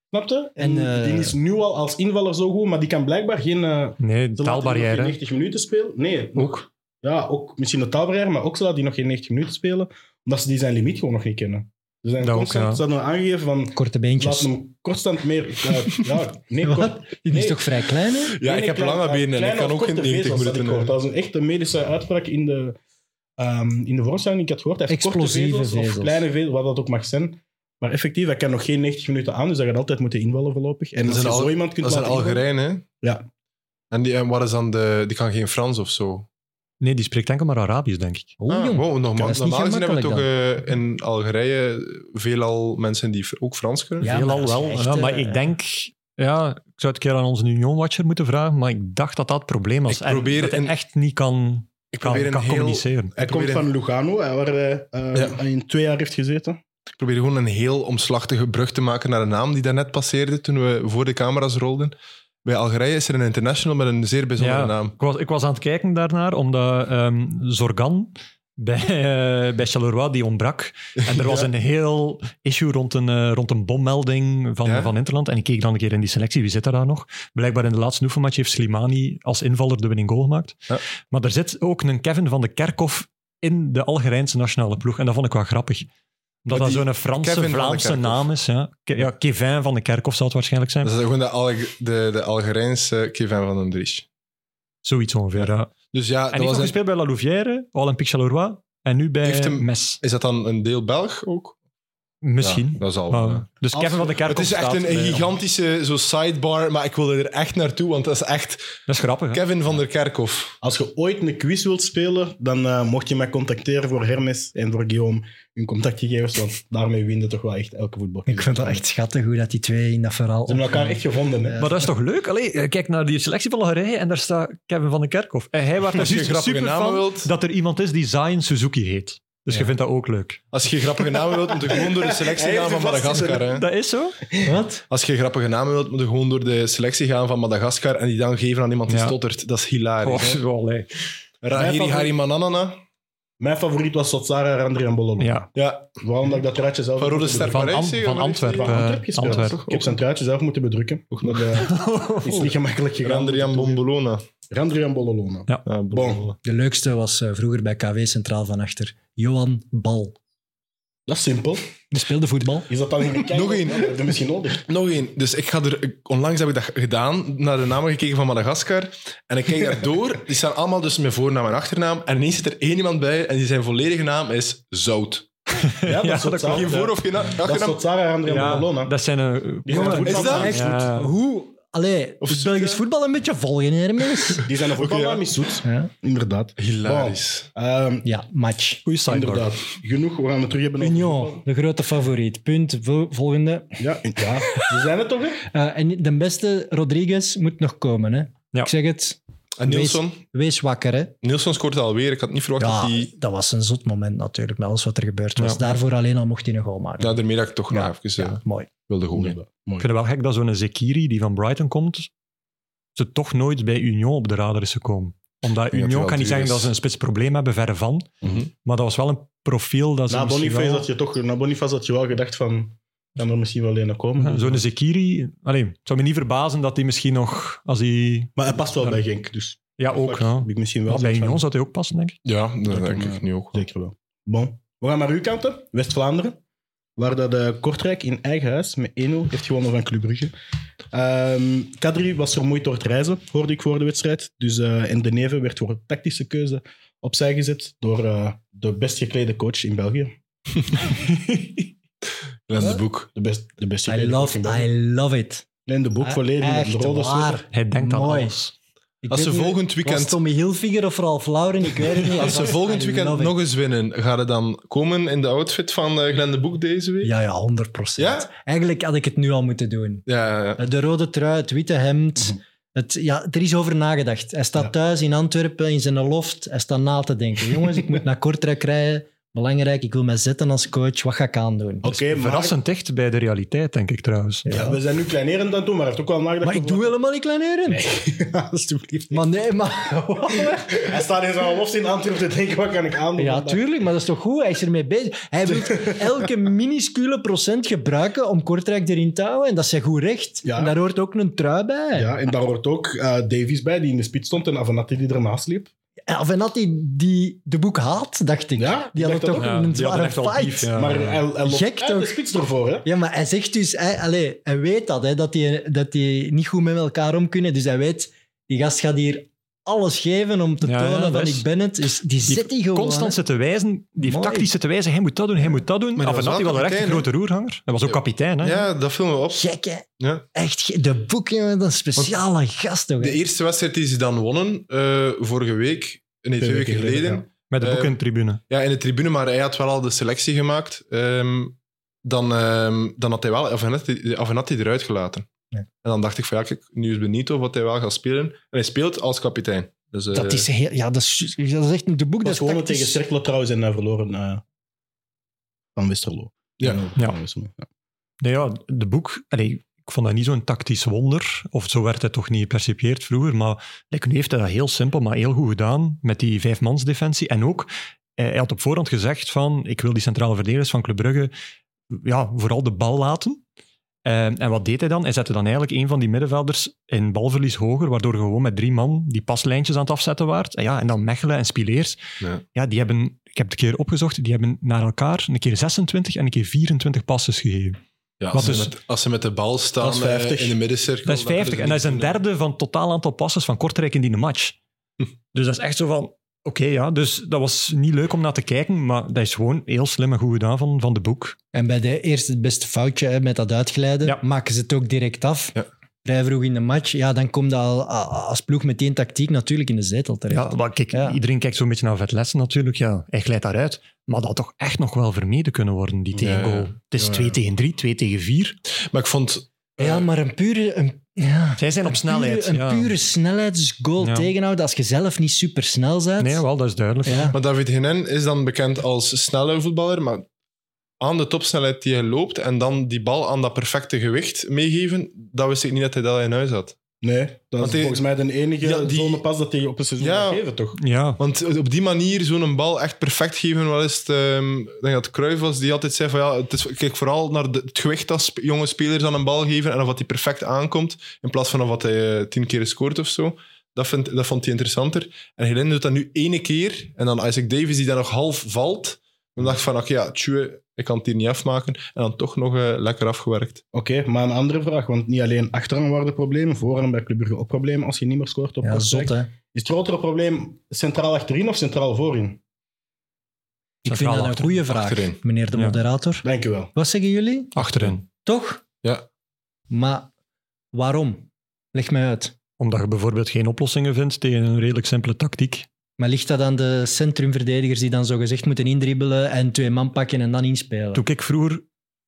Speaker 1: Snap je? En,
Speaker 3: En, eh,
Speaker 1: die is nu al als invaller zo goed, maar die kan blijkbaar geen... eh, ze
Speaker 2: Nee,
Speaker 1: laten die nog geen
Speaker 2: taalbarrière.
Speaker 1: 90 minuten spelen. Nee,
Speaker 2: Ook.
Speaker 1: ja, ook misschien de taalbarrière, maar ook ze laten die nog geen 90 minuten spelen, omdat ze die zijn limiet gewoon nog niet kennen. Ze zijn
Speaker 2: Dat ook,
Speaker 1: constant,
Speaker 2: ja.
Speaker 1: ze hadden aangegeven van,
Speaker 3: Korte
Speaker 1: laat
Speaker 3: beentjes.
Speaker 1: hem constant meer... eh, ja, nee,
Speaker 3: Wat?
Speaker 1: kort-
Speaker 3: Die
Speaker 1: Nee.
Speaker 3: is toch vrij klein, hè?
Speaker 4: Ja, ik heb lange benen en ik kan ook in 90 minuten.
Speaker 1: Dat, dat is een echte medische uitspraak in de, ehm in de voorstelling. Ik had gehoord, hij heeft korte
Speaker 3: Explosieve
Speaker 1: vezels, of
Speaker 3: vezels.
Speaker 1: kleine vezels, wat dat ook mag zijn. Maar effectief, hij kan nog geen 90 minuten aan, dus hij gaat altijd moeten invallen voorlopig. En
Speaker 4: Dat
Speaker 1: als
Speaker 4: is
Speaker 1: je
Speaker 4: een
Speaker 1: zo
Speaker 4: Al-
Speaker 1: iemand kunt
Speaker 4: Dat is een
Speaker 1: laten invallen-
Speaker 4: Algerijn, hè?
Speaker 1: Ja.
Speaker 4: En die, en wat is dan de, die kan geen Frans of zo?
Speaker 2: Nee, die spreekt enkel maar Arabisch, denk ik.
Speaker 3: Oh,
Speaker 4: Ah,
Speaker 3: jong.
Speaker 4: wow, normaal
Speaker 3: Dat is niet
Speaker 4: normaal gezien hebben we toch
Speaker 3: gemakkelijk
Speaker 4: eh, in Algerije veelal mensen die fr- ook Frans kunnen.
Speaker 3: Ja, maar
Speaker 2: Veelal
Speaker 3: dat is
Speaker 2: wel.
Speaker 3: echt,
Speaker 2: ja, maar
Speaker 3: eh,
Speaker 2: ik denk... Ja, ik zou het een keer aan onze Union-watcher moeten vragen, maar ik dacht dat dat het probleem was.
Speaker 4: Ik probeer
Speaker 2: en dat hij
Speaker 4: een-
Speaker 2: echt niet kan,
Speaker 4: Ik
Speaker 2: kan,
Speaker 4: probeer, een
Speaker 2: kan
Speaker 4: heel,
Speaker 2: communiceren.
Speaker 1: Hij
Speaker 4: Ik probeer
Speaker 1: komt van Lugano, hè, waar hij eh,
Speaker 4: Ja.
Speaker 1: in twee jaar heeft gezeten.
Speaker 4: ik probeer gewoon een heel omslachtige brug te maken naar een naam die daarnet passeerde toen we voor de camera's rolden. Bij Algerije is er een international met een zeer bijzondere
Speaker 2: Ja.
Speaker 4: naam.
Speaker 2: Ik was, ik was aan het kijken daarnaar, omdat ehm, Zorgan bij, eh bij Charleroi die ontbrak. En er was een heel issue rond een, eh, rond een bommelding van,
Speaker 4: Ja.
Speaker 2: van Interland. En ik keek dan een keer in die selectie, wie zit er daar nog? Blijkbaar in de laatste oefenmatch heeft Slimani als invaller de winning goal gemaakt.
Speaker 4: Ja.
Speaker 2: Maar er zit ook een Kevin van de Kerkhof in de Algerijnse nationale ploeg. En dat vond ik wel grappig.
Speaker 4: Maar
Speaker 2: Omdat dat
Speaker 4: die
Speaker 2: zo'n Franse,
Speaker 4: Kevin van de
Speaker 2: Vlaamse
Speaker 4: Kerkhof.
Speaker 2: naam is. Ja. Ke- ja, Kevin van de Kerkhof zal het waarschijnlijk zijn.
Speaker 4: Dat is gewoon de, Alge- de, de Algerijnse Kevin van den Dries.
Speaker 2: Zoiets ongeveer, ja.
Speaker 4: Dus ja,
Speaker 2: En hij heeft
Speaker 4: dat was
Speaker 2: nog
Speaker 4: een-
Speaker 2: gespeeld bij La Louvière, Olympique Charleroi. En nu bij
Speaker 4: Heeft hem-
Speaker 2: Mes.
Speaker 4: is dat dan een deel Belg ook?
Speaker 2: Misschien.
Speaker 4: Ja, dat zal
Speaker 2: Maar-
Speaker 4: wel.
Speaker 2: dus
Speaker 1: Als-
Speaker 2: Kevin van de Kerk
Speaker 4: Het is echt een, een gigantische zo sidebar, maar ik wil er echt naartoe, want dat is echt
Speaker 2: Dat is grappig, hè?
Speaker 4: Kevin van der Kerkhof.
Speaker 1: Als je ooit een quiz wilt spelen, dan eh, mocht je mij contacteren voor Hermes en voor Guillaume hun contactgegevens, want daarmee winnen toch wel echt elke voetbal.
Speaker 3: Ik vind dat echt schattig hoe dat die twee in dat verhaal...
Speaker 1: Ze hebben elkaar echt gevonden, hè?
Speaker 3: Ja.
Speaker 2: Maar dat is toch leuk? Allee, eh, kijk naar die selectie van Algerije en daar staat Kevin van de Kerkhof. En hij werd
Speaker 4: Als je
Speaker 2: dus
Speaker 4: grappige
Speaker 2: super
Speaker 4: namen
Speaker 2: van
Speaker 4: wilt.
Speaker 2: dat er iemand is die Zion Suzuki heet. Dus je vindt dat ook leuk.
Speaker 4: Als je grappige namen wilt, moet je gewoon door de selectie
Speaker 1: Hij
Speaker 4: gaan
Speaker 1: heeft
Speaker 4: van
Speaker 1: u vast
Speaker 4: Madagaskar. Hè.
Speaker 2: Dat is zo.
Speaker 3: Wat?
Speaker 4: Als je grappige namen wilt, moet je gewoon door de selectie gaan van Madagaskar en die dan geven aan iemand die
Speaker 2: Ja.
Speaker 4: stottert. Dat is hilarisch. hè.
Speaker 2: Oh, allee.
Speaker 4: Rahiri
Speaker 1: favoriet-
Speaker 4: Harimananana.
Speaker 1: Mijn favoriet was Sotsara, Randri en Bololo.
Speaker 2: Ja,
Speaker 4: Ja,
Speaker 1: Waarom dat ik dat truitje zelf...
Speaker 4: van Rode Ster
Speaker 2: van,
Speaker 4: Parijs.
Speaker 2: Am-
Speaker 4: zeg je,
Speaker 2: van
Speaker 4: wat is die?
Speaker 2: Antwerpen.
Speaker 1: Van Antwerp
Speaker 2: eh,
Speaker 1: gespeeld.
Speaker 2: Antwerpen.
Speaker 1: Ik heb zijn truitje zelf moeten bedrukken.
Speaker 4: Ook nog.
Speaker 1: Dat eh, is niet gemakkelijk gegaan.
Speaker 4: Randrian Bombolona.
Speaker 1: Randri en Bololona.
Speaker 4: Ja, Bombolona.
Speaker 3: De leukste was eh, vroeger bij KW Centraal van achter. Johan Bal.
Speaker 1: Dat is simpel.
Speaker 3: Die speelde voetbal.
Speaker 1: Is dat dan in de kijk?
Speaker 4: Nog één.
Speaker 1: Dat heb je misschien nodig.
Speaker 4: Nog één. Dus ik ga er, ik- onlangs heb ik dat gedaan, naar de namen gekeken van Madagaskar. En ik kijk daardoor, die staan allemaal dus mijn voornaam en achternaam. En ineens zit er één iemand bij en die zijn volledige naam is Zout.
Speaker 1: Ja,
Speaker 2: dat
Speaker 1: Sotsara.
Speaker 4: Geen voor- of geen na-
Speaker 1: Dat is
Speaker 4: achternaam.
Speaker 1: Sotsara, Randri en Bololona.
Speaker 2: dat zijn... eh,
Speaker 1: Die zijn
Speaker 3: Jongen,
Speaker 1: er goed
Speaker 4: is
Speaker 1: van
Speaker 4: dat
Speaker 1: gemaakt.
Speaker 3: echt?
Speaker 2: ja.
Speaker 3: Hoe? Allee,
Speaker 4: Of
Speaker 3: het
Speaker 4: zoet,
Speaker 3: Belgisch
Speaker 4: ja.
Speaker 3: voetbal een beetje volgen, Hermes.
Speaker 1: Die zijn er ook
Speaker 4: Oké, ja.
Speaker 1: allemaal mee zoet. Inderdaad.
Speaker 4: Hilarisch.
Speaker 1: Ehm,
Speaker 3: ja, match.
Speaker 2: Goeie sidebar.
Speaker 1: inderdaad. Genoeg, we gaan het terug hebben. over
Speaker 3: Union,
Speaker 1: voetbal.
Speaker 3: de grote favoriet. Punt, Vol- volgende.
Speaker 1: Ja, in- ja, ze zijn het toch, hè?
Speaker 3: Eh, en de beste Rodriguez moet nog komen, hè.
Speaker 2: Ja.
Speaker 3: Ik zeg het,
Speaker 4: En Nilsson?
Speaker 3: wees wakker, hè.
Speaker 4: Nilsson scoort alweer. Ik had niet verwacht
Speaker 3: Ja,
Speaker 4: dat hij...
Speaker 3: dat was een zot moment natuurlijk, met alles wat er gebeurd was.
Speaker 2: Ja.
Speaker 3: Daarvoor alleen al mocht hij een goal maken.
Speaker 4: Ja, daarmee dat ik toch
Speaker 3: Ja.
Speaker 4: nog even eh,
Speaker 3: Ja, mooi.
Speaker 4: wilde gooien.
Speaker 2: Ik vind het wel gek dat zo'n Zekiri die van Brighton komt, ze toch nooit bij Union op de radar is gekomen. Omdat
Speaker 4: denk dat het
Speaker 2: Union
Speaker 4: wel
Speaker 2: kan niet
Speaker 4: duur
Speaker 2: zeggen
Speaker 4: is.
Speaker 2: dat ze een spitsprobleem hebben, verre van.
Speaker 4: Mhm.
Speaker 2: Maar dat was wel een profiel dat ze
Speaker 1: Na
Speaker 2: misschien
Speaker 1: Boniface,
Speaker 2: wel-
Speaker 1: had je toch, na Boniface had je wel gedacht van... Kan er misschien wel een komen?
Speaker 2: Ja, Zo'n Zekiri... Allee, het zou me niet verbazen dat hij misschien nog, als hij...
Speaker 1: Maar hij past wel
Speaker 2: Ja.
Speaker 1: bij Genk, dus...
Speaker 2: Ja, ook.
Speaker 1: Fuck,
Speaker 2: Ja.
Speaker 1: heb ik misschien wel
Speaker 2: Maar bij
Speaker 1: zoiets van-
Speaker 2: Union zou hij ook passen, denk ik.
Speaker 4: Ja, dat
Speaker 1: Dat
Speaker 4: denk
Speaker 1: kan,
Speaker 4: ik
Speaker 1: eh,
Speaker 4: nu ook.
Speaker 1: Zeker wel. Bon. We gaan naar uw kanten, West-Vlaanderen. Waar dat eh, Kortrijk in eigen huis met 1-0 heeft gewonnen van Club Brugge. Ehm, Kadri was vermoeid door het reizen, hoorde ik voor de wedstrijd. Dus, eh, en De Neve werd voor een tactische keuze opzij gezet door eh, de best geklede coach in België.
Speaker 4: Lens de boek.
Speaker 1: De best, de best
Speaker 3: I
Speaker 1: geklede coach
Speaker 3: love,
Speaker 1: in België.
Speaker 3: I love it.
Speaker 1: Leen de boek volledig met
Speaker 3: Echt
Speaker 1: de rode
Speaker 3: waar.
Speaker 1: stof.
Speaker 2: Hij denkt aan
Speaker 3: Mooi.
Speaker 2: alles.
Speaker 3: Ik
Speaker 4: Als
Speaker 3: weet
Speaker 4: ze
Speaker 3: niet,
Speaker 4: volgend
Speaker 3: Was
Speaker 4: weekend...
Speaker 3: Tommy Hilfiger of Ralf Lauren? Ik weet het niet.
Speaker 4: Als ze volgend weekend nog eens winnen, gaat het dan komen in de outfit van eh, Glenn de Boek deze week?
Speaker 3: Ja, ja, 100
Speaker 4: Ja?
Speaker 3: Eigenlijk had ik het nu al moeten doen. Eh,
Speaker 4: Ja, ja.
Speaker 3: De rode trui, het witte hemd.
Speaker 4: Mhm.
Speaker 3: Het, ja, er is over nagedacht. Hij staat
Speaker 1: Ja.
Speaker 3: thuis in Antwerpen in zijn loft. Hij staat na te denken. Jongens, ik moet naar Kortrijk rijden. Belangrijk, ik wil mij zetten als coach. Wat ga ik aandoen?
Speaker 1: Oké, maar-
Speaker 2: Verrassend dicht bij de realiteit, denk ik trouwens.
Speaker 1: Ja, we zijn nu kleinerend aan het doen, maar hij heeft ook wel nagedacht.
Speaker 3: maar ik doe helemaal niet kleineren.
Speaker 1: wel. Alsjeblieft.
Speaker 3: Maar nee, maar...
Speaker 1: Hij staat in zijn hoofd in Antwerpen te denken: wat kan ik aandoen?
Speaker 3: Ja,
Speaker 1: vandaag?
Speaker 3: tuurlijk, maar dat is toch goed? Hij is ermee bezig. Hij wil elke minuscule procent gebruiken om Kortrijk erin te houden. En dat is zijn goed recht.
Speaker 1: Ja.
Speaker 3: En daar hoort ook een trui bij.
Speaker 1: Ja, en daar hoort ook eh, Davies bij, die in de spits stond en Avanati die ernaast liep.
Speaker 3: En Avenatti, die de boek haat, dacht ik.
Speaker 1: Ja, ik
Speaker 3: die had
Speaker 1: dacht
Speaker 3: toch
Speaker 1: dat
Speaker 2: ook. Ja,
Speaker 3: een
Speaker 2: die hadden
Speaker 3: zware
Speaker 2: echt wel
Speaker 3: fight. eh,
Speaker 2: beef, ja.
Speaker 1: maar hij, hij loopt
Speaker 3: Gek
Speaker 1: uit
Speaker 3: toch?
Speaker 1: de spits ervoor, hè?
Speaker 3: Ja, maar hij zegt dus... Hij, allee, hij weet dat, hè, dat, die, dat die niet goed met elkaar om kunnen. Dus hij weet, die gast gaat hier alles geven om te
Speaker 2: Ja, ja,
Speaker 3: tonen
Speaker 2: dat
Speaker 3: van
Speaker 2: is-
Speaker 3: ik ben het. Dus die
Speaker 2: Die
Speaker 3: zit die gewoon.
Speaker 2: constant
Speaker 3: hè.
Speaker 2: zitten wijzen, die
Speaker 3: Mooi.
Speaker 2: heeft tactisch zitten wijzen. Hij moet dat doen, hij moet dat doen.
Speaker 4: Maar hij was
Speaker 2: Avenatti
Speaker 4: wel
Speaker 2: was echt een
Speaker 4: kapitein,
Speaker 2: grote roerhanger. Hij was ook
Speaker 4: Ja.
Speaker 2: kapitein, hè?
Speaker 4: ja, dat filmen we op.
Speaker 3: Gek, hè?
Speaker 4: Ja.
Speaker 3: Echt, ge- de boek, jongen, dat is een speciale gast. Toch, hè?
Speaker 4: De eerste wedstrijd die ze dan wonnen, eh, vorige week, nee, twee weken geleden,
Speaker 2: Met de
Speaker 4: Eh,
Speaker 2: boek in de tribune.
Speaker 4: Ja, in de tribune, maar hij had wel al de selectie gemaakt. Ehm, dan, ehm, dan had hij wel Avenatti, Avenatti eruit gelaten.
Speaker 3: Ja.
Speaker 4: En dan dacht ik van ja, kijk, nu is Benito wat hij wel gaat spelen. En hij speelt als kapitein. Dus, eh,
Speaker 3: Dat is, heel, ja, dat is, dat is echt een de boek.
Speaker 1: Dat
Speaker 3: Dat
Speaker 1: was
Speaker 3: is
Speaker 1: gewoon
Speaker 3: tactisch.
Speaker 1: tegen Cercle trouwens en hij verloren eh, van Westerlo.
Speaker 4: Ja.
Speaker 1: Van Westerlo, ja.
Speaker 2: Nee, ja, de boek... allee, ik vond dat niet zo'n tactisch wonder. Of zo werd hij toch niet percipieerd vroeger. Maar like, nu heeft hij dat heel simpel, maar heel goed gedaan. Met die vijfmansdefensie. En ook, eh, hij had op voorhand gezegd van... Ik wil die centrale verdedigers van Club Brugge ja, vooral de bal laten. Eh, en wat deed hij dan? Hij zette dan eigenlijk een van die middenvelders in balverlies hoger, waardoor je gewoon met drie man die paslijntjes aan het afzetten waart. En, ja, en dan Mechelen en Spileers.
Speaker 4: Ja.
Speaker 2: die hebben, ik heb het een keer opgezocht, die hebben naar elkaar een keer 26 en een keer 24 passes gegeven.
Speaker 4: ja,
Speaker 2: wat
Speaker 4: als, ze
Speaker 2: dus-
Speaker 4: met, als ze met de bal staan
Speaker 1: Dat is
Speaker 4: eh,
Speaker 1: 50.
Speaker 4: in de middencirkel.
Speaker 2: Dat is 50 en dat is een derde van het totaal aantal passes van Kortrijk in die match. Dus dat is echt zo van, oké ja, dus dat was niet leuk om naar te kijken, maar dat is gewoon heel slim en goed gedaan van, van de boek.
Speaker 3: En bij de eerste het beste foutje hè, met dat uitglijden,
Speaker 2: Ja.
Speaker 3: maken ze het ook direct af.
Speaker 4: Ja.
Speaker 3: Vrij vroeg in de match. Ja, dan komt dat al, a- a- als ploeg meteen tactiek natuurlijk in de zetel terecht.
Speaker 2: Ja, maar kijk,
Speaker 3: Ja.
Speaker 2: iedereen kijkt zo'n beetje naar Vetlessen natuurlijk. Ja, hij glijdt daaruit. Maar dat had toch echt nog wel vermeden kunnen worden, die
Speaker 4: Ja,
Speaker 2: tegengoal.
Speaker 4: ja.
Speaker 2: Het is
Speaker 1: Ja,
Speaker 2: 2
Speaker 1: ja.
Speaker 2: tegen 3, 2 tegen 4.
Speaker 4: Maar ik vond...
Speaker 3: Ja, maar een pure, een Ja.
Speaker 2: Zij zijn op snelheid.
Speaker 3: Pure,
Speaker 2: ja.
Speaker 3: een pure snelheidsgoal
Speaker 2: Ja.
Speaker 3: tegenhouden als je zelf niet super snel bent.
Speaker 2: Nee, wel, dat is duidelijk.
Speaker 3: Ja.
Speaker 4: Maar David Henen is dan bekend als snelle voetballer, maar aan de topsnelheid die hij loopt en dan die bal aan dat perfecte gewicht meegeven, dat wist ik niet dat hij dat in huis had.
Speaker 1: Nee, dat
Speaker 4: Want
Speaker 1: is
Speaker 4: die-
Speaker 1: volgens mij de enige
Speaker 4: Ja, die-
Speaker 1: zonepas dat hij op een seizoen
Speaker 4: Ja.
Speaker 1: kan geven, toch?
Speaker 2: Ja,
Speaker 4: Want op die manier zo'n bal echt perfect geven, wel is het, ehm, ik denk dat Cruyff was die altijd zei van ja, het is, kijk vooral naar de- het gewicht dat sp- jonge spelers aan een bal geven en of dat die perfect aankomt, in plaats van of dat hij eh, tien keer scoort of zo. Dat, vindt- dat vond hij interessanter. En Helen doet dat nu ene keer en dan Isaac Davis die daar nog half valt, dan dacht ik van oké, ja, tjue, ik kan het hier niet afmaken en dan toch nog eh, lekker afgewerkt.
Speaker 1: Oké, maar een andere vraag. Want niet alleen achteraan waren er problemen, vooraan bij Club Brugge ook problemen als je niet meer scoort op
Speaker 3: Ja,
Speaker 1: korte
Speaker 3: zot,
Speaker 1: tijd.
Speaker 3: hè.
Speaker 1: Is het grotere probleem centraal achterin of centraal voorin?
Speaker 3: Ik vind
Speaker 2: Centraal
Speaker 3: dat een
Speaker 2: achter-
Speaker 3: goede vraag,
Speaker 4: achterin.
Speaker 3: meneer de
Speaker 2: Ja.
Speaker 3: moderator.
Speaker 1: Dank je wel.
Speaker 3: Wat zeggen jullie?
Speaker 2: achterin.
Speaker 3: Toch?
Speaker 4: Ja.
Speaker 3: Maar waarom? Leg mij uit.
Speaker 2: Omdat je bijvoorbeeld geen oplossingen vindt tegen een redelijk simpele tactiek.
Speaker 3: Maar ligt dat aan de centrumverdedigers die dan zogezegd moeten indribbelen en twee man pakken en dan inspelen?
Speaker 2: Toen ik vroeger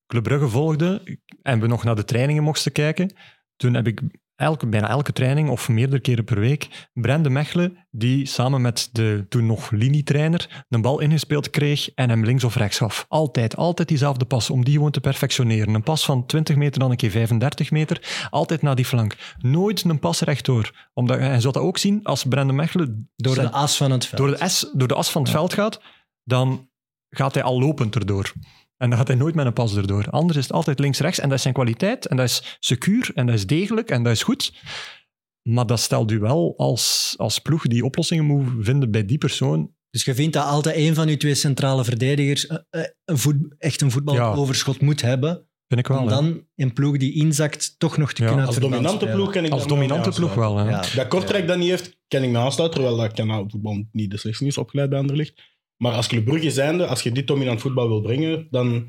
Speaker 2: Club Brugge volgde en we nog naar de trainingen mochten kijken, toen heb ik elke, bijna elke training of meerdere keren per week Brende Mechelen, die samen met de toen nog linietrainer een bal ingespeeld kreeg en hem links of rechts gaf. Altijd, altijd diezelfde pas, om die gewoon te perfectioneren. Een pas van 20 meter dan een keer 35 meter, altijd naar die flank. Nooit een pas rechtdoor. Omdat, en je zult dat ook zien als Brende Mechelen
Speaker 3: Door
Speaker 2: zijn-
Speaker 3: de as van het veld.
Speaker 2: door de, S, door de as van het veld gaat, dan gaat hij al lopend erdoor. En dan gaat hij nooit met een pas erdoor. Anders is het altijd links-rechts. En dat is zijn kwaliteit. En dat is secuur. En dat is degelijk. En dat is goed. Maar dat stelt u wel als, als ploeg die oplossingen moet vinden bij die persoon.
Speaker 3: Dus je vindt dat altijd een van uw twee centrale verdedigers eh, eh, een voet, echt een voetbaloverschot moet hebben.
Speaker 2: Vind ik wel.
Speaker 3: Om
Speaker 2: hè.
Speaker 3: dan een ploeg die inzakt toch nog te
Speaker 2: Ja,
Speaker 3: kunnen
Speaker 1: Als
Speaker 3: uit verband
Speaker 1: dominante
Speaker 3: spelen.
Speaker 1: ploeg kan ik
Speaker 2: als
Speaker 1: daar mee
Speaker 2: dominante ploeg
Speaker 1: aansluiten.
Speaker 2: wel. Hè.
Speaker 3: Ja.
Speaker 1: Dat Kortrijk dat niet heeft, kan ik me aansluiten. Terwijl dat kanaal voetbal niet de slechtste is opgeleid bij Anderlicht. Maar als Club Brugge zijnde, als je dit dominant voetbal wil brengen, dan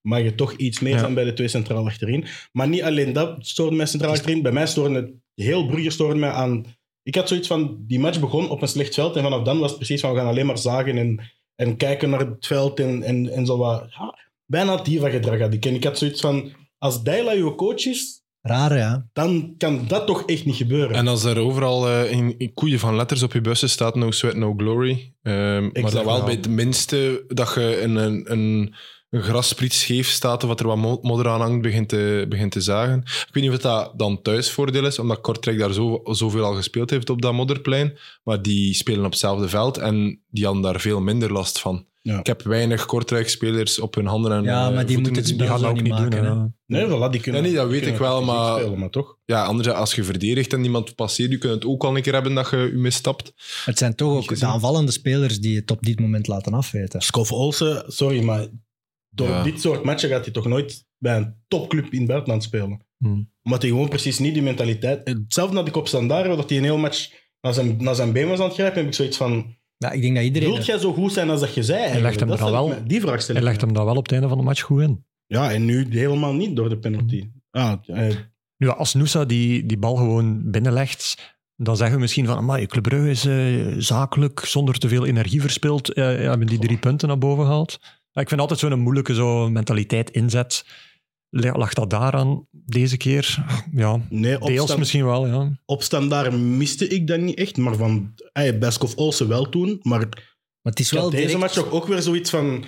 Speaker 1: mag je toch iets meer
Speaker 2: Ja.
Speaker 1: zijn bij de twee centraal achterin. Maar niet alleen dat stoorde mij centraal achterin. Bij mij stoorde het, heel Brugge stoorde mij aan... Ik had zoiets van, die match begon op een slecht veld en vanaf dan was het precies van, we gaan alleen maar zagen en, en kijken naar het veld en, en, en zo wat. Ja, bijna het diva-gedrag had ik. En ik had zoiets van, als Dijla je coach is,
Speaker 3: Raar, ja.
Speaker 1: dan kan dat toch echt niet gebeuren.
Speaker 4: En als er overal eh, in, in koeien van letters op je bussen staat no sweat, no glory. ehm, maar
Speaker 1: Exact
Speaker 4: dat wel
Speaker 1: wel.
Speaker 4: bij het minste dat je een, een, een, een grasspriet scheef staat of wat er wat mo- modder aan hangt, begint te, begint te zagen. Ik weet niet of dat dan thuisvoordeel is, omdat Kortrijk daar zo, zoveel al gespeeld heeft op dat modderplein. Maar die spelen op hetzelfde veld en die hadden daar veel minder last van.
Speaker 1: Ja.
Speaker 4: Ik heb weinig Kortrijk-spelers op hun handen en
Speaker 3: Ja,
Speaker 4: eh,
Speaker 3: maar die
Speaker 4: voeten.
Speaker 3: moeten het
Speaker 2: Die
Speaker 3: spel
Speaker 2: gaan
Speaker 3: zo
Speaker 2: dat ook
Speaker 3: niet
Speaker 2: niet doen.
Speaker 3: maken, hè.
Speaker 2: hè.
Speaker 1: Nee, voilà, die kunnen.
Speaker 4: Nee, nee, dat
Speaker 1: die
Speaker 4: weet
Speaker 1: kunnen
Speaker 4: ik wel,
Speaker 1: fysiek
Speaker 4: maar-
Speaker 1: Spelen, maar toch?
Speaker 4: Ja, anders als je verdedigt en iemand passeert, je kunt het ook al een keer hebben dat je je misstapt.
Speaker 3: Maar Het zijn toch ook de
Speaker 4: gezien.
Speaker 3: aanvallende spelers die het op dit moment laten afweten.
Speaker 1: Scoff Olsen, sorry, maar door
Speaker 4: Ja.
Speaker 1: dit soort matchen gaat hij toch nooit bij een topclub in het buitenland spelen.
Speaker 2: Hmm.
Speaker 1: Omdat hij gewoon precies niet die mentaliteit. Hetzelfde dat ik op Standaard, dat hij een heel match naar zijn, naar zijn been was aan het grijpen, heb ik zoiets van.
Speaker 3: Ja, ik denk dat
Speaker 1: Wilt
Speaker 3: iedereen...
Speaker 1: jij zo goed zijn als dat je zei? eigenlijk?
Speaker 2: legt hem
Speaker 1: Dat
Speaker 2: er al
Speaker 1: stel ik
Speaker 2: wel-
Speaker 1: me- Die vraag stel
Speaker 2: Hij
Speaker 1: ik
Speaker 2: legt
Speaker 1: me.
Speaker 2: hem dan wel op het einde van de match goed in.
Speaker 1: Ja, en nu helemaal niet door de penalty. Ah, eh,
Speaker 2: Nu, ja, als Noosa die, die bal gewoon binnenlegt, dan zeggen we misschien van, maar Club Brugge is eh, zakelijk, zonder te veel energie verspild, eh, hebben die drie punten naar boven gehaald. Maar ik vind altijd zo'n moeilijke zo mentaliteit inzet. Lag lag dat daaraan deze keer? Ja,
Speaker 1: nee, op,
Speaker 2: deels
Speaker 1: Stan-
Speaker 2: misschien wel, ja.
Speaker 1: op Standaard miste ik dat niet echt, maar van eh, Beskoff Olsen wel toen. Maar
Speaker 3: Maar het is
Speaker 1: Ik
Speaker 3: wel
Speaker 1: had Dus deze
Speaker 3: direct-
Speaker 1: match toch ook weer zoiets van.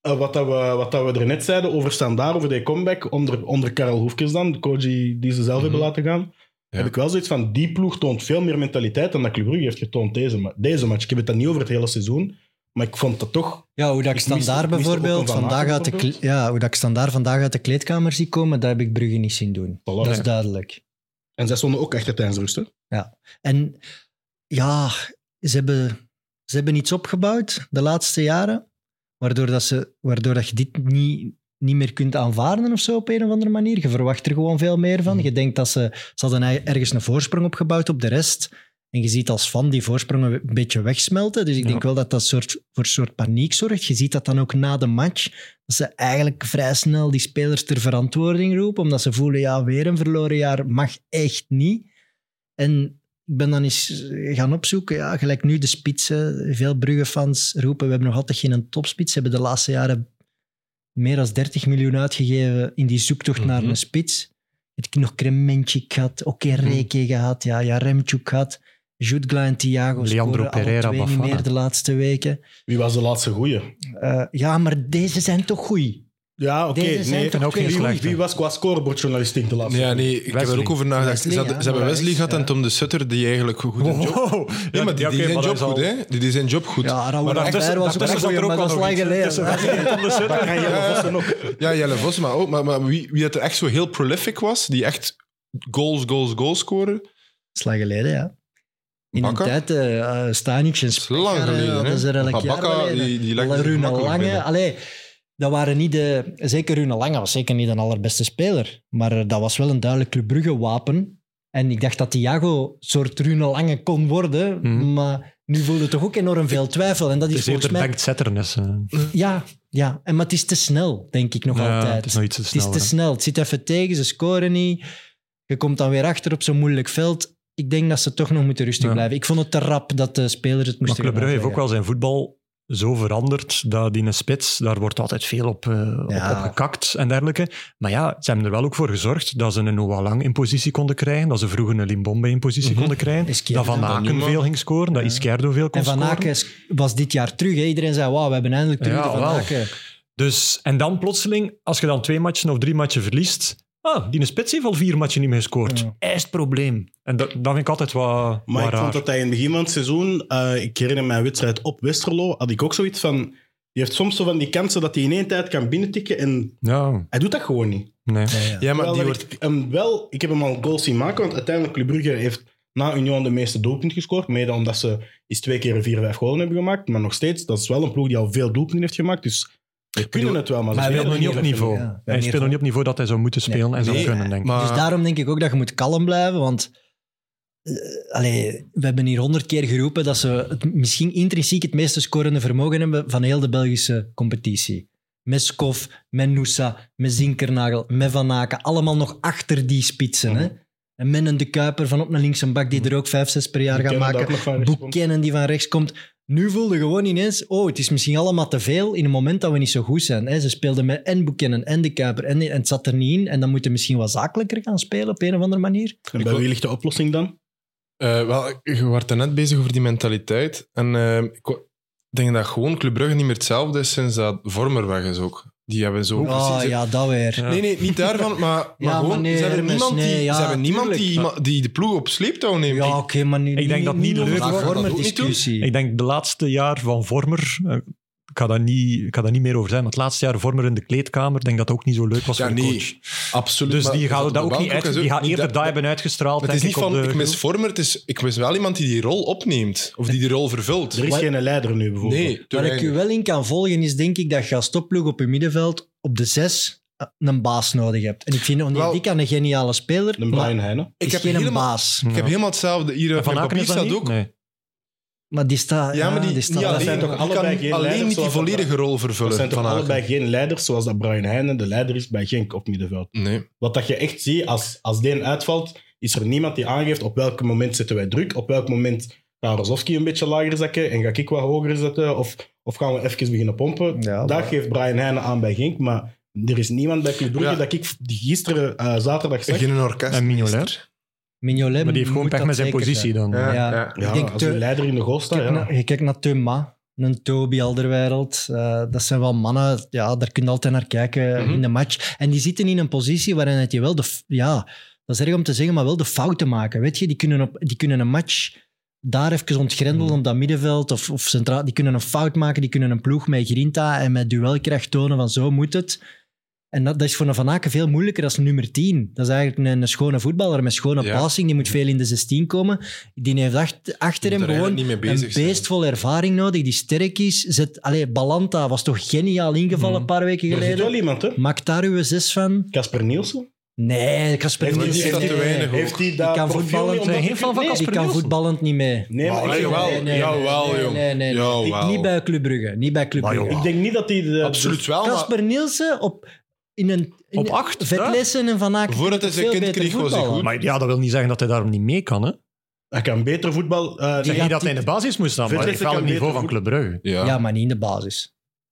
Speaker 1: eh, wat, dat we, wat dat we er net zeiden over Standaard, over die comeback onder, onder Karel Hoefkes dan, de coach die, die ze zelf hebben
Speaker 3: Mhm.
Speaker 1: laten gaan.
Speaker 4: Ja.
Speaker 1: Heb ik wel zoiets van, die ploeg toont veel meer mentaliteit dan dat Club Brugge heeft getoond deze, ma- deze match. Ik heb het dan niet over het hele seizoen, maar ik vond dat toch...
Speaker 3: Ja, hoe dat ik
Speaker 1: Ik miste-
Speaker 3: standaard
Speaker 1: ik miste ook
Speaker 3: bijvoorbeeld
Speaker 1: een Van
Speaker 3: vandaag
Speaker 1: Aken
Speaker 3: uit de kle-
Speaker 1: bijvoorbeeld.
Speaker 3: ja, hoe dat ik standaard vandaag uit de kleedkamer zie komen, dat heb ik Brugge niet zien doen. Dat is
Speaker 1: Nee.
Speaker 3: duidelijk.
Speaker 1: En zij stonden ook achter tijdens rust, hè.
Speaker 3: En ja, ze hebben, ze hebben iets opgebouwd de laatste jaren, waardoor, dat ze, waardoor dat je dit niet, niet meer kunt aanvaarden of zo op een of andere manier. Je verwacht er gewoon veel meer
Speaker 1: Mhm.
Speaker 3: van. Je denkt dat ze, ze hadden ei- ergens een voorsprong opgebouwd op de rest. En je ziet als van die voorsprongen een beetje wegsmelten. Dus ik
Speaker 2: Ja.
Speaker 3: denk wel dat dat soort, voor een soort paniek zorgt. Je ziet dat dan ook na de match. Dat ze eigenlijk vrij snel die spelers ter verantwoording roepen. Omdat ze voelen, ja, weer een verloren jaar mag echt niet. En ik ben dan eens gaan opzoeken. Ja, gelijk nu de spitsen. Veel Brugge-fans roepen, we hebben nog altijd geen topspits. Ze hebben de laatste jaren meer dan 30 miljoen uitgegeven in die zoektocht naar
Speaker 4: Mhm.
Speaker 3: een spits. Heb ik nog Kremenchik gehad, Okereke gehad, ja, Jaremchuk gehad. Jutgla en Thiago
Speaker 2: Leandro
Speaker 3: scoren alle
Speaker 2: Pereira,
Speaker 3: twee niet
Speaker 2: Bafana.
Speaker 3: meer de laatste weken.
Speaker 1: Wie was de laatste goeie?
Speaker 3: Eh, ja, maar deze zijn toch goed.
Speaker 1: Ja, oké.
Speaker 3: Deze zijn
Speaker 1: Nee.
Speaker 3: toch
Speaker 2: En ook geen
Speaker 3: goeie?
Speaker 1: Wie,
Speaker 2: slechte.
Speaker 1: wie was qua scorebordjournalistiek de laatste?
Speaker 4: Ja, nee, ik heb er
Speaker 2: Wesley.
Speaker 4: ook over nagedacht.
Speaker 3: Wesley,
Speaker 4: ze, hadden-
Speaker 3: ja,
Speaker 4: ze hebben
Speaker 3: maar
Speaker 4: Wesley
Speaker 3: is-
Speaker 4: gehad
Speaker 3: ja.
Speaker 4: en Tom de Sutter, die eigenlijk een goede job...
Speaker 2: Oh,
Speaker 4: Nee, maar die, die zijn job goed, hè. Die, die zijn job goed.
Speaker 3: Ja, Raoul
Speaker 4: Maar
Speaker 3: Aguilar
Speaker 4: daartussen-
Speaker 3: was ook een
Speaker 4: daartussen zat
Speaker 3: goeie,
Speaker 4: er ook
Speaker 3: maar dat is
Speaker 4: al nog
Speaker 3: lang
Speaker 4: iets.
Speaker 3: geleden. hè.
Speaker 1: En Jelle Vossen ook.
Speaker 4: Ja, Jelle Vos, maar ook. Maar, maar wie, wie dat er echt zo heel prolific was, die echt goals, goals, goals scoren...
Speaker 3: Dat is lang geleden, ja. In
Speaker 4: Bakka?
Speaker 3: een tijd, eh eh, Stanic en
Speaker 4: Dat is lang
Speaker 3: Spekker, eh,
Speaker 4: geleden, hè.
Speaker 3: dat is er elk
Speaker 4: Maar
Speaker 3: jaar
Speaker 4: Bakka,
Speaker 3: geleden.
Speaker 4: die- die legde
Speaker 3: Alle
Speaker 4: zich
Speaker 3: Rune
Speaker 4: gemakkelijk
Speaker 3: Lange,
Speaker 4: binnen.
Speaker 3: allee, dat waren niet de... Zeker Rune Lange was zeker niet de allerbeste speler. Maar eh, dat was wel een duidelijk Club Brugge wapen. En ik dacht dat Thiago een soort Rune Lange kon worden.
Speaker 2: Mhm.
Speaker 3: Maar nu voelde toch ook enorm veel twijfel. En dat
Speaker 2: Het is
Speaker 3: is volgens
Speaker 2: eerder
Speaker 3: mij...
Speaker 2: bankzetternis. eh.
Speaker 3: Ja, ja. En, maar het is te snel, denk ik nog
Speaker 2: Ja,
Speaker 3: altijd.
Speaker 2: Het is nog iets te
Speaker 3: Het is
Speaker 2: snel.
Speaker 3: te snel. Het zit even tegen, ze scoren niet. Je komt dan weer achter op zo'n moeilijk veld. Ik denk dat ze toch nog moeten rustig
Speaker 2: Ja.
Speaker 3: blijven. Ik vond het te rap dat de spelers het
Speaker 2: Maar
Speaker 3: moesten
Speaker 2: Club Brugge heeft
Speaker 3: gaan
Speaker 2: ook wel zijn voetbal zo veranderd dat die een spits, daar wordt altijd veel op, eh, op-
Speaker 3: Ja.
Speaker 2: op gekakt en dergelijke. Maar ja, ze hebben er wel ook voor gezorgd dat ze een Noah Lang in positie konden krijgen, dat ze vroeger een Limbombe in positie
Speaker 4: Mhm.
Speaker 2: konden krijgen,
Speaker 3: Izquierdo.
Speaker 2: dat Van Aken
Speaker 4: Danjuma.
Speaker 2: veel ging scoren, dat
Speaker 3: Ja.
Speaker 2: Izquierdo veel kon
Speaker 3: En Van
Speaker 2: scoren.
Speaker 3: Aken is- was dit jaar terug. hè. Iedereen zei, wauw, we hebben eindelijk terug
Speaker 2: Ja,
Speaker 3: de Van
Speaker 2: wel.
Speaker 3: Aken.
Speaker 2: Dus, en dan plotseling, als je dan twee matchen of drie matchen verliest, ah, die spits heeft al vier matchen niet meer gescoord.
Speaker 3: Ja.
Speaker 2: Hij is het probleem. En dat, dat vind ik altijd wat,
Speaker 1: Maar
Speaker 2: wat
Speaker 1: ik
Speaker 2: raar.
Speaker 1: vond dat hij in het begin van het seizoen, eh, ik herinner mij een wedstrijd op Westerlo, had ik ook zoiets van, die heeft soms zo van die kansen dat hij in één tijd kan binnentikken en
Speaker 2: Ja,
Speaker 1: hij doet dat gewoon niet.
Speaker 2: nee.
Speaker 4: Ja, maar
Speaker 1: Terwijl
Speaker 4: die
Speaker 1: dat
Speaker 4: wordt...
Speaker 1: ik, hem wel, ik heb hem al goals zien maken, want uiteindelijk Club Brugge heeft na Union de meeste doelpunten gescoord, mede omdat ze eens twee keer een vier, vijf goals hebben gemaakt, maar nog steeds, dat is wel een ploeg die al veel doelpunten heeft gemaakt, dus we kunnen het wel, maar,
Speaker 3: Maar
Speaker 1: ze
Speaker 2: Hij
Speaker 3: hij
Speaker 1: spelen
Speaker 2: speelt nog niet op
Speaker 1: dat
Speaker 2: niveau.
Speaker 3: Ja, ja,
Speaker 2: hij speelt nog niet op niveau dat hij zou moeten spelen en zou
Speaker 4: Nee,
Speaker 2: kunnen, denk ik.
Speaker 4: Maar,
Speaker 3: Dus daarom denk ik ook dat je moet kalm blijven, want... eh, allee, we hebben hier honderd keer geroepen dat ze het, misschien intrinsiek het meeste scorende vermogen hebben van heel de Belgische competitie. Met Skof, met Noosa, met Zinkernagel, met Van Aken. Allemaal nog achter die spitsen.
Speaker 1: Mhm.
Speaker 3: Hè? En met een De Kuiper van op naar links een bak die er ook vijf, zes per jaar
Speaker 1: We
Speaker 3: gaat
Speaker 1: kennen dat
Speaker 3: maken.
Speaker 1: ook nog van rechts komt.
Speaker 3: Boekkennen die van rechts komt. Nu voelde je gewoon ineens, oh, het is misschien allemaal te veel in een moment dat we niet zo goed zijn. Hè? Ze speelden met en Boekkennen en De Kuiper en, en het zat er niet in. En dan moeten we misschien wat zakelijker gaan spelen op een of andere manier.
Speaker 1: En bij wie ligt de oplossing dan?
Speaker 4: eh, wel, je werd er net bezig over die mentaliteit. En eh, ik wo- denk dat gewoon Club Brugge niet meer hetzelfde is sinds dat Vormer weg is ook. Die hebben zo...
Speaker 3: Oh
Speaker 4: precies-
Speaker 3: ja, dat weer.
Speaker 2: Ja.
Speaker 4: Nee, nee, niet daarvan, maar, maar
Speaker 3: Ja,
Speaker 4: gewoon,
Speaker 3: maar nee,
Speaker 4: ze hebben
Speaker 3: Hermes,
Speaker 4: niemand, die,
Speaker 3: nee, ja,
Speaker 4: ze hebben niemand die,
Speaker 2: tuurlijk.
Speaker 4: die de ploeg op sleeptouw neemt.
Speaker 3: Ja, oké, maar nu.
Speaker 2: denk dat niet
Speaker 3: over
Speaker 2: leuk
Speaker 3: die
Speaker 4: wordt.
Speaker 3: vormer
Speaker 4: Dat ook niet doen.
Speaker 3: discussie.
Speaker 2: Ik denk de laatste jaar van Vormer, eh, ik ga daar niet, ik ga daar niet meer over zijn, maar het laatste jaar Vormer in de kleedkamer, ik denk dat dat ook niet zo leuk was
Speaker 4: Ja,
Speaker 2: voor de
Speaker 4: nee.
Speaker 2: coach.
Speaker 4: absoluut.
Speaker 2: Dus
Speaker 4: maar-
Speaker 2: die
Speaker 4: maar
Speaker 2: gaan dat ook
Speaker 4: Bank
Speaker 2: niet uit,
Speaker 4: en zo,
Speaker 2: die gaan
Speaker 4: niet
Speaker 2: eerder
Speaker 4: dat-
Speaker 2: daar hebben uitgestraald.
Speaker 4: Maar het is
Speaker 2: denk
Speaker 4: niet
Speaker 2: ik, op
Speaker 4: van,
Speaker 2: de
Speaker 4: ik mis
Speaker 2: groep.
Speaker 4: Vormer, het is, ik mis wel iemand die die rol opneemt. Of die die rol vervult.
Speaker 1: Er is
Speaker 3: Wat-
Speaker 1: geen leider nu bijvoorbeeld.
Speaker 4: Nee, te
Speaker 3: Waar ik u
Speaker 4: weinig.
Speaker 3: wel in kan volgen is, denk ik, dat je als stopploeg op je middenveld op de zes eh, een baas nodig hebt. En ik vind oh
Speaker 4: Wel-
Speaker 3: Onyedika een geniale speler,
Speaker 1: De
Speaker 3: maar
Speaker 1: Brian Heijnen.
Speaker 3: ik
Speaker 4: Ik
Speaker 3: is
Speaker 4: heb
Speaker 3: geen een
Speaker 4: helemaal-
Speaker 3: baas.
Speaker 4: Ik heb
Speaker 2: Ja.
Speaker 4: helemaal hetzelfde. Hier
Speaker 2: En
Speaker 4: van
Speaker 2: Van Aken
Speaker 4: papier
Speaker 2: is dat
Speaker 4: staat
Speaker 2: niet?
Speaker 4: ook.
Speaker 2: Nee.
Speaker 3: Maar die staat...
Speaker 4: Ja, maar die,
Speaker 3: die
Speaker 4: die,
Speaker 3: staat...
Speaker 1: dat
Speaker 4: alleen,
Speaker 1: zijn toch
Speaker 4: die
Speaker 1: allebei
Speaker 4: kan
Speaker 1: geen leiders
Speaker 4: alleen niet die
Speaker 1: zoals dat
Speaker 4: volledige rol vervullen.
Speaker 1: Dat zijn toch
Speaker 4: van Aken.
Speaker 1: allebei geen leiders zoals dat Brian Heijnen de leider is bij Genk op middenveld.
Speaker 4: Nee.
Speaker 1: Wat dat je echt ziet, als, als die uitvalt, is er niemand die aangeeft op welk moment zetten wij druk, op welk moment gaan Rozovski een beetje lager zakken en ga ik wat hoger zetten of, of gaan we even beginnen pompen.
Speaker 3: Ja,
Speaker 1: dat
Speaker 3: maar-
Speaker 1: geeft Brian Heijnen aan bij Genk, maar er is niemand bij Club Brugge
Speaker 4: Ja.
Speaker 1: dat ik die gisteren eh, zaterdag zag.
Speaker 4: Geen orkest.
Speaker 2: En Mignolet.
Speaker 4: minister.
Speaker 3: Mignolet
Speaker 2: Maar die heeft gewoon
Speaker 3: moet
Speaker 2: pech
Speaker 3: dat
Speaker 2: met zijn
Speaker 3: zeker
Speaker 2: positie
Speaker 3: zijn.
Speaker 2: dan.
Speaker 4: Ja,
Speaker 3: Ja.
Speaker 4: ja.
Speaker 1: Ja,
Speaker 3: Ik denk
Speaker 1: als
Speaker 3: te-
Speaker 1: een leider in de goal staat,
Speaker 3: Kijk
Speaker 1: ja.
Speaker 3: naar- je kijkt naar Thuma, een Toby Alderwereld. eh, dat zijn wel mannen, ja, daar kun je altijd naar kijken
Speaker 4: Mhm.
Speaker 3: in de match. En die zitten in een positie waarin het je wel de... f- Ja, dat is erg om te zeggen, maar wel de fouten maken. Weet je, die kunnen, op, die kunnen een match daar even ontgrendelen
Speaker 4: Mhm.
Speaker 3: op dat middenveld of, of centraal. Die kunnen een fout maken, die kunnen een ploeg met grinta en met duelkracht tonen van zo moet het. En dat, dat is voor een Van Aken veel moeilijker als nummer 10. Dat is eigenlijk een, een schone voetballer met schone
Speaker 4: Ja.
Speaker 3: passing. Die moet veel in de 16 komen. Die heeft acht- achter
Speaker 4: Moet
Speaker 3: hem
Speaker 4: er eigenlijk
Speaker 3: gewoon
Speaker 4: niet mee
Speaker 3: een
Speaker 4: bezig zijn.
Speaker 3: beest vol ervaring nodig, die sterk is. Zet, allee, Balanta was toch geniaal ingevallen
Speaker 4: Mm.
Speaker 2: Mhm.
Speaker 3: een paar weken
Speaker 1: Er zit wel
Speaker 3: geleden?
Speaker 1: iemand, hè?
Speaker 3: Maak daar uw zes van.
Speaker 1: Casper Nielsen.
Speaker 3: Nee, Casper
Speaker 1: Heeft
Speaker 4: die-
Speaker 3: Nielsen.
Speaker 4: heeft dat
Speaker 3: nee.
Speaker 4: te weinig?
Speaker 1: Heeft hij
Speaker 3: Die
Speaker 1: dat
Speaker 3: kan
Speaker 1: profiel
Speaker 3: voetballen.
Speaker 1: niet om dat
Speaker 2: Zijn
Speaker 1: te
Speaker 2: geen fan van
Speaker 1: kunnen-
Speaker 3: Nee, die
Speaker 2: Casper
Speaker 3: kan
Speaker 2: Nielsen.
Speaker 3: voetballend niet mee.
Speaker 1: Nee, maar
Speaker 4: Maar
Speaker 1: ik-
Speaker 4: jawel,
Speaker 3: nee, nee,
Speaker 4: jawel,
Speaker 3: nee,
Speaker 4: jong.
Speaker 3: nee, nee.
Speaker 4: Jawel.
Speaker 3: Niet bij Club Brugge. Niet bij Club
Speaker 2: Maar
Speaker 3: Brugge.
Speaker 1: ik denk niet dat hij... de-
Speaker 4: Absoluut wel, maar
Speaker 3: Casper Nielsen op, in een, in
Speaker 2: Op acht,
Speaker 3: Vetlessen en Van Aken.
Speaker 4: Voordat hij
Speaker 3: veel
Speaker 4: zijn kind
Speaker 3: beter
Speaker 4: kreeg, was hij
Speaker 3: voetballen.
Speaker 4: goed.
Speaker 2: Maar ja, dat wil niet zeggen dat hij daarom niet mee kan. Hè. Ik
Speaker 1: Hij kan beter voetbal... eh,
Speaker 2: zeg
Speaker 1: nee,
Speaker 2: niet dat hij in de basis moest staan, maar hij heeft
Speaker 1: Verdedigers
Speaker 2: wel een
Speaker 1: kan
Speaker 2: niveau
Speaker 1: beter
Speaker 2: van Club Brugge.
Speaker 4: Ja.
Speaker 3: Ja, maar niet in de basis.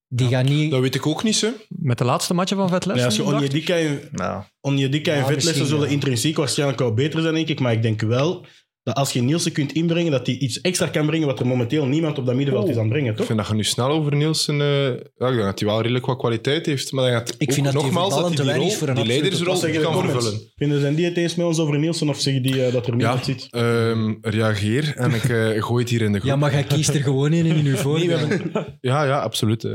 Speaker 3: Die gaan niet...
Speaker 4: Dat weet ik ook niet, ze.
Speaker 2: Met de laatste match van Vetles.
Speaker 1: Nee, als je
Speaker 2: nu, dacht ik.
Speaker 1: Onjedika en,
Speaker 5: Nou,
Speaker 1: Onjedika en
Speaker 3: Ja,
Speaker 1: Vetlessen
Speaker 3: misschien
Speaker 1: zullen
Speaker 3: wel.
Speaker 1: intrinsiek waarschijnlijk wel beter zijn, denk ik. Maar ik denk wel dat als je Nielsen kunt inbrengen, dat hij iets extra kan brengen wat er momenteel niemand op dat middenveld is aan het brengen,
Speaker 4: Ik
Speaker 1: toch?
Speaker 4: vind dat je nu snel over Nielsen... eh, ja, ik denk dat hij wel redelijk wat kwaliteit heeft. Maar dan gaat
Speaker 3: Ik vind dat
Speaker 4: ook
Speaker 3: die
Speaker 4: nogmaals dat
Speaker 3: voetballen
Speaker 4: hij
Speaker 3: te
Speaker 4: die,
Speaker 3: weinig
Speaker 4: rol,
Speaker 3: is voor een
Speaker 4: die
Speaker 3: absolute
Speaker 1: Wat
Speaker 4: leidersrol
Speaker 1: zeggen de
Speaker 4: kan
Speaker 1: comments?
Speaker 4: vervullen.
Speaker 1: Vinden zijn die het eens met ons over Nielsen of zeggen die eh, dat er niemand zit?
Speaker 4: Ehm, reageer en ik eh, gooi het hier in de groep.
Speaker 3: Ja, maar jij kiest er gewoon in en in uw voordeel.
Speaker 4: Ja, ja, absoluut. hè.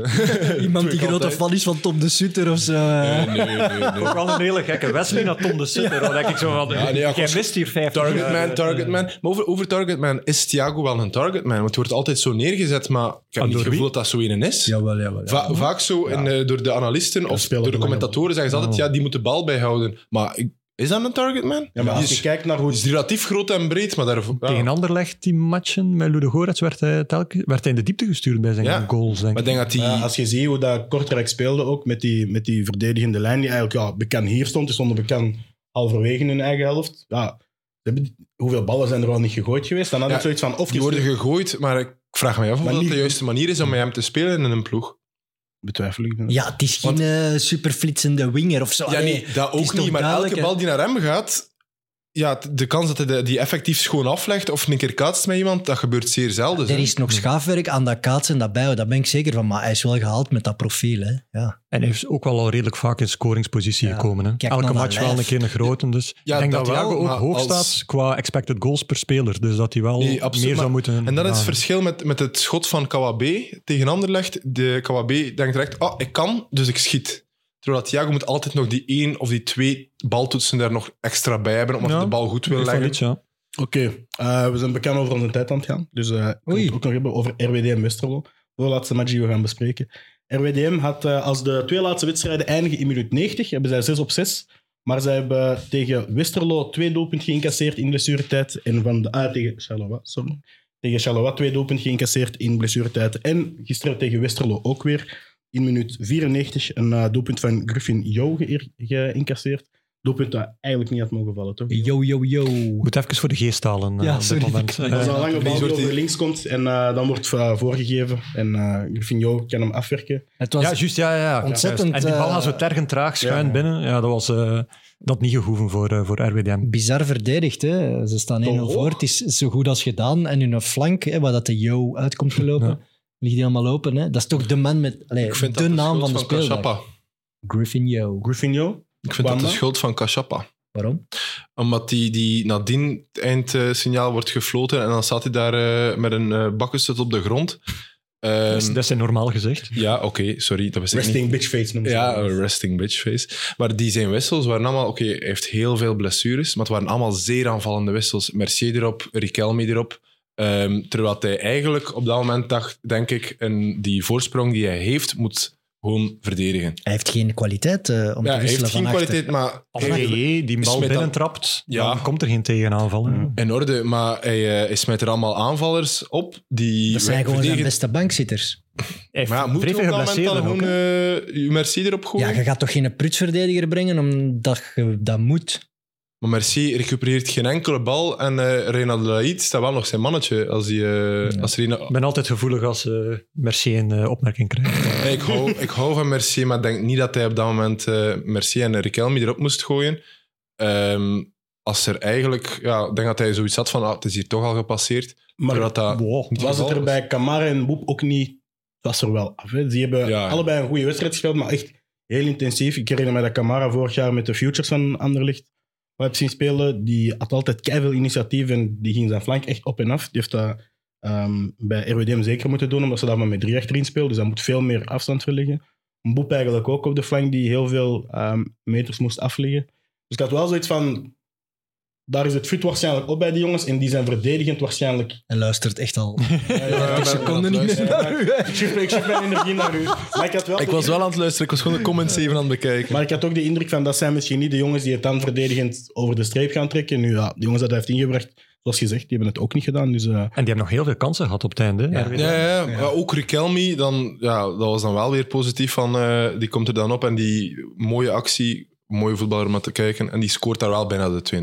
Speaker 3: Iemand die
Speaker 4: Twee
Speaker 3: grote
Speaker 4: kanten.
Speaker 3: fan is van Tom de Sutter of zo.
Speaker 4: Eh, nee, nee, nee.
Speaker 2: Ook wel een hele gekke Wesley naar Tom de Sutter. Dan denk ik zo van,
Speaker 4: Ja, nee, ja,
Speaker 2: jij
Speaker 4: kost-
Speaker 2: mist hier 50
Speaker 4: Targetman, targetman. Maar over, over targetman, is Thiago wel een targetman? Want het wordt altijd zo neergezet, maar ik
Speaker 2: En
Speaker 4: heb niet
Speaker 2: door
Speaker 4: het gevoel dat dat zo een is.
Speaker 3: Jawel, jawel.
Speaker 4: Va- vaak zo in, eh, door de analisten of
Speaker 1: speler
Speaker 4: door de
Speaker 1: belangrijk.
Speaker 4: commentatoren zeggen ze altijd,
Speaker 3: Oh.
Speaker 4: ja, die moet de bal bijhouden. Maar ik- is dat een targetman?
Speaker 1: Ja, maar
Speaker 4: die
Speaker 1: als je
Speaker 4: is,
Speaker 1: kijkt naar hoe
Speaker 4: die is relatief groot en breed, maar daarvoor... ja.
Speaker 2: Tegen Anderlecht, die matchen met Ludo Gorets, werd hij, telkens- werd hij in de diepte gestuurd bij zijn
Speaker 4: Ja.
Speaker 2: goals, denk
Speaker 4: Maar ik
Speaker 2: ik.
Speaker 4: denk dat die...
Speaker 1: Ja, als je ziet hoe dat Kortrijk speelde ook met die, met die verdedigende lijn, die eigenlijk ja, bekend hier stond, die stonden bekend halverwege in hun eigen helft. Ja, ze hebben, die- hoeveel ballen zijn er wel niet gegooid geweest? Dan had
Speaker 4: Ja,
Speaker 1: ik zoiets van of
Speaker 4: die worden
Speaker 1: gestuurd-
Speaker 4: gegooid, maar ik vraag me af of
Speaker 1: Maar
Speaker 4: dat
Speaker 1: niet-
Speaker 4: de juiste manier is om met hem te spelen in een ploeg.
Speaker 1: betwijfel ik.
Speaker 3: Ja, het is geen
Speaker 4: Want-
Speaker 3: eh, superflitsende winger of zo.
Speaker 4: Ja,
Speaker 3: Allee,
Speaker 4: nee, dat
Speaker 3: is
Speaker 4: ook
Speaker 3: toch
Speaker 4: niet. Maar
Speaker 3: duidelijk,
Speaker 4: elke
Speaker 3: hè?
Speaker 4: bal die naar hem gaat, ja, t- de kans dat hij de- die effectief schoon aflegt of een keer kaatst met iemand, dat gebeurt zeer zelden.
Speaker 3: Er
Speaker 4: hè.
Speaker 3: is nog schaafwerk aan dat kaatsen en dat bijhouden. Daar ben ik zeker van. Maar hij is wel gehaald met dat profiel. Hè. Ja.
Speaker 2: En hij is ook wel al redelijk vaak in scoringspositie
Speaker 3: Ja.
Speaker 2: gekomen. Hè?
Speaker 3: Kijk
Speaker 2: Elke
Speaker 3: naar dat
Speaker 2: match wel
Speaker 3: lijf.
Speaker 2: een keer een grote. Dus
Speaker 4: Ja,
Speaker 2: ik denk
Speaker 4: dat
Speaker 2: dat, Thiago
Speaker 4: wel, maar
Speaker 2: ook hoog
Speaker 4: als-
Speaker 2: staat qua expected goals per speler. Dus dat hij wel
Speaker 4: Nee, absoluut,
Speaker 2: meer zou
Speaker 4: maar-
Speaker 2: moeten...
Speaker 4: En dat is het
Speaker 2: halen.
Speaker 4: verschil met, met het schot van Kawabe tegen Anderlecht. De Kawabe denkt direct, ah, ik kan, dus ik schiet. Terwijl dat Thiago moet altijd nog die één of die twee baltoetsen daar nog extra bij hebben, omdat
Speaker 2: Ja,
Speaker 4: hij de bal goed wil
Speaker 2: Van
Speaker 4: leggen.
Speaker 2: Liet, ja.
Speaker 1: Oké, eh, we zijn bekend over onze tijd aan het gaan. Dus eh, ik wil
Speaker 3: Oei.
Speaker 1: het ook nog hebben over RWD en Westerlo. De laatste match die we gaan bespreken. RWDM had eh, als de twee laatste wedstrijden eindigen in minuut 90, hebben zij 6 op 6. Maar zij hebben tegen Westerlo twee doelpunten geïncasseerd in blessuretijd. En van de, ah, tegen Charleroi, sorry. Tegen Charleroi twee doelpunten geïncasseerd in blessuretijd. En gisteren tegen Westerlo ook weer in minuut 94 een eh, doelpunt van Griffin Jo geïr- geïncasseerd. Doelpunt dat eigenlijk niet had mogen vallen, toch?
Speaker 3: Yo, yo, yo.
Speaker 2: Moet even voor de geest halen eh,
Speaker 3: Ja,
Speaker 2: op dit
Speaker 3: sorry.
Speaker 2: moment. Eh,
Speaker 1: Dat is een lange
Speaker 4: die
Speaker 1: bal die
Speaker 4: soort-
Speaker 1: over links komt en eh, dan wordt eh, voorgegeven. En eh Griffinho kan hem afwerken.
Speaker 3: Het was
Speaker 2: ja, juist. Ja, ja, ja.
Speaker 3: Ontzettend,
Speaker 2: Juist. En die bal
Speaker 3: eh,
Speaker 2: gaat zo tergend traag schuin
Speaker 1: ja.
Speaker 2: binnen. Ja, dat was eh, dat niet gehoeven voor, eh, voor RWDM.
Speaker 4: Ehm,
Speaker 3: bizar verdedigd. Hè. Ze staan 1-0
Speaker 4: Oh.
Speaker 1: Toch?
Speaker 3: voor. Het is zo goed als gedaan. En hun flank, hè, waar dat de yo uitkomt gelopen,
Speaker 2: Ja.
Speaker 3: ligt helemaal open. Hè. Dat is toch de man met allee,
Speaker 4: Ik vind
Speaker 3: de
Speaker 4: dat
Speaker 3: naam van de
Speaker 4: schuld van
Speaker 3: speeldag.
Speaker 4: Cachappa.
Speaker 3: Griffin Yo.
Speaker 1: Griffinho?
Speaker 4: Ik vind dat de
Speaker 1: Wanda?
Speaker 4: schuld van Cachappa.
Speaker 3: Waarom?
Speaker 4: Omdat die, die nadien het eindsignaal wordt gefloten en dan staat hij daar eh, met een eh bakkenstut op de grond. Ehm,
Speaker 2: dat, is, dat is zijn normaal gezegd.
Speaker 4: ja, oké, sorry, dat was ik niet.
Speaker 1: Resting bitch face noemen ze
Speaker 4: Ja, eh,
Speaker 1: dat.
Speaker 4: een resting bitch face. Maar die zijn wissels waren allemaal... Oké, hij heeft heel veel blessures, maar het waren allemaal zeer aanvallende wissels. Mercier erop, Riquelme erop. Ehm, terwijl hij eigenlijk op dat moment dacht, denk ik, een, die voorsprong die hij heeft, moet gewoon verdedigen.
Speaker 3: Hij heeft geen kwaliteit eh, om
Speaker 4: Ja,
Speaker 3: te
Speaker 4: hij heeft
Speaker 3: wisselen
Speaker 4: geen
Speaker 3: van achter.
Speaker 4: kwaliteit, maar...
Speaker 2: Als
Speaker 4: hij-
Speaker 2: hij die bal
Speaker 4: Smit dan-
Speaker 2: binnentrapt,
Speaker 4: Ja.
Speaker 2: dan komt er geen tegenaanval. hè.
Speaker 4: In orde, maar hij, eh, hij smijt er allemaal aanvallers op. Die
Speaker 3: Dat zijn gewoon zijn
Speaker 4: verdedigen-
Speaker 3: beste bankzitters.
Speaker 2: Hij
Speaker 4: Maar ja,
Speaker 2: heeft
Speaker 4: moet je
Speaker 2: vrij
Speaker 4: op
Speaker 2: veel
Speaker 4: dat moment dan
Speaker 2: geblesseerden ook,
Speaker 4: gewoon
Speaker 2: hè.
Speaker 4: eh, je Merci erop gooien?
Speaker 3: Ja, je gaat toch geen prutsverdediger brengen omdat je dat moet?
Speaker 4: Maar Merci recupereert geen enkele bal. En eh Reina de Laïd staat wel nog zijn mannetje. Als hij, eh, als Reina...
Speaker 2: Ik ben altijd gevoelig als eh Mercier een eh, opmerking krijgt.
Speaker 4: Nee, ik, hou, ik hou van Merci, maar ik denk niet dat hij op dat moment eh Merci en Riquelme erop moest gooien. Ehm, als er eigenlijk... Ja, ik denk dat hij zoiets had van, ah, het is hier toch al gepasseerd.
Speaker 1: Maar
Speaker 4: Terwijl dat
Speaker 2: Wow.
Speaker 4: niet
Speaker 1: was het
Speaker 4: geval
Speaker 1: er bij Kamara en Boep ook niet... Dat is er wel af. Hè. Dus Die hebben
Speaker 4: Ja.
Speaker 1: allebei een goede wedstrijd gespeeld, maar echt heel intensief. Ik herinner me dat Kamara vorig jaar met de Futures van Anderlicht wat heb zien spelen. Die had altijd keiveel initiatief en die ging zijn flank echt op en af. Die heeft dat ehm, bij RWDM zeker moeten doen, omdat ze daar maar met drie achterin speelden. Dus daar moet veel meer afstand voor liggen. Boep eigenlijk ook op de flank, die heel veel ehm, meters moest afleggen. Dus ik had wel zoiets van... Daar is het fut waarschijnlijk op bij die jongens. En die zijn verdedigend waarschijnlijk
Speaker 3: En luistert echt al
Speaker 4: Ja, ik ben-
Speaker 3: seconden
Speaker 4: ben
Speaker 3: niet meer
Speaker 4: aan het
Speaker 3: naar u. hè.
Speaker 1: Ik shift, ik shift mijn energie naar u. Maar ik had wel,
Speaker 4: Ik was wel aan het luisteren. Ik was gewoon de comments even aan het bekijken.
Speaker 1: maar ik had ook de indruk van dat zijn misschien niet de jongens die het dan verdedigend over de streep gaan trekken. Nu ja, de jongens dat hij heeft ingebracht, zoals gezegd, die hebben het ook niet gedaan. Dus eh,
Speaker 2: En die hebben nog heel veel kansen gehad op het einde. hè. RWDM.
Speaker 4: Ja, ja, ja. Maar ook Riquelme, dan, ja, dat was dan wel weer positief. Van, eh, die komt er dan op en die mooie actie, mooie voetballer om naar te kijken. En die scoort daar wel bijna de 2-0.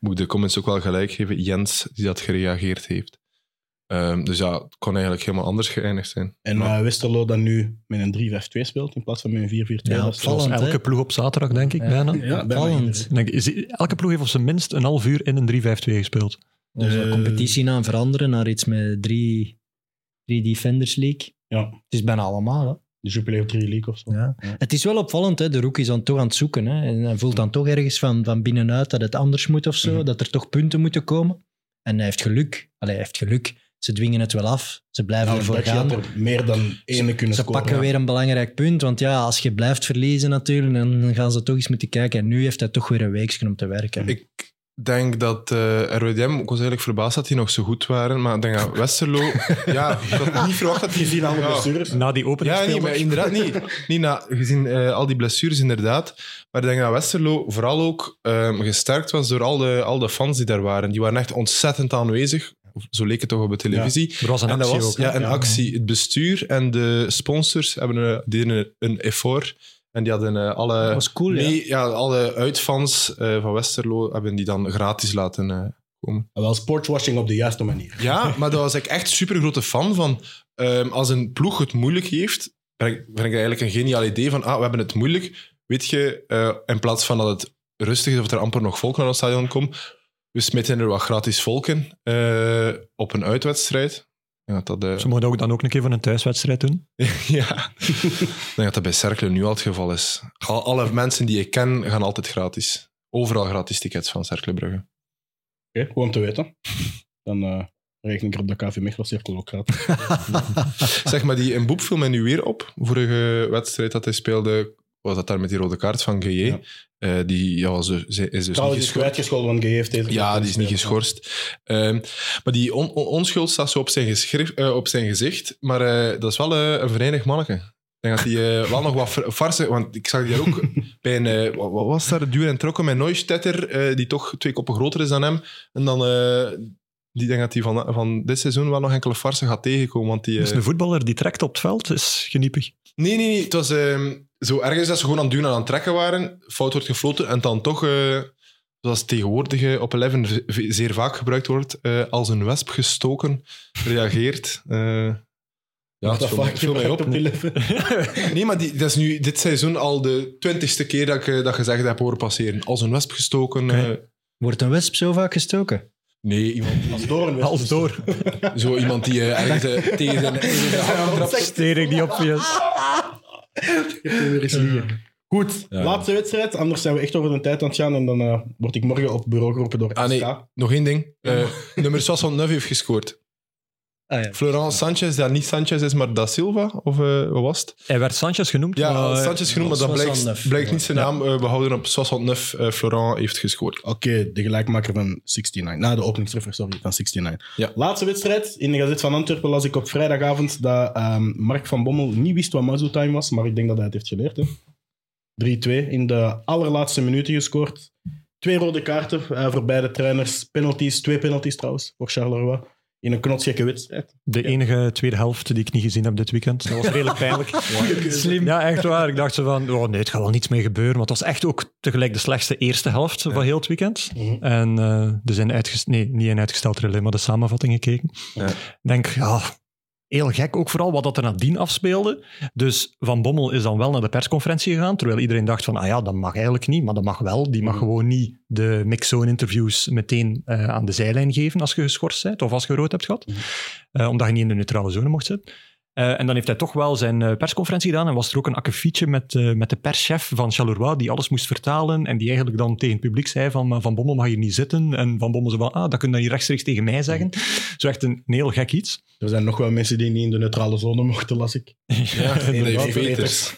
Speaker 4: Moet ik de comments ook wel gelijk geven. Jens, die dat gereageerd heeft. Ehm, dus ja, het kon eigenlijk helemaal anders geëindigd zijn.
Speaker 1: En
Speaker 4: Maar-
Speaker 1: eh, Westerlo dat nu met een 3-5-2 speelt in plaats van met een 4-4-2.
Speaker 3: Ja,
Speaker 1: dat is-
Speaker 3: opvallend.
Speaker 2: Zoals
Speaker 3: hè?
Speaker 2: elke ploeg op zaterdag, denk ik,
Speaker 3: Ja.
Speaker 2: bijna.
Speaker 1: Ja, bijna
Speaker 3: Opvallend.
Speaker 1: iedereen.
Speaker 2: Ik Denk, is- elke ploeg heeft op zijn minst een half uur in een 3-5-2 gespeeld.
Speaker 3: Onze
Speaker 1: Eh.
Speaker 3: competitie aan veranderen naar iets met drie, drie Defenders League.
Speaker 1: Ja,
Speaker 3: Het is bijna allemaal. Hè?
Speaker 1: de Jupiler 3 League of zo.
Speaker 3: Ja. Het is wel opvallend, hè? de rookie is dan toch aan het zoeken. Hè? En hij voelt dan toch ergens van, van binnenuit dat het anders moet of zo.
Speaker 1: Mhm.
Speaker 3: Dat er toch punten moeten komen. En hij heeft geluk. Allee, hij heeft geluk. Ze dwingen het wel af. Ze blijven
Speaker 1: Nou,
Speaker 3: ervoor
Speaker 1: Dutch
Speaker 3: gaan.
Speaker 1: had er meer dan ene kunnen
Speaker 3: Ze
Speaker 1: scoren.
Speaker 3: pakken weer een belangrijk punt. Want ja, als je blijft verliezen natuurlijk, dan gaan ze toch eens moeten kijken. En nu heeft hij toch weer een weekje om te werken.
Speaker 1: eh,
Speaker 4: Ik denk dat eh, RWDM, ik was eigenlijk verbaasd dat die nog zo goed waren, maar ik denk dat Westerlo... ja, ik had niet verwacht dat die...
Speaker 1: Gezien alle
Speaker 4: Ja.
Speaker 1: blessures.
Speaker 2: Na die opening
Speaker 4: Ja, nee, maar inderdaad niet. niet na, gezien eh, al die blessures, inderdaad. Maar ik denk dat Westerlo vooral ook ehm, gesterkt was door al de, al de fans die daar waren. Die waren echt ontzettend aanwezig. Of Zo leek het toch op de televisie.
Speaker 2: Er was een
Speaker 4: En dat
Speaker 2: actie
Speaker 4: was
Speaker 2: ook. hè.
Speaker 4: ja, een
Speaker 1: Ja.
Speaker 4: actie. Het bestuur en de sponsors hebben een, deden een, een effort. En die hadden eh, alle,
Speaker 3: Dat was cool, ja.
Speaker 4: nee, ja, alle uitfans eh, van Westerlo hebben die dan gratis laten eh, komen.
Speaker 1: Wel sportswashing op de juiste manier.
Speaker 4: Ja, maar daar was ik echt super grote fan van. Ehm, als een ploeg het moeilijk heeft, vind ik, vind ik eigenlijk een geniaal idee van ah, we hebben het moeilijk. Weet je, eh, in plaats van dat het rustig is of er amper nog volk naar het stadion komt, we smeten er wat gratis volken eh, op een uitwedstrijd. Ja, dat, eh,
Speaker 2: Ze mogen ook dan ook een keer van een thuiswedstrijd doen.
Speaker 4: Ja, ik denk dat dat bij Cercle nu al het geval is. Al- Alle mensen die ik ken gaan altijd gratis. Overal gratis tickets van Cercle Brugge.
Speaker 1: Oké, gewoon om te weten. Dan eh, reken ik er op de KV Mechelen-cirkel ook gratis.
Speaker 4: Zeg maar, die Mboep viel mij nu weer op. Vorige wedstrijd dat hij speelde, was dat daar met die rode kaart van GJ.
Speaker 1: Ja.
Speaker 4: Eh, die ja, was dus, ze- is
Speaker 1: Trouwens,
Speaker 4: dus niet
Speaker 1: is
Speaker 4: geschorst.
Speaker 1: kwijtgescholden, want GE heeft deze...
Speaker 4: Ja, die is niet geschorst. Ehm, maar die on- on- onschuld staat zo op zijn, geschrift, eh, op zijn gezicht. Maar eh, dat is wel eh, een verenigd manneke. Ik denk dat die eh, wel nog wat far- farse... Want ik zag die daar ook bij een... eh, wat, wat was daar? Duur en trokken met Neustetter, eh, die toch twee koppen groter is dan hem. En dan... eh, die denk dat hij van, van dit seizoen wel nog enkele farsen gaat tegenkomen. Want die, eh,
Speaker 2: Dus een voetballer die trekt op het veld is geniepig.
Speaker 4: Nee, nee, nee. Het was ehm, zo ergens dat ze gewoon aan het duwen en aan het trekken waren. Fout wordt gefloten en dan toch, eh, zoals tegenwoordig eh, op 11 v- zeer vaak gebruikt wordt, eh, als een wesp gestoken reageert. Eh, ja,
Speaker 1: Ja,
Speaker 4: het
Speaker 1: dat
Speaker 4: viel, mij-
Speaker 1: vaak
Speaker 4: het viel mij
Speaker 1: gebruikt
Speaker 4: op.
Speaker 1: op je leven.
Speaker 4: Nee, maar die, dat is nu dit seizoen al de twintigste keer dat ik eh, dat gezegd heb horen passeren. Als een wesp gestoken.
Speaker 2: Oké.
Speaker 4: eh,
Speaker 3: Wordt een wesp zo vaak gestoken?
Speaker 4: nee, iemand,
Speaker 1: Als door een
Speaker 2: Alles door.
Speaker 4: zo iemand die eh, ergens eh, tegen zijn... tegen zijn hand trapt.
Speaker 2: Stering die obvious.
Speaker 1: Goed,
Speaker 4: Ja.
Speaker 1: laatste wedstrijd. Anders zijn we echt over de tijd aan het gaan. En dan eh, word ik morgen op bureau geroepen door
Speaker 4: Ah,
Speaker 1: SK.
Speaker 4: nee. Nog één ding. Eh, nummer 609 heeft gescoord.
Speaker 3: Ah, ja.
Speaker 4: Florent Sanchez, dat niet Sanchez is, maar Da Silva, of eh, wat was het?
Speaker 2: Hij werd Sanchez genoemd.
Speaker 4: Ja,
Speaker 2: maar, eh,
Speaker 4: Sanchez genoemd, maar dan blijkt,
Speaker 3: 69.
Speaker 4: blijkt niet zijn naam. eh, we houden op 609. eh Florent heeft gescoord.
Speaker 1: Oké, de gelijkmaker van 69. Na de openingstreffer, sorry, van 69.
Speaker 4: Ja.
Speaker 1: Laatste wedstrijd. In de Gazet van Antwerpen las ik op vrijdagavond dat ehm, Mark van Bommel niet wist wat muzzle time was, maar ik denk dat hij het heeft geleerd. hè. 3-2 in de allerlaatste minuten gescoord. Twee rode kaarten eh, voor beide trainers. Penalties, twee penalties trouwens, voor Charleroi. In een knotsgekke wedstrijd.
Speaker 2: De enige tweede helft die ik niet gezien heb dit weekend. Dat was redelijk pijnlijk.
Speaker 3: Slim.
Speaker 2: Ja, echt waar. Ik dacht zo van, oh nee, het gaat wel niets mee gebeuren. Maar het was echt ook tegelijk de slechtste eerste helft van heel het weekend.
Speaker 1: Mhm.
Speaker 2: En eh er zijn uitges- nee, niet een uitgesteld relay, maar de samenvatting gekeken.
Speaker 4: Ja.
Speaker 2: Ik denk, ja, heel gek. Ook vooral wat dat er nadien afspeelde. Dus Van Bommel is dan wel naar de persconferentie gegaan, terwijl iedereen dacht van, ah ja, dat mag eigenlijk niet, maar dat mag wel. Die mag
Speaker 1: Mhm.
Speaker 2: gewoon niet de mixzone-interviews meteen eh, aan de zijlijn geven als je geschorst bent of als je rood hebt gehad.
Speaker 1: Mhm.
Speaker 2: Eh, omdat je niet in de neutrale zone mocht zitten. Eh, en dan heeft hij toch wel zijn eh, persconferentie gedaan en was er ook een akkefietje met, eh, met de perschef van Charleroi die alles moest vertalen en die eigenlijk dan tegen het publiek zei van maar Van Bommel mag hier niet zitten en Van Bommel zei van ah, dat kun je dan hier rechtstreeks tegen mij zeggen. Zo echt een, een heel gek iets.
Speaker 1: Er zijn nog wel mensen die niet in de neutrale zone mochten, las ik.
Speaker 4: Ja, dat
Speaker 1: inderdaad.
Speaker 4: heeft Peters.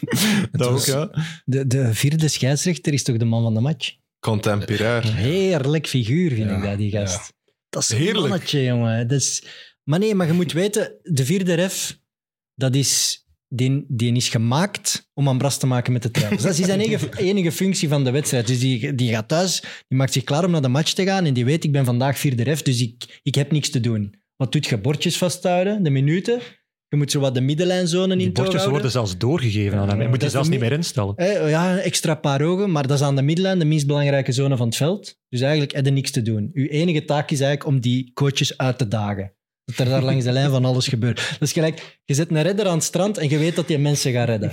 Speaker 2: Dat ook,
Speaker 4: was-
Speaker 2: ja.
Speaker 3: De, de vierde scheidsrechter is toch de man van de match?
Speaker 4: Contemperair.
Speaker 3: Heerlijk figuur vind
Speaker 1: Ja,
Speaker 3: ik dat, die gast. Dat is een
Speaker 4: Heerlijk.
Speaker 3: mannetje, jongen. Dat is... Maar nee, maar je moet weten, de vierde ref, dat is, die, die is gemaakt om aan bras te maken met de trouwens. Dat is zijn enige, enige functie van de wedstrijd. Dus die, die gaat thuis, die maakt zich klaar om naar de match te gaan en die weet, ik ben vandaag vierde ref, dus ik, ik heb niks te doen. Wat doet je? Bordjes vasthouden, de minuten. Je moet zo wat de middenlijnzone in
Speaker 2: Die
Speaker 3: toog
Speaker 2: bordjes
Speaker 3: houden.
Speaker 2: worden zelfs doorgegeven aan hem. Hij
Speaker 3: Ja,
Speaker 2: moet
Speaker 3: dat
Speaker 2: die
Speaker 3: is
Speaker 2: zelfs
Speaker 3: niet-
Speaker 2: niet meer instellen.
Speaker 3: Hè, Eh, ja, extra paar ogen, maar dat is aan de middenlijn, de minst belangrijke zone van het veld. Dus eigenlijk heb je niks te doen. Uw enige taak is eigenlijk om die coaches uit te dagen. Dat er daar langs de lijn van alles gebeurt. Dat is gelijk, je zet een redder aan het strand en je weet dat je mensen gaat redden.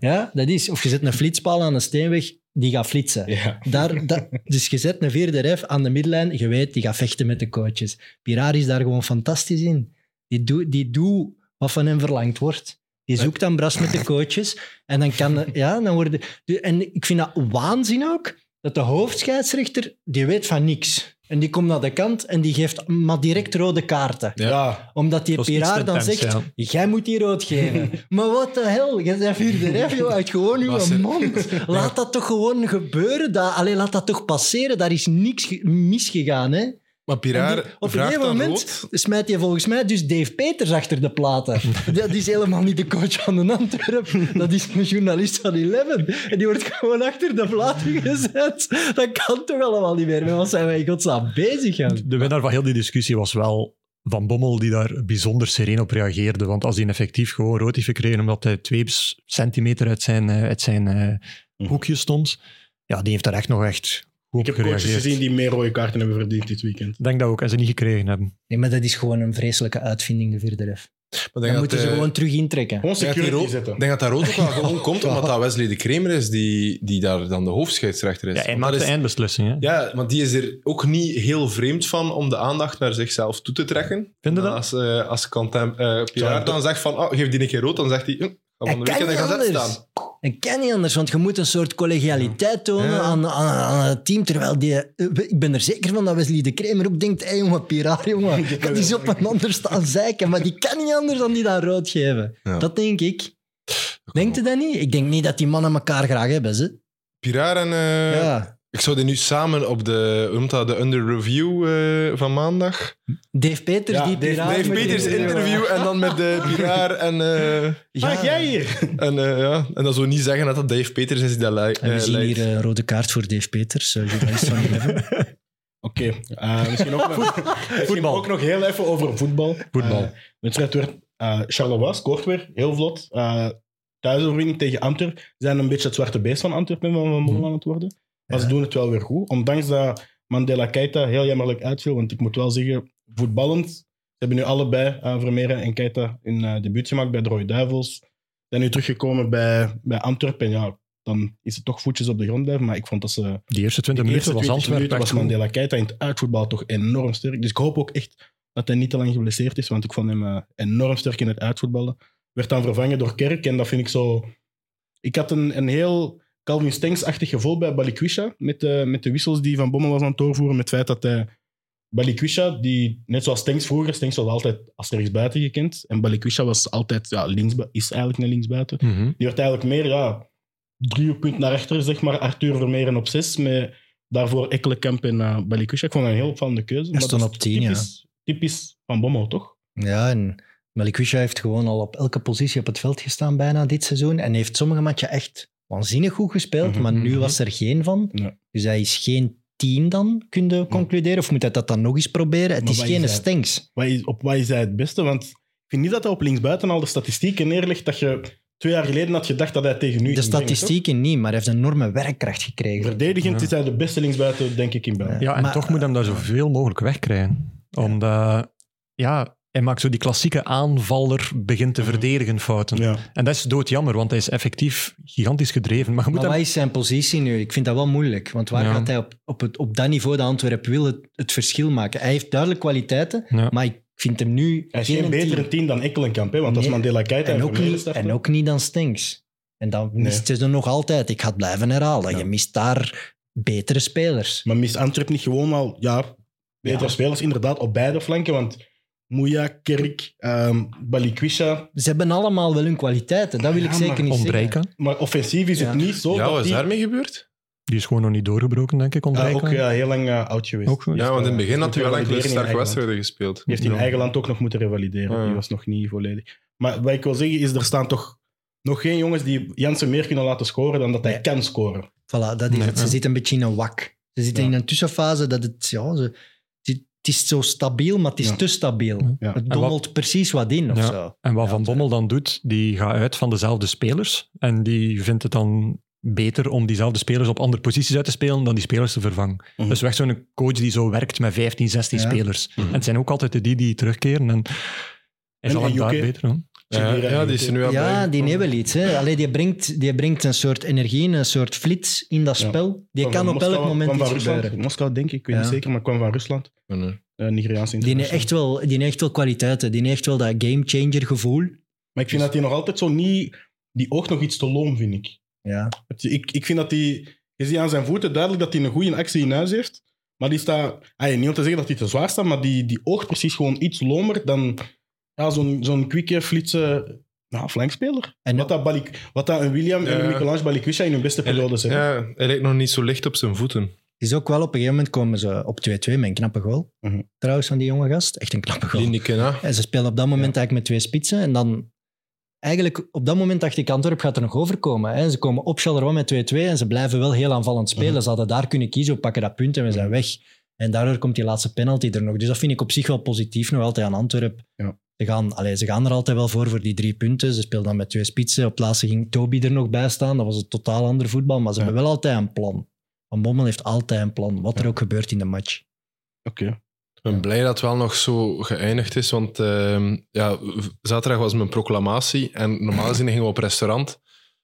Speaker 3: Ja, dat is. Of je zet een flitspaal aan een steenweg, die gaat flitsen.
Speaker 1: Ja.
Speaker 3: Daar, dat, dus je zet een vierde ref aan de middenlijn, je weet, die gaat vechten met de coaches. Pirari is daar gewoon fantastisch in. Die doet die doet wat van hem verlangd wordt. Die zoekt dan bras met de coaches. En dan kan... Ja, dan worden... En ik vind dat waanzin ook, dat de hoofdscheidsrechter, die weet van niks. En die komt naar de kant en die geeft maar direct rode kaarten.
Speaker 4: Ja.
Speaker 1: Ja.
Speaker 3: Omdat die
Speaker 2: Dat is iets
Speaker 3: Piraar
Speaker 2: te
Speaker 3: dan
Speaker 2: intens,
Speaker 3: zegt, jij moet die rood geven. maar wat de hel, jij bent vierde ref, joh, uit gewoon
Speaker 4: Was
Speaker 3: uw
Speaker 4: er-
Speaker 3: mond. Laat dat toch gewoon gebeuren. Dat, allee, laat dat toch passeren. Daar is niks ge- misgegaan, hè.
Speaker 4: Maar
Speaker 3: En
Speaker 4: Piraar
Speaker 3: die- op een
Speaker 4: vraagt
Speaker 3: gegeven
Speaker 4: aan
Speaker 3: moment
Speaker 4: rood.
Speaker 3: smijt je volgens mij dus Dave Peters achter de platen. dat is helemaal niet de coach van de Antwerp. Dat is een journalist van Eleven. En die wordt gewoon achter de platen gezet. Dat kan toch allemaal niet meer. Met wat zijn wij in godsnaam bezig, aan?
Speaker 2: De winnaar van heel die discussie was wel Van Bommel, die daar bijzonder sereen op reageerde. Want als hij effectief gewoon rood heeft gekregen omdat hij twee s- centimeter uit zijn, eh, uit zijn eh,
Speaker 1: Mhm.
Speaker 2: hoekje stond, ja, die heeft daar echt nog echt
Speaker 1: Ik
Speaker 2: goed op
Speaker 1: heb coaches
Speaker 2: gereageerd.
Speaker 1: gezien die meer rode kaarten hebben verdiend dit weekend.
Speaker 2: Ik denk dat ook, en ze niet gekregen hebben.
Speaker 3: Nee, maar dat is gewoon een vreselijke uitvinding, de vierde ref.
Speaker 4: Maar
Speaker 3: Dan
Speaker 4: denk dat,
Speaker 3: moeten ze
Speaker 4: eh,
Speaker 3: gewoon terug intrekken.
Speaker 1: Gewoon
Speaker 4: Ik denk, dat
Speaker 1: security
Speaker 4: die rood-
Speaker 1: zetten.
Speaker 4: ik denk dat dat rood ook wel gewoon komt, omdat dat Wesley de Kramer is die, die daar dan de hoofdscheidsrechter is.
Speaker 2: Ja, hij
Speaker 4: Want
Speaker 2: maakt
Speaker 4: dat
Speaker 2: de
Speaker 4: is-
Speaker 2: eindbeslissing. Hè?
Speaker 4: Ja, want die is er ook niet heel vreemd van om de aandacht naar zichzelf toe te trekken.
Speaker 2: Vind je
Speaker 4: En
Speaker 2: dat?
Speaker 4: Als, eh als Kantem, eh, Piraar dan zegt van, oh, geef die een keer rood, dan zegt hij, hm, ga
Speaker 3: En
Speaker 4: van de weekend in de gazet staan.
Speaker 3: Ik kan niet anders, want je moet een soort collegialiteit tonen
Speaker 4: Ja.
Speaker 3: aan, aan, aan het team. Terwijl die, eh, ik ben er zeker van dat Wesley de Kramer ook denkt: hé hey, jongen, piraar, jongen, ik had eens op een ander staan zeiken. Maar die kan niet anders dan die dat rood geven.
Speaker 4: Ja.
Speaker 3: Dat denk ik. Denkt u dat niet? Ik denk niet dat die mannen elkaar graag hebben. Ze.
Speaker 4: Piraar en... eh,
Speaker 3: Ja.
Speaker 4: Ik zou die nu samen op de, hoe noemt dat, de under review eh, van maandag.
Speaker 3: Dave Peters,
Speaker 1: Ja,
Speaker 3: die
Speaker 1: Dave-
Speaker 3: piraar.
Speaker 4: Dave
Speaker 3: met die-
Speaker 4: Peters interview en dan met de Piraar en... eh,
Speaker 3: Ja.
Speaker 1: Ah, jij hier?
Speaker 4: en, eh, ja. en dan zo niet zeggen dat dat Dave Peters is die dat li-
Speaker 3: En we
Speaker 4: eh,
Speaker 3: zien
Speaker 4: leidt.
Speaker 3: hier eh, een rode kaart voor Dave Peters, eh, journalist van Eleven.
Speaker 1: Oké, eh, misschien, ook nog, misschien
Speaker 2: Voetbal.
Speaker 1: ook nog heel even over voetbal.
Speaker 2: Voetbal.
Speaker 1: Eh, de wedstrijd werd eh, Charleroi scoort weer, heel vlot. Eh thuisoverwinning tegen Antwerp. Ze zijn een beetje het zwarte beest van Antwerpen van Van
Speaker 2: Mhm.
Speaker 1: Bommel aan het worden. Maar ze doen het wel weer goed. Ondanks dat Mandela Keita heel jammerlijk uitviel. Want ik moet wel zeggen, voetballend. Ze hebben nu allebei, eh Vermeeren en Keita, hun eh, debuut gemaakt bij de Rode Duivels. Ze zijn nu teruggekomen bij, bij Antwerpen. En ja, dan is het toch voetjes op de grond blijven. Maar ik vond dat ze
Speaker 2: Die eerste 20
Speaker 1: de
Speaker 2: minuten
Speaker 1: eerste
Speaker 2: was
Speaker 1: 20
Speaker 2: Antwerpen
Speaker 1: minuten
Speaker 2: echt
Speaker 1: was
Speaker 2: goed.
Speaker 1: Mandela Keita in het uitvoetbal toch enorm sterk. Dus ik hoop ook echt dat hij niet te lang geblesseerd is, want ik vond hem eh, enorm sterk in het uitvoetballen. Werd dan vervangen door Kerk en dat vind ik zo... Ik had een, een heel Calvin Stengs-achtig gevoel bij Balikwisha met de, met de wissels die Van Bommel was aan het doorvoeren, met het feit dat hij... Balikwisha, die net zoals Stengs vroeger, Stengs was altijd als rechtsbuiten gekend. En Balikwisha was altijd, ja, linksbu- is eigenlijk een linksbuiten.
Speaker 2: Mhm.
Speaker 1: Die werd eigenlijk meer, ja, driehoekpunt naar achter, zeg maar. Arthur Vermeeren op zes, met daarvoor Ekkelenkamp en eh Balikusha. Ik vond dat een heel opvallende keuze. maar
Speaker 3: stond
Speaker 1: dat is
Speaker 3: op tien, ja.
Speaker 1: typisch, Typisch Van Bommel, toch?
Speaker 3: Ja, en Melikwisha heeft gewoon al op elke positie op het veld gestaan bijna dit seizoen. En heeft sommige matchen echt waanzinnig goed gespeeld,
Speaker 1: Mhm.
Speaker 3: maar nu was er geen van.
Speaker 1: Ja.
Speaker 3: Dus hij is geen tien dan, kun je concluderen. Of moet hij dat dan nog eens proberen? Het
Speaker 1: Maar
Speaker 3: is
Speaker 1: wat
Speaker 3: geen
Speaker 1: is hij?
Speaker 3: Stengs.
Speaker 1: Wat is, op wat is hij het beste? Want ik vind niet dat hij op linksbuiten al de statistieken neerlegt dat je twee jaar geleden had gedacht dat hij tegen nu...
Speaker 3: De
Speaker 1: ging brengen,
Speaker 3: statistieken niet, maar hij heeft een enorme werkkracht
Speaker 1: toch?
Speaker 3: gekregen.
Speaker 1: Verdedigend
Speaker 2: Ja.
Speaker 1: is hij de beste linksbuiten, denk ik, in België.
Speaker 2: Ja, en
Speaker 3: Maar-
Speaker 2: toch moet hem daar zoveel mogelijk wegkrijgen. Omdat, ja, hij maakt zo die klassieke aanvaller begint
Speaker 1: Mhm.
Speaker 2: te verdedigen fouten.
Speaker 1: Ja.
Speaker 2: En dat is doodjammer, want hij is effectief gigantisch gedreven. Maar je moet
Speaker 3: Maar
Speaker 2: hem...
Speaker 3: wat is zijn positie nu? Ik vind dat wel moeilijk. Want waar
Speaker 2: Ja.
Speaker 3: gaat hij op, op, het, op dat niveau dat Antwerpen wil het, het verschil maken? Hij heeft duidelijk kwaliteiten,
Speaker 2: Ja.
Speaker 3: maar ik vind hem nu
Speaker 1: Hij is geen
Speaker 3: een
Speaker 1: betere
Speaker 3: tien.
Speaker 1: team, dan Ekkelenkamp, hè, want als
Speaker 3: Nee.
Speaker 1: Mandela Keita
Speaker 3: En
Speaker 1: en
Speaker 3: ook,
Speaker 1: Vermeeren
Speaker 3: niet,
Speaker 1: starten-
Speaker 3: en ook niet dan Stinks. En dan mist je ze nog altijd. Ik ga het blijven herhalen.
Speaker 1: Ja.
Speaker 3: Je mist daar betere spelers.
Speaker 1: Maar mist Antwerp niet gewoon al ja, betere
Speaker 3: Ja.
Speaker 1: spelers inderdaad op beide flanken? Want Moeja, Kerk, ehm Balikwisha.
Speaker 3: Ze hebben allemaal wel hun kwaliteiten. Dat wil
Speaker 1: Ja,
Speaker 3: ik
Speaker 1: maar
Speaker 3: zeker niet zeggen.
Speaker 2: Ondrijka,
Speaker 1: Maar offensief is het
Speaker 3: Ja.
Speaker 1: niet zo.
Speaker 4: Ja,
Speaker 1: dat
Speaker 4: wat is
Speaker 1: Oh, die-
Speaker 4: daarmee gebeurd?
Speaker 2: die is gewoon nog niet doorgebroken, denk ik.
Speaker 1: Ja,
Speaker 2: Ondrijka.
Speaker 1: ook ja, heel lang eh, oud geweest.
Speaker 2: Ook goed.
Speaker 4: Ja, want in het begin had hij wel enkele
Speaker 1: Revalideren in
Speaker 4: sterke
Speaker 1: eigen
Speaker 4: wedstrijden gespeeld.
Speaker 1: Die heeft in
Speaker 4: Ja.
Speaker 1: eigen land ook nog moeten revalideren.
Speaker 4: Ja.
Speaker 1: Die was nog niet volledig. Maar wat ik wil zeggen is, er staan toch nog geen jongens die Jansen meer kunnen laten scoren dan dat hij
Speaker 3: Nee.
Speaker 1: kan scoren.
Speaker 3: Voilà, dat is
Speaker 2: Nee,
Speaker 3: het. Ze
Speaker 2: ja.
Speaker 3: zitten een beetje in een wak. Ze zitten
Speaker 1: Ja.
Speaker 3: in een tussenfase dat het... Ja, ze, het het is zo stabiel, maar het is
Speaker 1: Ja.
Speaker 3: te stabiel.
Speaker 1: Ja.
Speaker 3: Het
Speaker 2: wat-
Speaker 3: dommelt precies wat in of
Speaker 2: Ja.
Speaker 3: zo.
Speaker 2: En wat
Speaker 3: Ja,
Speaker 2: Van Bommel dan doet, die gaat uit van dezelfde spelers. En die vindt het dan beter om diezelfde spelers op andere posities uit te spelen dan die spelers te vervangen.
Speaker 1: Mhm.
Speaker 2: Dus weg zo'n coach die zo werkt met 15, 16
Speaker 3: Ja.
Speaker 2: spelers.
Speaker 4: Mhm.
Speaker 2: En het zijn ook altijd de die die terugkeren. En hij zal
Speaker 1: en
Speaker 2: het daar
Speaker 1: UK?
Speaker 2: beter doen.
Speaker 4: Ja, ja, die is er nu aan
Speaker 3: Ja, die
Speaker 4: bijgekomen.
Speaker 3: hebben iets. Hè. Allee, die, brengt, die brengt een soort energie, een soort flits in dat
Speaker 1: Ja.
Speaker 3: spel. Die kan op elk moment
Speaker 1: kwam
Speaker 3: iets
Speaker 1: van Rusland.
Speaker 3: gebeuren.
Speaker 1: Moskou, denk ik, ik weet
Speaker 3: Ja.
Speaker 1: niet zeker, maar kwam van Rusland.
Speaker 4: Ja, nee.
Speaker 1: Eh Nigeriaanse
Speaker 3: Die heeft,
Speaker 1: international.
Speaker 3: echt wel, die heeft echt wel kwaliteiten. Die heeft wel dat gamechanger gevoel.
Speaker 1: Maar ik
Speaker 4: Dus-
Speaker 1: vind dat hij nog altijd zo niet... Die oogt nog iets te loom, vind ik.
Speaker 3: Ja.
Speaker 1: Het- Ik, ik vind dat hij... Je ziet aan zijn voeten duidelijk dat hij een goede actie in huis heeft. Maar die staat... Ay, niet om te zeggen dat hij te zwaar staat, maar die, die oogt precies gewoon iets lomer dan ja, zo'n zo'n kwikke, flitsen nou, flankspeler.
Speaker 3: En-
Speaker 1: wat, dat Balik, wat dat een William en
Speaker 4: Ja.
Speaker 1: een Michelangelo Balikwisha in hun beste periode zijn.
Speaker 4: ja, hij lijkt nog niet zo licht op zijn voeten.
Speaker 3: Het is ook wel op een gegeven moment komen ze op 2-2 met een knappe goal.
Speaker 1: Mhm.
Speaker 3: Trouwens, van die jonge gast. Echt een knappe goal.
Speaker 4: Lineker, hè?
Speaker 3: En ze spelen op dat moment eigenlijk met twee spitsen. En dan eigenlijk op dat moment dacht ik, Antwerp gaat er nog overkomen. Hè. Ze komen op Charleroi met 2-2 en ze blijven wel heel aanvallend spelen.
Speaker 1: Mhm.
Speaker 3: Ze hadden daar kunnen kiezen, we pakken dat punt en we zijn weg. En daardoor komt die laatste penalty er nog. Dus dat vind ik op zich wel positief nog altijd aan Antwerp.
Speaker 1: Ja.
Speaker 3: Ze, gaan, allee, ze gaan er altijd wel voor, voor die drie punten. Ze speelden dan met twee spitsen. Op het laatste ging Toby er nog bij staan. Dat was een totaal ander voetbal, maar ze
Speaker 1: Ja.
Speaker 3: hebben wel altijd een plan. Van Bommel heeft altijd een plan, wat er
Speaker 1: Ja.
Speaker 3: ook gebeurt in de match.
Speaker 1: Oké.
Speaker 4: Ik ben blij dat het wel nog zo geëindigd is, want ehm, ja, v- zaterdag was mijn proclamatie en normaal gezien gingen we op restaurant.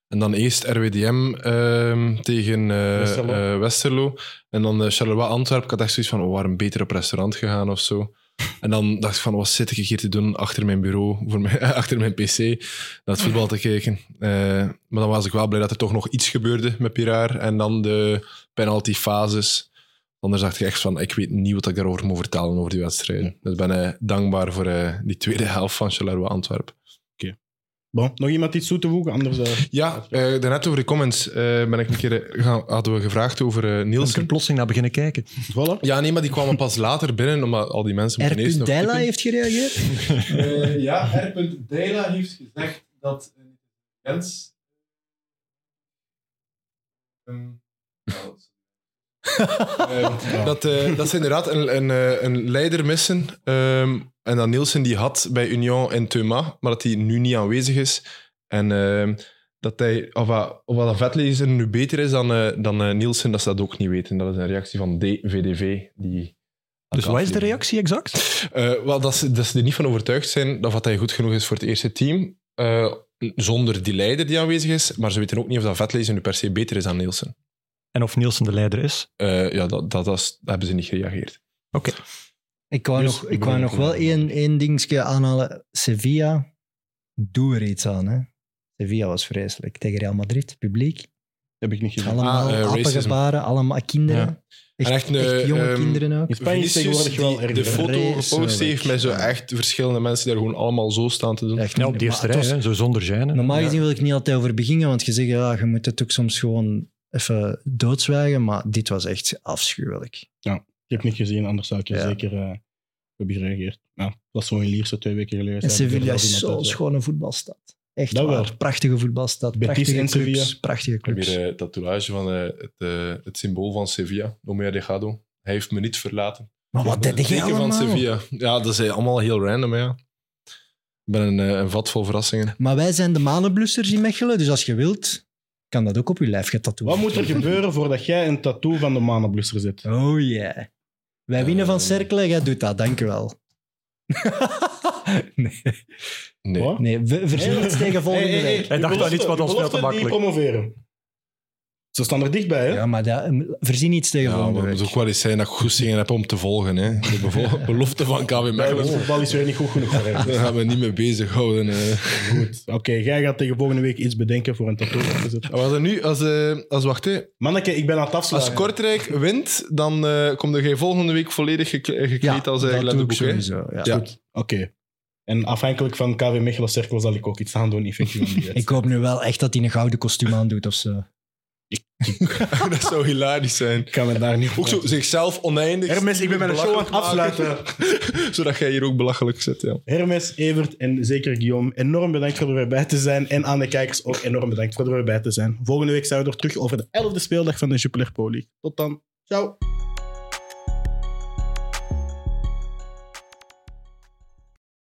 Speaker 4: En dan eerst RWDM ehm, tegen eh,
Speaker 1: Westerlo.
Speaker 4: eh, Westerlo. En dan eh, Charleroi Antwerpen. Ik had echt zoiets van, we waren beter op restaurant gegaan of zo. En dan dacht ik van, wat zit ik hier te doen achter mijn bureau, voor mijn, achter mijn pc, naar het voetbal te kijken. Eh, maar dan was ik wel blij dat er toch nog iets gebeurde met Piraar. En dan de penaltyfases. Anders dacht ik echt van, ik weet niet wat ik daarover moet vertellen over die wedstrijden. Dus ik ben eh, dankbaar voor eh, die tweede helft van Charleroi Antwerpen.
Speaker 1: Bon, nog iemand iets toe te voegen? Anders... eh,
Speaker 4: Ja, eh daarnet over de comments eh, ben ik een keer, eh, gaan- hadden we gevraagd over eh
Speaker 2: Dan is er
Speaker 4: Nielsen.
Speaker 2: plotseling naar beginnen kijken.
Speaker 1: voilà.
Speaker 4: Ja, nee, maar die kwamen pas later binnen, omdat al die mensen
Speaker 3: R.
Speaker 4: moeten eerst nog
Speaker 3: Della
Speaker 4: typen.
Speaker 3: heeft gereageerd.
Speaker 5: Eh, ja, R. Dela heeft gezegd dat eh, een mens. Een, nou,
Speaker 1: Ja.
Speaker 4: Dat, eh, dat ze inderdaad een, een, eh, een leider missen. Ehm, en dat Nielsen die had bij Union en Thuma, maar dat hij nu niet aanwezig is. En ehm, dat hij, of, wat- of dat Vetlezer nu beter is dan, eh, dan eh, Nielsen, dat ze dat ook niet weten. Dat is een reactie van DVDV. Die
Speaker 2: Dus wat is de reactie exact?
Speaker 4: Eh, wel, dat ze, dat ze er niet van overtuigd zijn dat wat hij goed genoeg is voor het eerste team. eh, zonder die leider die aanwezig is. Maar ze weten ook niet of dat Vetlezer nu per se beter is dan Nielsen.
Speaker 2: En of Nielsen de leider is?
Speaker 4: Eh, ja, dat, dat, dat, is- daar hebben ze niet gereageerd.
Speaker 3: Ik wou
Speaker 1: Dus
Speaker 3: nog,
Speaker 1: ik
Speaker 3: ik wou
Speaker 1: ben
Speaker 3: nog
Speaker 1: ook
Speaker 3: wel
Speaker 1: wel-
Speaker 3: één, één dingetje aanhalen. Sevilla, doe er iets aan. Hè. Sevilla was vreselijk. Tegen Real Madrid, publiek.
Speaker 1: Heb ik niet gezien.
Speaker 3: Allemaal
Speaker 4: Ah, eh, racism.
Speaker 3: appengebaren, allemaal kinderen.
Speaker 2: Ja.
Speaker 3: Echt,
Speaker 4: En echt een,
Speaker 3: echt jonge
Speaker 4: ehm,
Speaker 3: kinderen ook.
Speaker 1: In Spanje is
Speaker 4: Vinicius
Speaker 1: tegenwoordig wel erg.
Speaker 4: die de
Speaker 1: hè.
Speaker 4: foto gepost
Speaker 3: Vreselijk.
Speaker 4: heeft met zo echt verschillende mensen die daar gewoon allemaal zo staan te doen.
Speaker 3: Echt
Speaker 2: Ja, op
Speaker 3: niet
Speaker 2: de eerste
Speaker 3: normaal.
Speaker 2: rij,
Speaker 3: Het was-
Speaker 2: hè, zo zonder gêne.
Speaker 3: Normaal gezien wil ik niet altijd over beginnen, want je zegt, ja, je moet het ook soms gewoon even doodzwijgen. Maar dit was echt afschuwelijk.
Speaker 1: Ik heb niet gezien, anders zou ik er
Speaker 3: Ja.
Speaker 1: zeker eh hebben gereageerd. Nou, dat was zo in Lierse twee weken geleden.
Speaker 3: En
Speaker 1: zei ik er
Speaker 3: Sevilla
Speaker 1: zelf
Speaker 3: is
Speaker 1: iemand
Speaker 3: zo'n
Speaker 1: uit, eh,
Speaker 3: schone voetbalstad. Echt
Speaker 1: Dat
Speaker 3: waar.
Speaker 1: wel.
Speaker 3: Prachtige voetbalstad.
Speaker 1: Betis
Speaker 3: Prachtige
Speaker 1: en
Speaker 3: clubs.
Speaker 1: Sevilla.
Speaker 3: Prachtige
Speaker 4: Ik heb
Speaker 3: clubs.
Speaker 4: hier eh, een tatoeage van eh, het, eh, het symbool van Sevilla, Omea de Gado. Hij heeft me niet verlaten.
Speaker 3: Maar wat
Speaker 4: Dat
Speaker 3: deed
Speaker 4: is
Speaker 3: je
Speaker 4: het teken van
Speaker 3: allemaal?
Speaker 4: Sevilla. Ja, dat is eh, allemaal heel random, ja. Ik ben een, eh, een vat vol verrassingen.
Speaker 3: Maar wij zijn de manenblussers in Mechelen, dus als je wilt, kan dat ook op je lijf getatoeëerd
Speaker 1: Wat moet er gebeuren voordat jij een tattoo van de manenblusser zet?
Speaker 3: Oh yeah. Wij winnen van
Speaker 1: Ehm.
Speaker 4: Eh.
Speaker 3: cirkelen, jij doet dat, dankjewel. nee,
Speaker 4: Nee.
Speaker 1: Wat?
Speaker 3: nee we verzin iets tegen volgende
Speaker 1: Hey, hey, hey,
Speaker 3: week.
Speaker 2: Hij
Speaker 1: je
Speaker 2: dacht aan
Speaker 1: belofte-
Speaker 2: iets wat
Speaker 1: je
Speaker 2: ons veel te
Speaker 1: belofte die
Speaker 2: makkelijk.
Speaker 1: promoveren. Ze staan er dichtbij, hè?
Speaker 3: Ja, maar dat, verzin iets tegen
Speaker 4: Ja,
Speaker 3: volgende
Speaker 4: maar het
Speaker 3: week.
Speaker 4: moet ook wel eens zijn dat ik goestingen heb om te volgen. Hè. De bevo- belofte van KW
Speaker 1: Bij ons
Speaker 4: Mechelen.
Speaker 1: voetbal is weer niet goed genoeg voor
Speaker 4: Daar
Speaker 1: hem.
Speaker 4: gaan we niet mee bezighouden. eh.
Speaker 1: Goed. Oké, jij gaat tegen volgende week iets bedenken voor een tattoo op te zetten.
Speaker 4: Wat is er nu? Als, eh, als wacht, hè.
Speaker 1: Manneke, ik ben aan het afslaan.
Speaker 4: Als Kortrijk wint, dan eh komt er geen volgende week volledig gekle- gekleed als
Speaker 3: dat doe
Speaker 4: uh,
Speaker 3: ik
Speaker 4: letterboek. hè.
Speaker 3: sowieso. Ja.
Speaker 4: Ja.
Speaker 1: Goed, oké. En afhankelijk van KW Mechelen Cirkel zal ik ook iets aan doen, effectief. aan die
Speaker 3: Ik
Speaker 1: wedstrijd.
Speaker 3: hoop nu wel echt dat hij een gouden kostuum aandoet of zo.
Speaker 4: dat zou hilarisch zijn.
Speaker 1: Ik kan me daar niet
Speaker 4: Ook zo zichzelf oneindig.
Speaker 1: Hermes, ik ben mijn show aan het
Speaker 4: belachelijk
Speaker 1: afsluiten.
Speaker 4: maken, Zodat jij hier ook belachelijk zit. Ja.
Speaker 1: Hermes, Evert en zeker Guillaume, enorm bedankt voor erbij te zijn. En aan de kijkers ook enorm bedankt voor erbij te zijn. Volgende week zijn we er terug over de 11e speeldag van de Jupiler Pro League. Tot dan. Ciao.